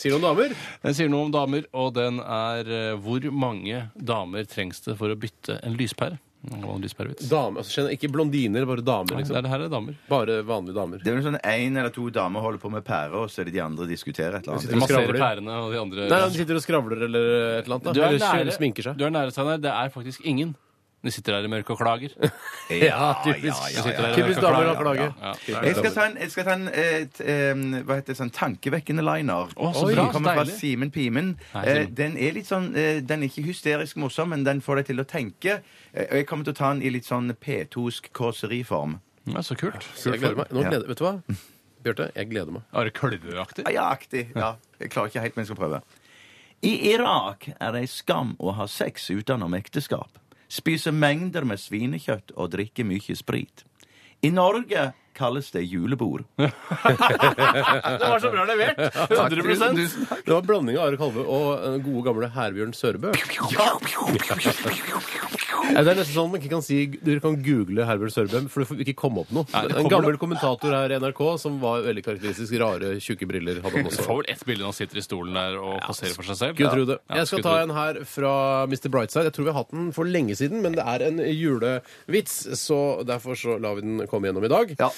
[SPEAKER 3] Sier du om damer?
[SPEAKER 4] Den sier noe om damer, og den er eh, hvor mange damer trengs det for å bytte en lyspære? Det var en lyspærevits.
[SPEAKER 3] Dame, altså, skjønner jeg, ikke blondiner, bare damer.
[SPEAKER 4] Nei, det
[SPEAKER 3] Liksom.
[SPEAKER 4] er det her er damer.
[SPEAKER 3] Bare vanlige damer.
[SPEAKER 5] Det er vel sånn en eller to damer holder på med pærer, og så er det de andre diskuterer et eller
[SPEAKER 3] sitter og
[SPEAKER 5] annet.
[SPEAKER 4] Masserer
[SPEAKER 3] skravler.
[SPEAKER 4] pærene og de andre
[SPEAKER 3] Nei, han sitter og skravler eller eh, et eller annet. Da.
[SPEAKER 4] Du er
[SPEAKER 3] eller skjø-
[SPEAKER 4] nære,
[SPEAKER 3] sminker seg.
[SPEAKER 4] Du er nære, Steinar. Det er faktisk ingen. De sitter der i mørket og klager.
[SPEAKER 3] Ja, typisk.
[SPEAKER 5] ja, ja,
[SPEAKER 4] ja.
[SPEAKER 3] Typisk damer å klage.
[SPEAKER 4] Ja.
[SPEAKER 5] Jeg skal ta en, jeg skal ta en et, em, hva heter det, sånn tankevekkende liner.
[SPEAKER 4] Å, så
[SPEAKER 5] Oi,
[SPEAKER 4] bra,
[SPEAKER 5] den kommer fra
[SPEAKER 4] deilig.
[SPEAKER 5] Simen Pimen.
[SPEAKER 4] Hei,
[SPEAKER 5] Eh,
[SPEAKER 4] Simen.
[SPEAKER 5] Den er litt sånn, eh, den er ikke hysterisk morsom, men den får deg til å tenke. Eh, Og jeg kommer til å ta den i litt sånn P2-sk kåseriform.
[SPEAKER 4] Ja, så kult.
[SPEAKER 3] Så jeg gleder meg. Nå
[SPEAKER 5] Ja.
[SPEAKER 3] gleder, vet du hva? Bjarte, jeg gleder meg.
[SPEAKER 4] Are Kølveaktig.
[SPEAKER 5] Ja, Ja, aktig. Ja. Jeg klarer ikke helt, men jeg skal prøve. I Irak er det ei skam å ha sex utenom ekteskap. Spise mengder med svinekjøtt og drikke mye sprit. I Norge kalles det julebord.
[SPEAKER 4] Det var så bra levert! 100
[SPEAKER 5] Tusen takk.
[SPEAKER 3] Det var en blanding av Are Kalve og eh, gode gamle Herbjørn Sørbø. Ja, det er nesten sånn man ikke kan si Dere kan google Herbjørn Sørbø, for du får ikke komme opp noe.
[SPEAKER 4] Nei, det
[SPEAKER 3] en
[SPEAKER 4] kommer
[SPEAKER 3] gammel kommentator her i NRK som var veldig karakteristisk. Rare, tjukke briller hadde han
[SPEAKER 4] Du
[SPEAKER 3] også.
[SPEAKER 4] får vel ett bilde når han sitter i stolen der og passerer for seg selv.
[SPEAKER 3] Skulle tro det.
[SPEAKER 4] Ja,
[SPEAKER 3] Jeg skal ta
[SPEAKER 4] skulle tro det.
[SPEAKER 3] en her fra Mr. Brightside. Jeg tror vi har hatt den for lenge siden, men det er en julevits, så derfor så lar vi den komme gjennom i dag.
[SPEAKER 5] Ja.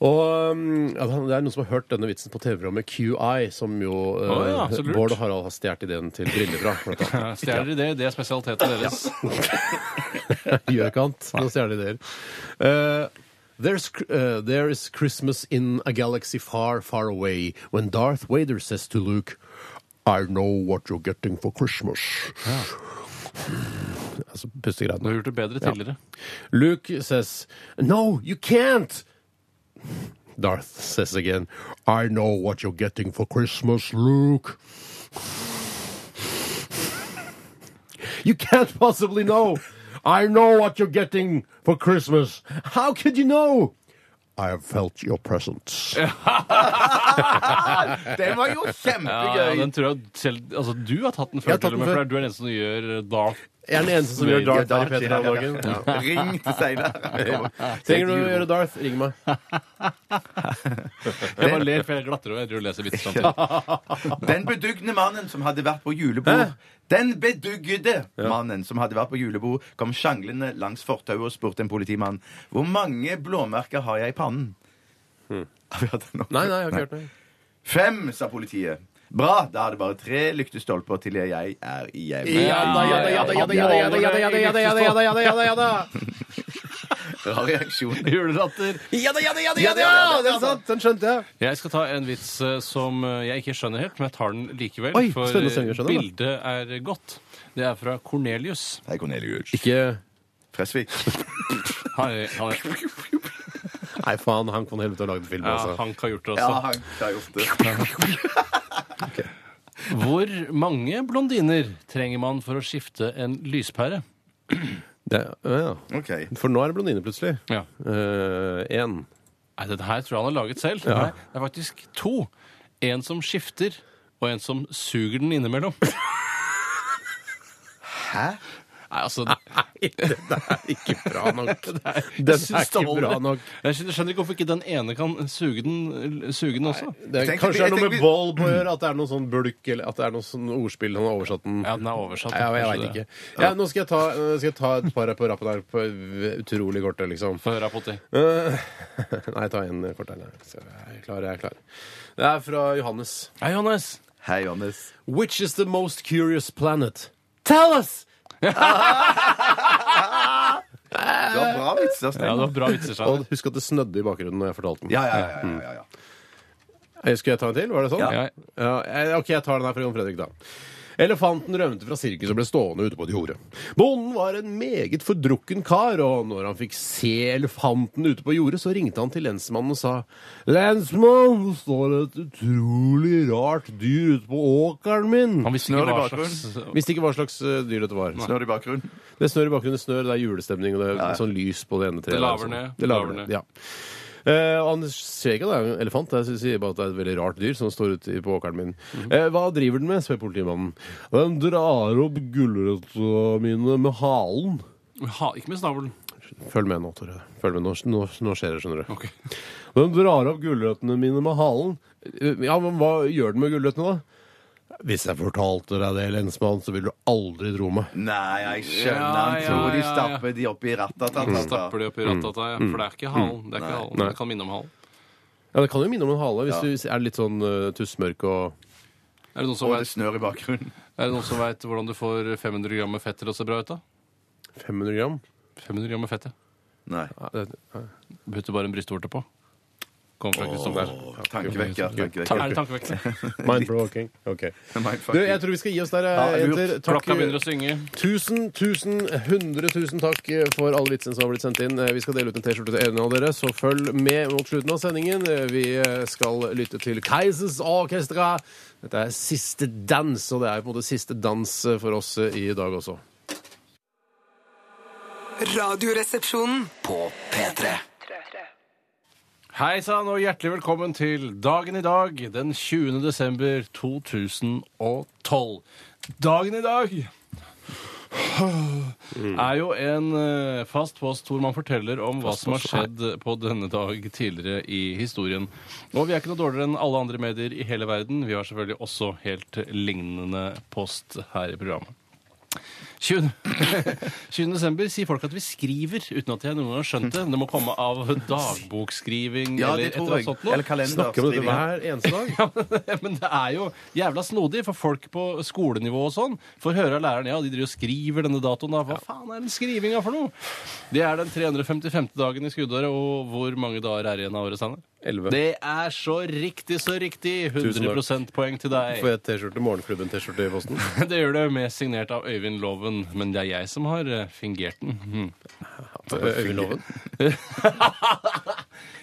[SPEAKER 3] Og um, ja, Det er noen som har hørt denne vitsen på TV-programmet QI, som jo eh,
[SPEAKER 4] Å ja, så lurt.
[SPEAKER 3] Bård og Harald har stjålet ideen til briller fra. blant annet.
[SPEAKER 4] Ja, Stjeler de det? Det er spesialiteten deres.
[SPEAKER 3] Gjør ikke annet. Nå stjeler de ideer. Eh, There's, cr- eh, there is Christmas in a galaxy far, far away when Darth Vader says to Luke, I know what you're getting for Christmas. altså
[SPEAKER 4] Du
[SPEAKER 3] pustegreiene.
[SPEAKER 4] har gjort det bedre tidligere.
[SPEAKER 3] Luke says, No, you can't! Darth says again, I know what you're getting for Christmas, Luke. You can't possibly know. I know what you're getting for Christmas. How could you know? I have felt your presence.
[SPEAKER 5] Den Ah, var jo
[SPEAKER 4] Ja, ja,
[SPEAKER 5] kjempegøy!
[SPEAKER 4] den tror jeg selv Altså, du har tatt den
[SPEAKER 3] Jeg
[SPEAKER 4] før,
[SPEAKER 3] har tatt
[SPEAKER 4] til og med,
[SPEAKER 3] den
[SPEAKER 4] for
[SPEAKER 3] før.
[SPEAKER 4] du er den eneste som gjør eh, Dark.
[SPEAKER 3] Jeg er den eneste som gjør Darth her i P3 om dagen. Ja.
[SPEAKER 5] Ring til Steinar.
[SPEAKER 3] Trenger du å gjøre Darth, ring meg.
[SPEAKER 4] Jeg bare ler, for jeg glatter over. Jeg tror du leser vitser samtidig.
[SPEAKER 5] Den bedugne mannen som hadde vært på julebord Den bedugde mannen som hadde vært på julebord, kom sjanglende langs fortauet og spurte en politimann hvor mange blåmerker har jeg i pannen. Har vi hatt den nå?
[SPEAKER 3] Nei, nei, jeg har ikke hørt noe.
[SPEAKER 5] Fem, sa politiet. Bra, da er det bare tre lyktestolper til jeg er hjemme. Rar reaksjon.
[SPEAKER 4] Julelatter.
[SPEAKER 3] Ja, det er sant! Den skjønte jeg.
[SPEAKER 4] Jeg skal ta en vits eh, som eh, jeg ikke skjønner helt, men jeg tar den likevel.
[SPEAKER 3] Oi,
[SPEAKER 4] for
[SPEAKER 3] spennende stemmer,
[SPEAKER 4] eh,
[SPEAKER 3] skjønner jeg.
[SPEAKER 4] bildet er godt. Det er fra Cornelius.
[SPEAKER 5] Hei, Cornelius.
[SPEAKER 3] Ikke
[SPEAKER 5] Fresvik.
[SPEAKER 4] Han, er- han, er-
[SPEAKER 3] Nei, faen, han kan helvete ha lagd film,
[SPEAKER 4] ja,
[SPEAKER 3] altså.
[SPEAKER 4] han har gjort det,
[SPEAKER 5] Ja,
[SPEAKER 4] altså.
[SPEAKER 5] han har gjort det.
[SPEAKER 4] Hvor mange blondiner trenger man for å skifte en lyspære?
[SPEAKER 3] Det, ja.
[SPEAKER 5] OK.
[SPEAKER 3] For nå er det blondine, plutselig.
[SPEAKER 4] Ja.
[SPEAKER 3] Én.
[SPEAKER 4] Nei, dette her tror jeg han har laget selv. Nei, det er faktisk to. En som skifter, og en som suger den innimellom. Hæ? Nei, altså
[SPEAKER 3] Ikke bra nok. Den
[SPEAKER 4] jeg
[SPEAKER 3] er
[SPEAKER 4] syns
[SPEAKER 3] ikke
[SPEAKER 4] det holder.
[SPEAKER 3] bra nok.
[SPEAKER 4] Jeg skjønner, skjønner ikke hvorfor ikke den ene kan suge den, suge den også.
[SPEAKER 3] Det er,
[SPEAKER 5] Jeg tenker-
[SPEAKER 3] kanskje det er
[SPEAKER 5] jeg
[SPEAKER 3] noe med
[SPEAKER 5] tenker-
[SPEAKER 3] vold på å gjøre, at det er noe sånn bulk, eller at det er noe sånn ordspill han har oversatt den.
[SPEAKER 4] Ja, den er oversatt.
[SPEAKER 3] Ja, jeg
[SPEAKER 4] kanskje
[SPEAKER 3] vet
[SPEAKER 4] det.
[SPEAKER 3] ikke. Ja, nå skal jeg ta, nå skal jeg ta et par på rappen her, på utrolig korte, liksom.
[SPEAKER 4] Få høre, Apoti.
[SPEAKER 3] Eh, Nei, ta en kort her. nei. Så Jeg er klar, jeg er klar. Det er fra Johannes.
[SPEAKER 4] Hei, Johannes.
[SPEAKER 5] Hei, Johannes.
[SPEAKER 3] Which is the most curious planet? Tell us!
[SPEAKER 5] Du har bra vitser,
[SPEAKER 4] Ja, det
[SPEAKER 5] Steinar.
[SPEAKER 4] var bra vitser. Steinar.
[SPEAKER 3] Og husk at det snødde i bakgrunnen når jeg fortalte den.
[SPEAKER 5] Ja, ja, ja, ja, ja, ja.
[SPEAKER 3] Eh, Skal jeg ta en til? Var det sånn?
[SPEAKER 4] Ja.
[SPEAKER 3] Ja, eh, ok, jeg tar den her fra Jon Fredrik, da. Elefanten rømte fra sirkuset og ble stående ute på et jorde. Bonden var en meget fordrukken kar, og når han fikk se elefanten ute på jordet, så ringte han til lensmannen og sa Lensmann, det står et utrolig rart dyr ute på åkeren min.
[SPEAKER 4] Han visste
[SPEAKER 5] Snør
[SPEAKER 4] ikke
[SPEAKER 5] i
[SPEAKER 4] hva slags
[SPEAKER 5] bakgrunnen.
[SPEAKER 3] Visste ikke hva slags eh, dyr dette var.
[SPEAKER 5] Snør i bakgrunnen.
[SPEAKER 3] Det er snør i bakgrunnen, det er snør, det er julestemning, og det er sånn lys på det ene treet.
[SPEAKER 4] Det
[SPEAKER 3] der,
[SPEAKER 4] laver
[SPEAKER 3] sånn.
[SPEAKER 4] ned,
[SPEAKER 3] Det laver
[SPEAKER 4] laver
[SPEAKER 3] ned,
[SPEAKER 4] ned.
[SPEAKER 3] ja. Eh, og han ser ikke at det er en elefant, jeg sier bare at det er et veldig rart dyr som står ute på åkeren min.
[SPEAKER 4] Mhm.
[SPEAKER 3] Eh, hva driver den med, spør politimannen. Den drar opp gulrøttene mine med halen.
[SPEAKER 4] ha, Ikke med snavlen.
[SPEAKER 3] Følg med nå, Tore. Følg med, nå, nå, nå skjer det, skjønner du.
[SPEAKER 4] Ok.
[SPEAKER 3] Den drar opp gulrøttene mine med halen. Eh, Ja, men hva gjør den med gulrøttene da? Hvis jeg fortalte deg det, lensmann, så ville du aldri tro meg.
[SPEAKER 5] Nei, jeg skjønner.
[SPEAKER 4] Ja,
[SPEAKER 5] Han
[SPEAKER 4] ja,
[SPEAKER 5] tror de
[SPEAKER 4] ja, ja.
[SPEAKER 5] stapper de oppi
[SPEAKER 4] Stapper
[SPEAKER 5] rattatata.
[SPEAKER 4] de opp i
[SPEAKER 3] Mm.
[SPEAKER 4] ratata, ja. For det er ikke halen. Det er ikke halen. Det kan minne om halen.
[SPEAKER 3] Ja, det kan jo minne om en hale, hvis
[SPEAKER 5] Ja.
[SPEAKER 3] du er litt sånn eh, tussmørk og...
[SPEAKER 4] Er det noen som
[SPEAKER 5] Og det
[SPEAKER 4] vet,
[SPEAKER 5] snør i bakgrunnen.
[SPEAKER 4] er det noen som vet hvordan du får 500 gram med fett til å se bra ut, da?
[SPEAKER 3] 500 gram?
[SPEAKER 4] 500 gram med fett, ja.
[SPEAKER 5] Nei.
[SPEAKER 4] Putter bare en brystvorte på. Kommer fra Kristoffer.
[SPEAKER 5] Åh, Tankevekker.
[SPEAKER 4] Ta- Er
[SPEAKER 5] tankevekker.
[SPEAKER 4] det tankevekkende?
[SPEAKER 3] Mindprovoking. Ok.
[SPEAKER 5] Mindfuck.
[SPEAKER 3] Du, jeg tror vi skal gi oss der, eh,
[SPEAKER 5] Ja, lurt.
[SPEAKER 3] jenter. eh,
[SPEAKER 4] Klokka begynner å synge.
[SPEAKER 3] Tusen, tusen, hundre tusen takk eh, for alle vitsene som har blitt sendt inn. Eh, Vi skal dele ut en T-skjorte til en av dere, så følg med mot slutten av sendingen. Eh, Vi eh, skal lytte til Keisers Orkestra. Dette er siste dans, og det er på en måte siste dans eh, for oss eh, i dag også.
[SPEAKER 1] Radioresepsjonen.
[SPEAKER 2] På P3.
[SPEAKER 4] Hei sann, og hjertelig velkommen til dagen i dag, den 20. desember 2012. Dagen i dag
[SPEAKER 5] Mm.
[SPEAKER 4] er jo en eh, fast post hvor man forteller om hva som har skjedd på denne dag tidligere i historien. Og vi er ikke noe dårligere enn alle andre medier i hele verden. Vi har selvfølgelig også helt lignende post her i programmet. 20. 20. desember sier folk at vi skriver, uten at jeg noen gang har skjønt det. Det må komme av dagbokskriving
[SPEAKER 5] Ja,
[SPEAKER 4] eller
[SPEAKER 5] det
[SPEAKER 4] et eller
[SPEAKER 5] tror
[SPEAKER 4] annet
[SPEAKER 5] jeg.
[SPEAKER 4] sånt. noe.
[SPEAKER 5] Eller kalender.
[SPEAKER 3] Snakker vi om det
[SPEAKER 5] skriving.
[SPEAKER 3] hver eneste dag?
[SPEAKER 4] Men det er jo jævla snodig, for folk på skolenivå og sånn får høre av læreren ja, de driver og skriver denne datoen. da. Hva faen er den skrivinga for noe? Det er den 355. dagen i skuddåret, og hvor mange dager er igjen av året, Steinar?
[SPEAKER 3] Elleve.
[SPEAKER 4] Det er så riktig, så riktig!
[SPEAKER 3] Tusen takk.
[SPEAKER 4] 100 poeng til deg.
[SPEAKER 3] Får jeg T-skjorte? Morgenklubben-T-skjorte i posten?
[SPEAKER 4] Det gjør det med signert av Øyvind Loven, men det er jeg som har eh, fingert den. Mhm.
[SPEAKER 3] Eh, Øyvind Loven?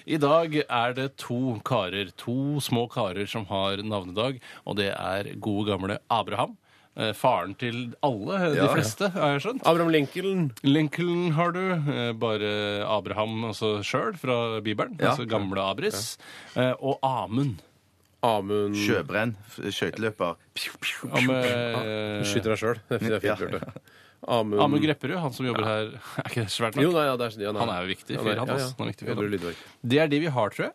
[SPEAKER 4] I dag er det to karer, to små karer som har navnedag, og det er gode gamle Abraham eh, faren til alle, eh, de
[SPEAKER 3] Ja.
[SPEAKER 4] fleste, har jeg skjønt.
[SPEAKER 3] Abraham Lincoln.
[SPEAKER 4] Lincoln har du, eh, bare Abraham altså sjøl fra Bibelen,
[SPEAKER 3] Ja.
[SPEAKER 4] altså gamle Abris, eh, og Amund.
[SPEAKER 3] Amund
[SPEAKER 5] Sjøbrenn. f- Skøyteløper. Pju, pju,
[SPEAKER 4] Am-
[SPEAKER 5] pju.
[SPEAKER 4] eh,
[SPEAKER 3] Ah, Du Skyter deg sjøl. Det er
[SPEAKER 5] Ja.
[SPEAKER 3] fint, Bjarte. Amund
[SPEAKER 4] Amund Grepperud, han som jobber her. Er ikke det svært
[SPEAKER 3] Jo,
[SPEAKER 4] nok?
[SPEAKER 3] nei, ja, det er, ja, nei.
[SPEAKER 4] Han er jo viktig fyr, han, ass. Han er viktig fyr,
[SPEAKER 3] Jobber i
[SPEAKER 4] han.
[SPEAKER 3] lydverk.
[SPEAKER 4] Det er de vi har, tror jeg.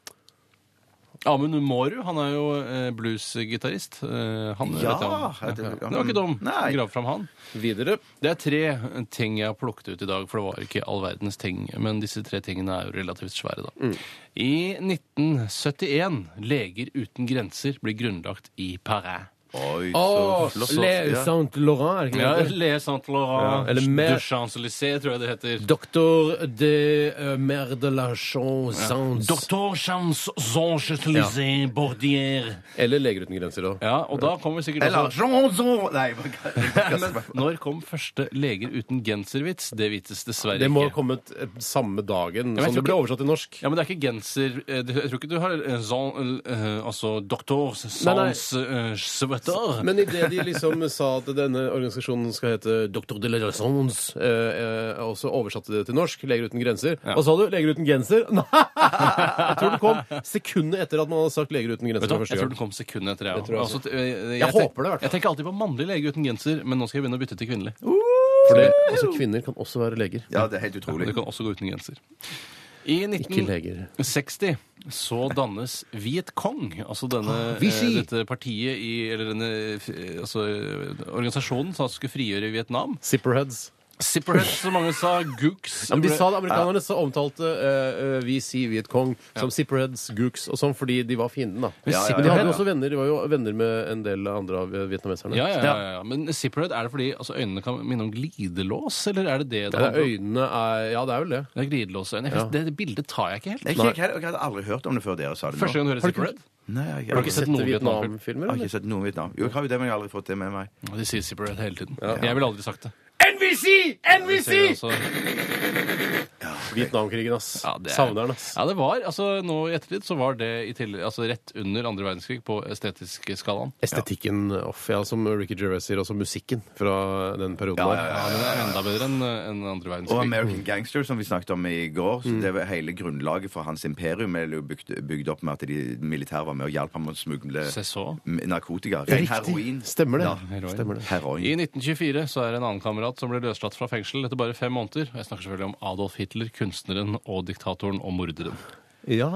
[SPEAKER 4] Amund Mårud, han er jo eh, bluesgitarist. Eh, han
[SPEAKER 5] Ja!
[SPEAKER 4] vet jeg om.
[SPEAKER 5] ja, det-
[SPEAKER 4] Det var ikke dum.
[SPEAKER 5] Nei.
[SPEAKER 4] Grav fram han.
[SPEAKER 3] Videre.
[SPEAKER 4] Det er tre ting jeg har plukket ut i dag, for det var ikke all verdens ting. Men disse tre tingene er jo relativt svære, da.
[SPEAKER 3] Mm.
[SPEAKER 4] I 1971 Leger uten grenser blir grunnlagt i Paris.
[SPEAKER 5] Oi,
[SPEAKER 3] Å,
[SPEAKER 5] så flott. Ja.
[SPEAKER 3] Saint-Laurent, er det
[SPEAKER 4] Ja,
[SPEAKER 3] det heter?
[SPEAKER 4] Le
[SPEAKER 3] Ja,
[SPEAKER 4] Saint-Laurent
[SPEAKER 3] eller mer-
[SPEAKER 4] de Champs-Élysées, tror jeg det heter.
[SPEAKER 3] Doctor de uh, Mer de la Chansons.
[SPEAKER 4] Doctor Champs-Élysées Bordier.
[SPEAKER 3] Eller Leger uten grenser. Da.
[SPEAKER 4] Ja, og da kommer vi sikkert
[SPEAKER 5] Eller
[SPEAKER 4] også
[SPEAKER 5] Jean Jean Nei, hva- hva- hva-
[SPEAKER 4] Når kom første Leger uten genservits? Det vites dessverre
[SPEAKER 3] Det må ha
[SPEAKER 4] ikke.
[SPEAKER 3] kommet eh, samme dagen
[SPEAKER 4] jeg
[SPEAKER 3] som
[SPEAKER 4] tror
[SPEAKER 3] det ble oversatt til norsk.
[SPEAKER 4] Ja, men det er ikke genser eh, det- Jeg tror ikke du har eh, sånn, eh, Altså doktor
[SPEAKER 3] Nei, nei.
[SPEAKER 4] sans eh, sweater.
[SPEAKER 3] Men idet de liksom sa at denne organisasjonen skal hete Doctor de la Chansons, eh, eh, og så oversatte det til norsk, Leger uten grenser Hva sa du? Leger uten genser? Nei! Jeg tror det kom sekundet etter at man hadde sagt Leger uten
[SPEAKER 4] Vet
[SPEAKER 3] grenser
[SPEAKER 4] du, hva?
[SPEAKER 3] for
[SPEAKER 4] jeg
[SPEAKER 3] første
[SPEAKER 4] tror den
[SPEAKER 3] gang.
[SPEAKER 4] kom sekundet etter. Jeg, også.
[SPEAKER 3] tror jeg også.
[SPEAKER 4] Altså, t- eh, jeg,
[SPEAKER 3] Jeg
[SPEAKER 4] tenk-
[SPEAKER 3] håper det, i hvert fall.
[SPEAKER 4] Jeg tenker alltid på mannlig lege uten genser, men nå skal jeg begynne å bytte til kvinnelig.
[SPEAKER 3] For det, altså, kvinner kan også være leger.
[SPEAKER 5] Ja, det er helt
[SPEAKER 4] Det
[SPEAKER 5] utrolig.
[SPEAKER 4] kan også gå uten genser. I
[SPEAKER 3] Ikke leger.
[SPEAKER 4] 1960 så dannes Viet Cong, altså denne,
[SPEAKER 3] Vichy.
[SPEAKER 4] eh, dette partiet i Eller denne eh, altså, eh, organisasjonen som altså skulle frigjøre Vietnam.
[SPEAKER 3] Zipperheads.
[SPEAKER 4] Zipperheads, som mange sa. Gooks.
[SPEAKER 3] Ja, men de sa det, Amerikanerne så omtalte eh, eh, VC Viet Cong som Zipperheads, Gooks og sånn fordi de var fienden. da.
[SPEAKER 4] Ja, ja, ja,
[SPEAKER 3] Men de hadde
[SPEAKER 4] ja.
[SPEAKER 3] jo også venner. De var jo venner med en del andre av eh, vietnameserne.
[SPEAKER 4] Ja, ja, ja, ja. Men zipperhead, er det fordi altså, øynene kan minne om glidelås, eller er det det det
[SPEAKER 3] Ja,
[SPEAKER 4] handler om?
[SPEAKER 3] øynene er Ja, det er vel det.
[SPEAKER 4] Det er glidelåsøyne. Jeg- Det, det bildet tar jeg ikke helt.
[SPEAKER 5] Nei, ikke jeg heller. Jeg hadde aldri hørt om det før dere sa det nå.
[SPEAKER 4] Første gang du hører zipperhead?
[SPEAKER 5] Nei, jeg,
[SPEAKER 4] Har du ikke sett noen Vietnam-film?
[SPEAKER 5] jeg
[SPEAKER 3] Vietnamfilmer,
[SPEAKER 5] har ikke
[SPEAKER 3] eller?
[SPEAKER 5] sett noe Vietnam. Jo, jeg har jo det, men jeg har aldri fått det med meg.
[SPEAKER 4] Og De sier zipperhead hele tiden. Jeg ville aldri sagt det.
[SPEAKER 3] NVC!
[SPEAKER 4] Jeg sier altså-
[SPEAKER 3] Vietnamkrigen, ass.
[SPEAKER 4] Ja, det er-
[SPEAKER 3] Savner den, ass.
[SPEAKER 4] Ja, det var, altså Nå i ettertid så var det i tillegg, altså, rett under andre verdenskrig på estetisk-skalaen.
[SPEAKER 3] Estetikken off, ja, som Ricky Gervais sier, også musikken fra den perioden der.
[SPEAKER 4] Ja, den er enda bedre enn enn andre verdenskrig.
[SPEAKER 5] Og American Gangster, som vi snakket om i går, så det var hele grunnlaget for hans imperium er jo bygd, bygd opp med at de militære var med og hjalp ham å smugle
[SPEAKER 4] Se så.
[SPEAKER 5] m- narkotika. Ren heroin.
[SPEAKER 3] Stemmer det.
[SPEAKER 5] Ja,
[SPEAKER 4] heroin.
[SPEAKER 3] Stemmer det.
[SPEAKER 5] Heroin.
[SPEAKER 4] I 1924 så er det en annen kamerat som ble løslatt fra fengsel etter bare fem måneder. Jeg snakker selvfølgelig om Adolf Hitler, kunstneren og diktatoren og morderen.
[SPEAKER 3] Ja.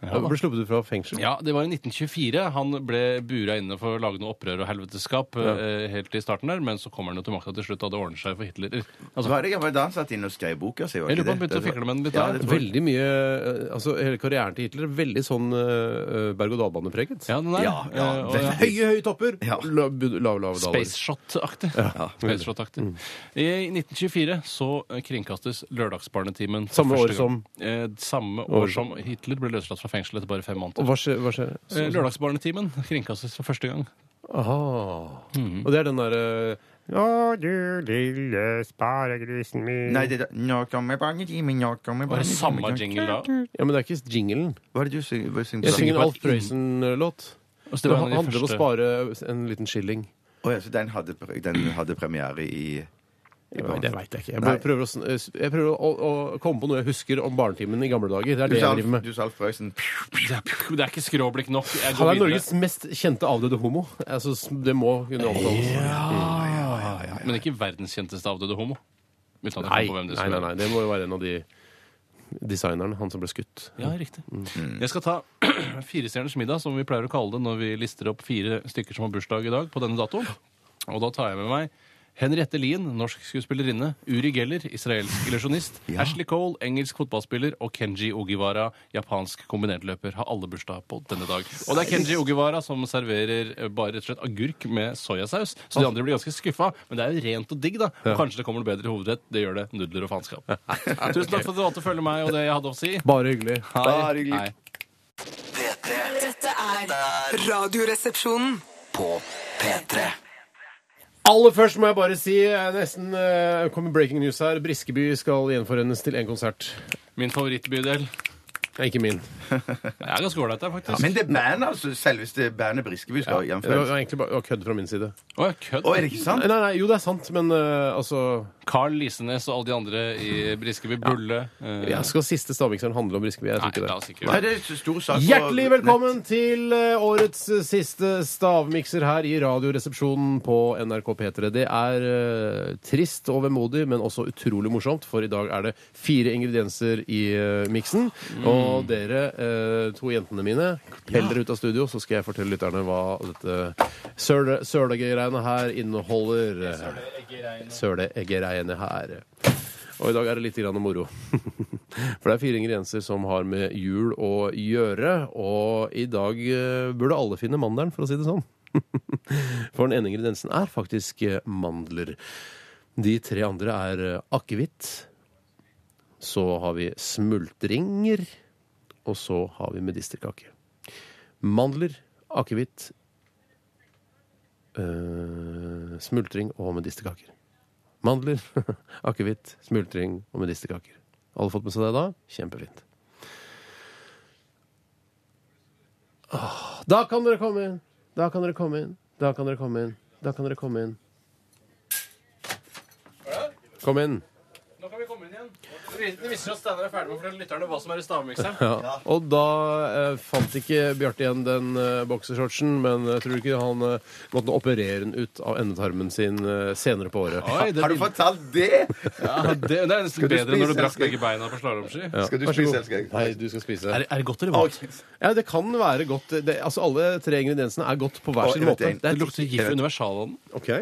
[SPEAKER 3] Jeg Ble sluppet ut fra fengsel.
[SPEAKER 4] Ja, det var i 1924. Han ble bura inne for å lage noe opprør og helveteskap eh, helt i starten der, men så kommer han jo til makta til slutt, og det ordner seg for Hitler.
[SPEAKER 5] Så
[SPEAKER 4] Altså,
[SPEAKER 5] var det jeg var da han satt inne og skrev boka si? var
[SPEAKER 4] Jeg lurer på
[SPEAKER 5] ikke
[SPEAKER 4] om han
[SPEAKER 5] det?
[SPEAKER 4] begynte å fikle med den litt
[SPEAKER 5] Ja,
[SPEAKER 4] der.
[SPEAKER 5] det tror jeg.
[SPEAKER 3] Veldig mye eh, Altså hele karrieren til Hitler veldig sånn eh, berg-og-dal-bane-preget.
[SPEAKER 4] ja, den der.
[SPEAKER 5] Ja, ja,
[SPEAKER 4] Eh, og-
[SPEAKER 5] veldig.
[SPEAKER 3] Høye, høye topper.
[SPEAKER 5] Ja.
[SPEAKER 3] La- bu- Lave, lave daler.
[SPEAKER 4] Space Shot-aktig. Space Shot-aktig.
[SPEAKER 3] Mm.
[SPEAKER 4] I 1924 så eh, kringkastes Lørdagsbarnetimen. for
[SPEAKER 3] Samme
[SPEAKER 4] første
[SPEAKER 3] år
[SPEAKER 4] gang.
[SPEAKER 3] som-
[SPEAKER 4] eh, Samme år som Hitler ble løslatt fra fengsel etter bare fem
[SPEAKER 3] Og
[SPEAKER 4] måneder.
[SPEAKER 3] hva skjer? Hva skjer?
[SPEAKER 4] Eh, Lørdagsbarnetimen kringkastes for første gang.
[SPEAKER 3] Aha.
[SPEAKER 4] Mhm.
[SPEAKER 3] Og det er den eh, derre
[SPEAKER 8] Å, du lille sparegrisen min.
[SPEAKER 5] Nei, det er da- Nå kommer barnetimen, nå kommer
[SPEAKER 4] Var det
[SPEAKER 5] barnetimen,
[SPEAKER 4] samme
[SPEAKER 5] nå-
[SPEAKER 4] jingle da?
[SPEAKER 3] Ja, men det er ikke jinglen.
[SPEAKER 5] Hva er det du synger? Hva
[SPEAKER 3] Jeg
[SPEAKER 5] synger du?
[SPEAKER 3] synger en
[SPEAKER 4] bare
[SPEAKER 3] Alf Prøysen-låt.
[SPEAKER 4] Altså,
[SPEAKER 3] Det
[SPEAKER 4] det var en av
[SPEAKER 3] handler
[SPEAKER 4] de
[SPEAKER 3] om å
[SPEAKER 4] første
[SPEAKER 3] spare en liten skilling.
[SPEAKER 5] Å ja, så den hadde, pre- den hadde premiere i, i
[SPEAKER 3] Nei,
[SPEAKER 5] barn-
[SPEAKER 3] Det veit jeg ikke. Jeg bare
[SPEAKER 5] Nei.
[SPEAKER 3] prøver, å, sn- eh, jeg prøver å, å, å komme på noe jeg husker om barnetimen i gamle dager. Det er
[SPEAKER 5] Du
[SPEAKER 3] det
[SPEAKER 5] sa
[SPEAKER 3] jeg
[SPEAKER 5] Alf-
[SPEAKER 3] driver med.
[SPEAKER 5] Du sa Alf Prøysen.
[SPEAKER 4] Det er ikke skråblikk nok. Jeg
[SPEAKER 3] Han
[SPEAKER 4] går
[SPEAKER 3] er
[SPEAKER 4] videre.
[SPEAKER 3] Norges mest kjente avdøde homo. Altså, det må kunne omtales.
[SPEAKER 4] Men ikke verdens kjenteste avdøde homo. Uten at jeg
[SPEAKER 3] Nei,
[SPEAKER 4] kom på hvem det
[SPEAKER 3] nei,
[SPEAKER 4] skulle
[SPEAKER 3] nei, nei, det må jo være en av de designerne, han som ble skutt.
[SPEAKER 4] være. Ja, riktig. Jeg skal ta Firestjerners middag, som vi pleier å kalle det når vi lister opp fire stykker som har bursdag i dag, på denne datoen. Og da tar jeg med meg Henriette Lien, norsk skuespillerinne. Uri Geller, israelsk illusjonist. Ashley Cole, engelsk fotballspiller. Og Kenji Ogiwara, japansk kombinertløper, har alle bursdag på denne dag. Og det er Kenji Ogiwara som serverer eh, bare rett og slett agurk med soyasaus. Så de andre blir ganske skuffa. Men det er jo rent og digg, da. Og kanskje det kommer noe bedre hovedrett. Det gjør det. Nudler og faenskap. Tusen takk for at du valgte å følge meg og det jeg hadde å si.
[SPEAKER 3] Bare hyggelig.
[SPEAKER 4] Hei.
[SPEAKER 5] Bare hyggelig.
[SPEAKER 4] Hei.
[SPEAKER 2] P3
[SPEAKER 6] Dette er Radioresepsjonen.
[SPEAKER 2] på P3.
[SPEAKER 3] Aller først må jeg bare si, jeg nesten eh, kom i breaking news her, Briskeby skal gjenforenes til en konsert.
[SPEAKER 4] Min favorittbydel.
[SPEAKER 3] Ja, ikke min.
[SPEAKER 4] Det er ganske ålreit der, faktisk.
[SPEAKER 5] Men det er bandet, altså. Selveste bandet Briskeby skal
[SPEAKER 3] Det var
[SPEAKER 5] hjemføres.
[SPEAKER 3] egentlig bare det var kødd fra min side.
[SPEAKER 4] Å, ja, kødd.
[SPEAKER 5] Å, er det ikke sant?
[SPEAKER 3] Nei, nei, jo, det er sant, men eh, altså
[SPEAKER 4] Carl Lisenes og alle de andre i Briskeby Bulle. eh,
[SPEAKER 3] jeg Skal siste stavmikseren handle om Briskeby? Jeg
[SPEAKER 4] Nei,
[SPEAKER 3] tror ikke
[SPEAKER 4] la
[SPEAKER 3] det.
[SPEAKER 4] oss ikke
[SPEAKER 5] Nei,
[SPEAKER 4] gjøre det.
[SPEAKER 5] det er så stor sak. på-
[SPEAKER 3] Hjertelig velkommen til eh, årets eh, siste stavmikser her i Radioresepsjonen på NRK P3. Det er eh, trist og vemodig, men også utrolig morsomt, for i dag er det fire ingredienser i eh, miksen. Og dere, eh, to jentene mine, pell dere ut av studio, så skal jeg fortelle lytterne hva dette søle- sølegreiene her inneholder. Sølegreiene her. Og i dag er det litt grann moro. For det er fire ingredienser som har med jul å gjøre. Og i dag eh, burde alle finne mandelen, for å si det sånn. For den ene ingrediensen er faktisk eh, mandler. De tre andre er eh, akevitt. Så har vi smultringer. Og så har vi medisterkake. Mandler, akevitt, eh, smultring og medisterkaker. Mandler, akevitt, smultring og medisterkaker. Alle fått med seg det da? Kjempefint. Åh, Da kan dere komme inn! Da kan dere komme inn. Da kan dere komme inn. Da kan dere komme inn. Kom inn.
[SPEAKER 4] Nå kan vi komme inn igjen. Det viser oss at Steinar er ferdig med å fortelle lytterne hva som er i stavmikseren.
[SPEAKER 3] Ja. Og da eh, fant ikke Bjarte igjen den eh, boksershortsen, men jeg tror ikke han eh, måtte operere den ut av endetarmen sin eh, senere på året.
[SPEAKER 4] Oi, det,
[SPEAKER 5] Har du fortalt det?
[SPEAKER 4] ja, det, det er nesten
[SPEAKER 5] du
[SPEAKER 4] bedre når
[SPEAKER 5] spise,
[SPEAKER 4] du brakk
[SPEAKER 5] elsker?
[SPEAKER 4] begge beina på slalåmski.
[SPEAKER 3] Ja.
[SPEAKER 5] Skal du
[SPEAKER 3] Vær så god.
[SPEAKER 5] spise, eller skal jeg?
[SPEAKER 3] Nei, du skal spise.
[SPEAKER 4] Er, er det godt eller vondt?
[SPEAKER 3] Ja, det kan være godt. Det, altså, alle tre ingrediensene er godt på hver
[SPEAKER 5] Å,
[SPEAKER 3] sin
[SPEAKER 5] jeg vet
[SPEAKER 3] måte.
[SPEAKER 5] en.
[SPEAKER 4] Det lukter gift universalånden.
[SPEAKER 3] Ok.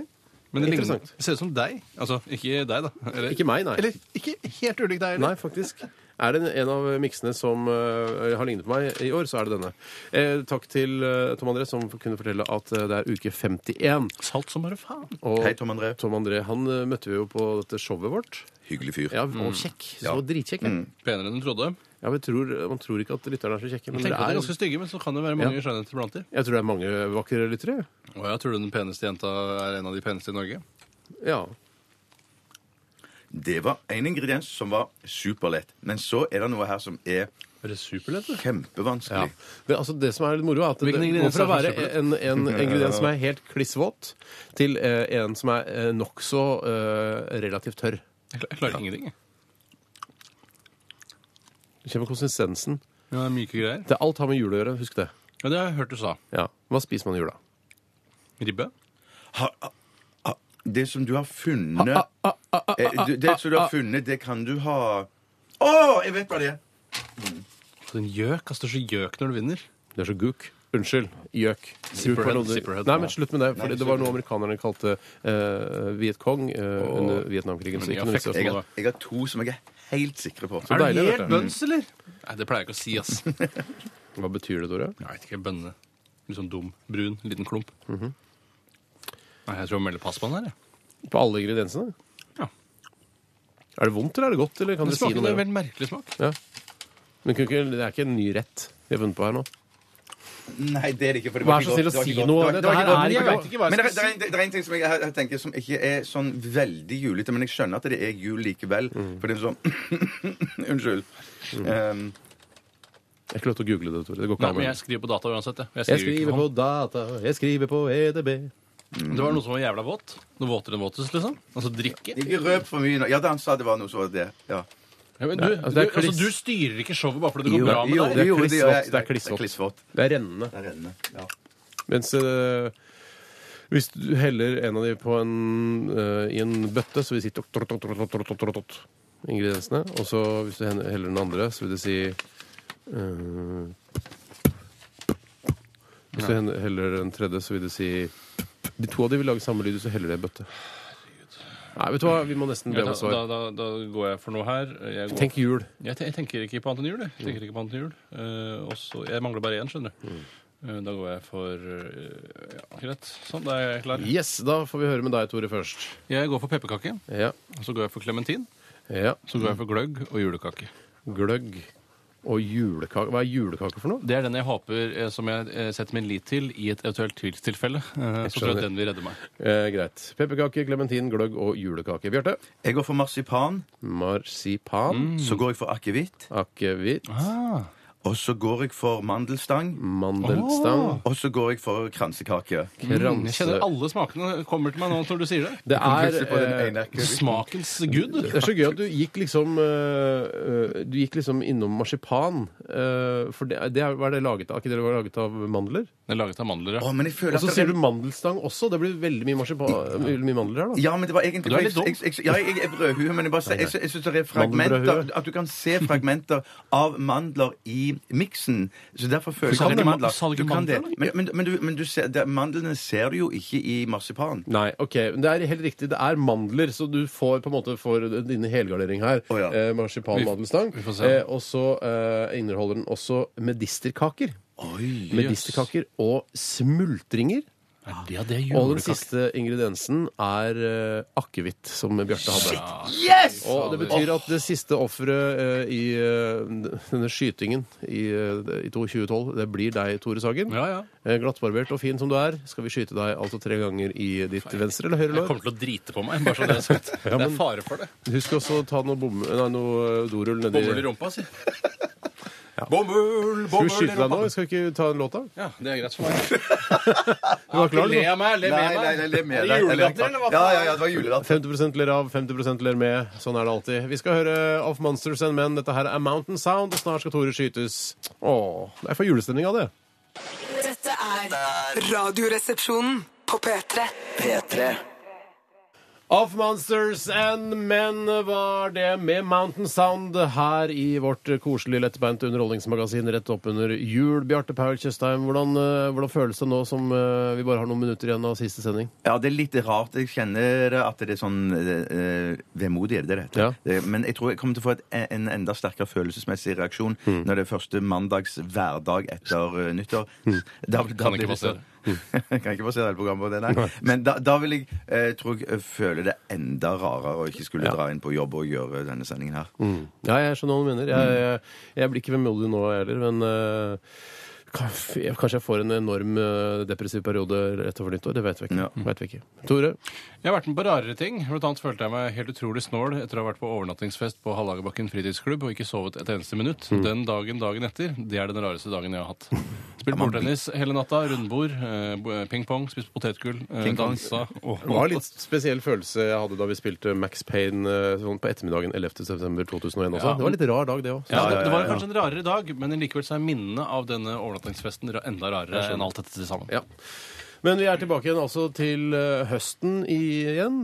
[SPEAKER 4] Men det ligner,
[SPEAKER 3] Interessant.
[SPEAKER 4] det ser ut som deg. Altså, ikke deg, da. Eller,
[SPEAKER 3] Ikke meg, nei.
[SPEAKER 4] Eller ikke helt ulik deg. Eller?
[SPEAKER 3] Nei, faktisk. Er det en av miksene som eh, har lignet på meg i år, så er det denne. Eh, takk til eh, Tom André, som kunne fortelle at eh, det er uke 51.
[SPEAKER 4] Salt som bare faen.
[SPEAKER 3] Og
[SPEAKER 5] Hei, Tom André.
[SPEAKER 3] Tom André han eh, møtte vi jo på dette showet vårt.
[SPEAKER 5] Hyggelig fyr.
[SPEAKER 3] Ja,
[SPEAKER 4] Mm.
[SPEAKER 3] Og kjekk. Så dritkjekk. ja.
[SPEAKER 4] Penere enn du trodde.
[SPEAKER 3] Ja, vi tror, Man tror ikke at lytterne er så kjekke, men
[SPEAKER 4] Jeg
[SPEAKER 3] det
[SPEAKER 4] tenker at de er
[SPEAKER 3] er,
[SPEAKER 4] ganske stygge, men så kan det være mange skjønnheter blant dem.
[SPEAKER 3] jeg tror det er mange vakre lyttere.
[SPEAKER 4] Å ja, tror du den peneste jenta er en av de peneste i Norge?
[SPEAKER 3] Ja.
[SPEAKER 5] Det var en ingrediens som var superlett. Men så er det noe her som er
[SPEAKER 4] Er det superlett, det?
[SPEAKER 3] ja.
[SPEAKER 5] kjempevanskelig.
[SPEAKER 3] Men, altså, det som er litt moro, er at det
[SPEAKER 4] Hvilken
[SPEAKER 3] det går
[SPEAKER 4] ingrediens
[SPEAKER 3] fra å
[SPEAKER 4] er
[SPEAKER 3] være
[SPEAKER 4] det som er
[SPEAKER 3] en, en ingrediens som er helt klissvåt, til eh, en som er eh, nokså eh, relativt tørr.
[SPEAKER 4] Jeg kla- jeg klarer ingenting, jeg.
[SPEAKER 3] Du kjenner konsistensen.
[SPEAKER 4] Ja, det er myke greier.
[SPEAKER 3] Det alt har med jul å gjøre, husk det.
[SPEAKER 4] Ja, det har jeg hørt du sa.
[SPEAKER 3] Ja. Hva spiser man i jula?
[SPEAKER 4] Ribbe?
[SPEAKER 5] Ha- ha- ha- Det som du har funnet Eh, du- Det som du har funnet, det kan du ha Å, jeg vet hva det er!
[SPEAKER 4] Den gjøk. Altså, det er så gjøk når du vinner.
[SPEAKER 3] Det er så guk. Unnskyld. Gjøk. Guk
[SPEAKER 4] Zipperhead,
[SPEAKER 3] var noe du-
[SPEAKER 4] zipperhead.
[SPEAKER 3] Nei, men slutt med det.
[SPEAKER 5] Nei,
[SPEAKER 3] For det var noe amerikanerne kalte eh, Vietcong eh, under Vietnamkrigen. Så
[SPEAKER 4] Men i
[SPEAKER 3] ikke noe vits i å
[SPEAKER 4] affekt,
[SPEAKER 5] Jeg
[SPEAKER 3] snakke om
[SPEAKER 5] har,
[SPEAKER 3] det.
[SPEAKER 5] jeg har to som jeg er helt sikre på.
[SPEAKER 3] Så deilig, vet du.
[SPEAKER 4] bøns, eller? Nei, det pleier jeg ikke å si, ass. Jeg
[SPEAKER 3] Hva betyr det, Tore?
[SPEAKER 4] vet ikke. Bønne. Litt sånn dum. Brun. Liten klump. Nei, jeg tror jeg melder pass på den her, jeg.
[SPEAKER 3] På alle ingrediensene?
[SPEAKER 4] Ja.
[SPEAKER 3] Er det vondt, eller er det godt? Eller kan
[SPEAKER 4] Den
[SPEAKER 3] dere si
[SPEAKER 4] smaker
[SPEAKER 3] noe
[SPEAKER 4] en
[SPEAKER 3] mer? om-
[SPEAKER 4] veldig merkelig smak.
[SPEAKER 3] Ja. Men kan ikke- det er ikke en ny rett vi har funnet på her nå.
[SPEAKER 5] Nei, det er det ikke. For det
[SPEAKER 3] Vær
[SPEAKER 5] ikke
[SPEAKER 3] så snill å
[SPEAKER 5] godt. Det var
[SPEAKER 3] si
[SPEAKER 5] ikke godt.
[SPEAKER 3] noe.
[SPEAKER 5] Det var- det var ikke
[SPEAKER 3] Dette her
[SPEAKER 5] godt.
[SPEAKER 3] er
[SPEAKER 5] Det var
[SPEAKER 3] ikke-
[SPEAKER 5] ikke godt. Men det, er- det, er- det er en ting som jeg, jeg tenker som ikke er sånn veldig julete, men jeg skjønner at det er jul likevel.
[SPEAKER 3] Mm.
[SPEAKER 5] For det er sånn Unnskyld. Um,
[SPEAKER 3] Jeg har ikke lov til å google det, Tore. Det går ikke
[SPEAKER 4] Nei,
[SPEAKER 3] an.
[SPEAKER 4] men jeg
[SPEAKER 3] men-
[SPEAKER 4] skriver på data uansett, jeg.
[SPEAKER 3] Jeg
[SPEAKER 4] Jeg skriver ikke
[SPEAKER 3] skriver
[SPEAKER 4] på hånd.
[SPEAKER 3] på data, jeg skriver på E EDB.
[SPEAKER 4] Det var noe som var jævla våt. Noe våtere enn våtes, liksom. Altså drikke.
[SPEAKER 5] ikke røp for mye nå. Ja, da han sa det var noe, så var det det. Ja.
[SPEAKER 4] Ja, men du,
[SPEAKER 3] Nei, altså, det er
[SPEAKER 4] du, altså,
[SPEAKER 3] kliss.
[SPEAKER 4] du styrer ikke showet bare fordi det
[SPEAKER 3] Jo,
[SPEAKER 4] går bra med
[SPEAKER 5] Jo,
[SPEAKER 4] deg.
[SPEAKER 3] det er
[SPEAKER 5] jo, det-
[SPEAKER 3] klissvått,
[SPEAKER 5] jeg-
[SPEAKER 3] det er klissvått.
[SPEAKER 5] klissvått.
[SPEAKER 3] Det er rennende.
[SPEAKER 5] Det er rennende. Ja.
[SPEAKER 3] Mens eh, hvis du heller en av de på en, eh, i en bøtte, så vil det si tok, tok, tok, tok, tok, tok, tok, tok, ingrediensene. Og så hvis du hen- heller den andre, så vil det si eh, Hvis du hen- heller den tredje, så vil det si De to av de vil lage samme lyd, hvis du heller det i bøtte. Nei, vet du hva, vi må nesten be
[SPEAKER 4] Ja,
[SPEAKER 3] om
[SPEAKER 4] da,
[SPEAKER 3] et
[SPEAKER 4] da,
[SPEAKER 3] svar.
[SPEAKER 4] da, da går jeg for noe her. Jeg, går,
[SPEAKER 3] Tenk jul.
[SPEAKER 4] jeg, te- jeg tenker ikke på annet enn jul. Jeg, jeg tenker ikke på annet enn jul. Eh, og så- jeg mangler bare én, skjønner du. Eh, da går jeg for eh, Ja, greit. Sånn, da er jeg klar.
[SPEAKER 3] Yes, da får vi høre med deg, Tore, først.
[SPEAKER 4] Jeg går for pepperkake.
[SPEAKER 3] Ja.
[SPEAKER 4] og Så går jeg for klementin.
[SPEAKER 3] ja.
[SPEAKER 4] Så går jeg for gløgg og julekake.
[SPEAKER 3] Gløgg og julekake. Hva er julekake for noe?
[SPEAKER 4] Det er den jeg håper, eh, som jeg eh, setter min lit til i et eventuelt tvilstilfelle. Eh, så tror jeg
[SPEAKER 3] skjønner.
[SPEAKER 4] at den vil redde meg.
[SPEAKER 3] Eh, greit. Pepperkake, klementin, gløgg og julekake. Bjarte?
[SPEAKER 5] Jeg går for marsipan.
[SPEAKER 3] Marsipan.
[SPEAKER 5] Så går jeg for akevitt.
[SPEAKER 3] Akevitt.
[SPEAKER 4] Mm. Ah,
[SPEAKER 5] Og så går jeg for mandelstang.
[SPEAKER 3] Mm. Mandelstang.
[SPEAKER 5] Og så går jeg for kransekake.
[SPEAKER 4] Ah. Mm, Jeg kjenner alle smakene kommer til meg nå når du sier det.
[SPEAKER 3] Det er,
[SPEAKER 5] Plutselig på den
[SPEAKER 3] eh,
[SPEAKER 5] ene kø-
[SPEAKER 4] Smakens gud.
[SPEAKER 3] det er så gøy at du gikk liksom eh, eh, Du gikk liksom innom marsipan. eh, For det, det er, hva er det laget av? Ikke det var laget av mandler?
[SPEAKER 4] Den er laget av mandler, ja.
[SPEAKER 5] Å, men jeg føler
[SPEAKER 3] Og
[SPEAKER 4] Altså,
[SPEAKER 3] så
[SPEAKER 5] at
[SPEAKER 3] sier
[SPEAKER 5] det-
[SPEAKER 3] du mandelstang også. Det blir veldig mye, marsipan, veldig mye mandler her, da.
[SPEAKER 5] Ja, men det var egentlig
[SPEAKER 4] Du er litt dum.
[SPEAKER 5] jeg, jeg, jeg, ja, jeg, jeg er brødhue, men jeg, bare, sier- jeg, jeg syns det er
[SPEAKER 3] Mandelbrødhue.
[SPEAKER 5] fragmenter At du kan se fragmenter av mandler i miksen. Så derfor føler
[SPEAKER 4] Sa
[SPEAKER 5] jeg at det
[SPEAKER 4] du
[SPEAKER 5] er mandler.
[SPEAKER 4] ma- sa du ikke
[SPEAKER 5] Du kan det.
[SPEAKER 4] mandler,
[SPEAKER 5] Men, men, men, du, men du ser, det, mandlene ser du jo ikke i marsipan.
[SPEAKER 3] Nei, ok, men det er helt riktig. Det er mandler, så du får på en måte for dine helgardering her.
[SPEAKER 5] Å, ja.
[SPEAKER 3] eh, marsipan,
[SPEAKER 4] Vi-
[SPEAKER 3] mandelstang.
[SPEAKER 4] vi får se.
[SPEAKER 3] Eh, og så eh, inneholder den også medisterkaker.
[SPEAKER 5] Oi.
[SPEAKER 3] Medisterkaker og smultringer.
[SPEAKER 4] Ja, det er
[SPEAKER 3] Og den
[SPEAKER 4] julekake.
[SPEAKER 3] siste ingrediensen er eh, akevitt, som Bjarte hadde.
[SPEAKER 5] Yes!
[SPEAKER 3] Og det betyr at det siste offeret eh, i eh, denne skytingen i, eh, i 2012, det blir deg, Tore Sagen.
[SPEAKER 4] Ja, ja.
[SPEAKER 3] Eh, Glattbarbert og fin som du er, skal vi skyte deg altså tre ganger i ditt venstre eller høyre
[SPEAKER 4] Jeg
[SPEAKER 3] lår.
[SPEAKER 4] kommer til å drite på meg. bare så Det er sagt. Det er fare for det.
[SPEAKER 3] Husk også å ta noe, bom, nei, noe eh, dorull nedi
[SPEAKER 4] Bomull i rumpa, si. Bomull,
[SPEAKER 3] Skal vi
[SPEAKER 4] bomull i
[SPEAKER 3] skyte deg nå?
[SPEAKER 4] rumpa.
[SPEAKER 3] Skal vi ikke ta en låt, da?
[SPEAKER 4] Ja, det er greit for meg.
[SPEAKER 3] Du var klar,
[SPEAKER 4] Le
[SPEAKER 3] du.
[SPEAKER 4] av meg, le
[SPEAKER 5] Nei,
[SPEAKER 4] med
[SPEAKER 5] nei, nei,
[SPEAKER 4] meg.
[SPEAKER 5] le med
[SPEAKER 4] Er det
[SPEAKER 5] deg.
[SPEAKER 4] julelatter, eller hva?
[SPEAKER 5] Ja, ja, ja, det var julelatter.
[SPEAKER 3] 50 ler av, 50 ler med. Sånn er det alltid. Vi skal høre Off Monsters and Men. Dette her er Mountain Sound, og snart skal Tore skytes. Åh, jeg får julestemning av det.
[SPEAKER 6] Dette er Radioresepsjonen på P3.
[SPEAKER 2] P3.
[SPEAKER 3] Off Monsters and Men var det med Mountain Sound her i vårt koselige, lettbeinte underholdningsmagasin rett opp under jul. Bjarte Paul Tjøstheim, hvordan, eh, hvordan føles det nå som eh, vi bare har noen minutter igjen av siste sending?
[SPEAKER 5] Ja, det er litt rart. Jeg kjenner at det er sånn eh, vemodig, er det det heter?
[SPEAKER 3] Ja.
[SPEAKER 5] Det- Men jeg tror jeg kommer til å få et, en enda sterkere følelsesmessig reaksjon når det er første mandags hverdag etter eh, nyttår. Da, da
[SPEAKER 4] Kan ikke
[SPEAKER 5] blir det
[SPEAKER 4] basere.
[SPEAKER 5] så- kan ikke basere hele programmet på det, nei. Men da, da vil jeg eh, tror jeg føle det enda rarere å ikke skulle
[SPEAKER 3] Ja.
[SPEAKER 5] dra inn på jobb og gjøre denne sendingen her.
[SPEAKER 3] Ja, jeg skjønner hva du mener. Jeg, jeg, jeg blir ikke vemodig nå heller, men eh, kanf- jeg- kanskje jeg får en enorm eh, depressiv periode rett over nyttår. Det vet vi ikke.
[SPEAKER 5] Ja.
[SPEAKER 3] Vet vi ikke. Tore?
[SPEAKER 4] Jeg har vært med på rarere ting. Blant annet følte jeg meg helt utrolig snål etter å ha vært på overnattingsfest på Hallagerbakken fritidsklubb og ikke sovet et eneste minutt.
[SPEAKER 5] Mm.
[SPEAKER 4] Den dagen dagen etter, det er den rareste dagen jeg har hatt. Spilt bordtennis hele natta, rundbord, eh, bo- ping-pong, spist potetgull, eh,
[SPEAKER 5] Ping-pong.
[SPEAKER 4] dansa og
[SPEAKER 3] Det var en litt spesiell følelse jeg hadde da vi spilte Max Payne eh, sånn på ettermiddagen 11.9.2001 også.
[SPEAKER 4] Ja.
[SPEAKER 3] Det var en litt rar dag, det òg.
[SPEAKER 4] ja, det, det var kanskje en rarere dag, men likevel så er minnene av denne overnattingsfesten ra- enda rarere enn alt dette til sammen.
[SPEAKER 3] Ja. Men vi er tilbake igjen altså til eh, høsten igjen.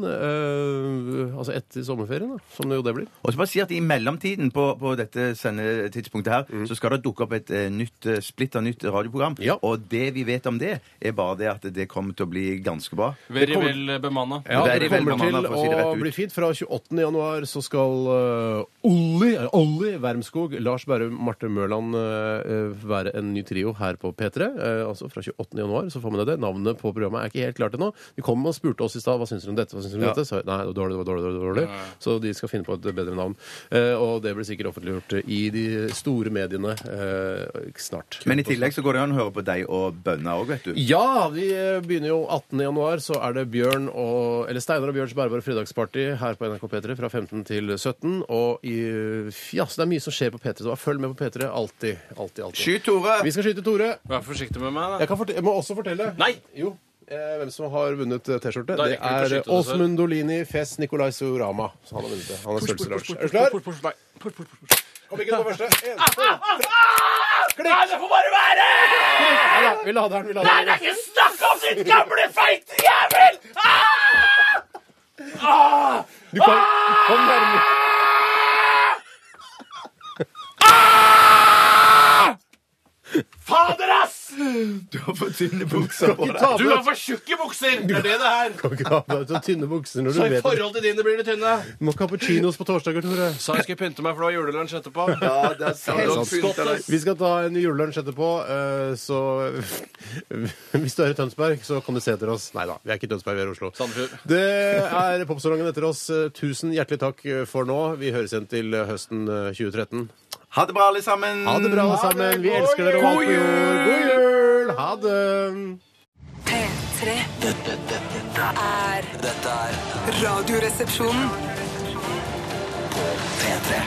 [SPEAKER 3] eh, altså etter sommerferien, da, som det jo det blir.
[SPEAKER 5] Og så bare si at i mellomtiden på, på dette sendetidspunktet her, så skal det dukke opp et eh, nytt, eh, splitter nytt radioprogram.
[SPEAKER 3] Ja.
[SPEAKER 5] Og det vi vet om det, er bare det at det kommer til å bli ganske bra.
[SPEAKER 4] Very vel bemanna.
[SPEAKER 3] Ja,
[SPEAKER 5] Det er
[SPEAKER 3] det
[SPEAKER 5] i veldig
[SPEAKER 3] kommer
[SPEAKER 5] mange
[SPEAKER 3] til
[SPEAKER 5] land, for å si det
[SPEAKER 3] å
[SPEAKER 5] rett ut.
[SPEAKER 3] bli fint. Fra 28. januar så skal eh, Olli, eh, Olli Wermskog, Lars Berrum, Marte Mørland eh, eh, være en ny trio her på P3. Eh, altså fra 28. januar så får man det. Navnet på programmet er ikke helt klart ennå. De kom og spurte oss i stad hva syns dere om dette, hva syns dere om dette. Så, nei, det var dårlig, det var dårlig, det var dårlig. Så de skal finne på et bedre navn. Eh, og det blir sikkert offentliggjort i de store mediene eh, snart.
[SPEAKER 5] Men i tillegg så går det an å høre på deg og bønna òg, vet du.
[SPEAKER 3] Ja, vi eh, begynner jo 18. januar, så er det Bjørn og, eller Steinar og Bjørns bærbare fredagsparty her på NRK P3 fra 15 til 17. Og i, ja, så det er mye som skjer på P3, så bare følg med på P3. Alltid, alltid, alltid.
[SPEAKER 5] Skyt Tore!
[SPEAKER 3] Vi skal skyte Tore.
[SPEAKER 4] Vær forsiktig med meg, da.
[SPEAKER 3] Jeg, kan fortelle, jeg må også fortelle.
[SPEAKER 4] Nei!
[SPEAKER 3] Jo. eh, Hvem som har vunnet eh, T-skjorte?
[SPEAKER 4] Da
[SPEAKER 3] Det
[SPEAKER 4] rekker vi ikke å
[SPEAKER 3] er
[SPEAKER 4] skyte det, så-
[SPEAKER 3] Åsmund Dolini Fes Nicolai Surama. Så han har vunnet det. Han er størrelseslars. Er du klar? Kom ikke på første. En, to, tre. Klikk! Nei, det får bare være! Nei da, vi lader den. vi lader den.
[SPEAKER 9] ikke snakk om sitt gamle feite jævel! Ah!
[SPEAKER 3] Du kan, kom nærmere.
[SPEAKER 9] Fader, ass!
[SPEAKER 5] Du har for tynne bukser på deg.
[SPEAKER 3] Ta på
[SPEAKER 9] Du
[SPEAKER 3] deg
[SPEAKER 9] har for tjukke bukser! Det er det det er.
[SPEAKER 3] Du kan ikke ha på deg så tynne bukser når du
[SPEAKER 9] Så i
[SPEAKER 3] vet det.
[SPEAKER 9] forhold til dine blir det tynne.
[SPEAKER 3] Du må ikke ha på chinos på torsdager, Tore.
[SPEAKER 4] Sa jeg skulle pynte meg, for det var julelunsj etterpå.
[SPEAKER 5] Ja, det er sant.
[SPEAKER 4] Helskottes.
[SPEAKER 5] Pynt deg.
[SPEAKER 3] Vi skal ta en julelunsj etterpå, eh, så Hvis du er i Tønsberg, så kan du se etter oss. Nei da, vi er ikke i Tønsberg, vi er i Oslo.
[SPEAKER 4] Sandefjord.
[SPEAKER 3] Det er popsalongen etter oss. Eh, Tusen hjertelig takk eh, for nå. Vi høres igjen til høsten eh, 2013.
[SPEAKER 5] Ha det bra, alle sammen.
[SPEAKER 3] Ha det bra, alle sammen. Vi elsker dere. og alt på jord. God jul! Ha det.
[SPEAKER 6] P3
[SPEAKER 2] Dette, dette, dette,
[SPEAKER 6] er
[SPEAKER 2] dette er
[SPEAKER 6] Radioresepsjonen.
[SPEAKER 2] P3.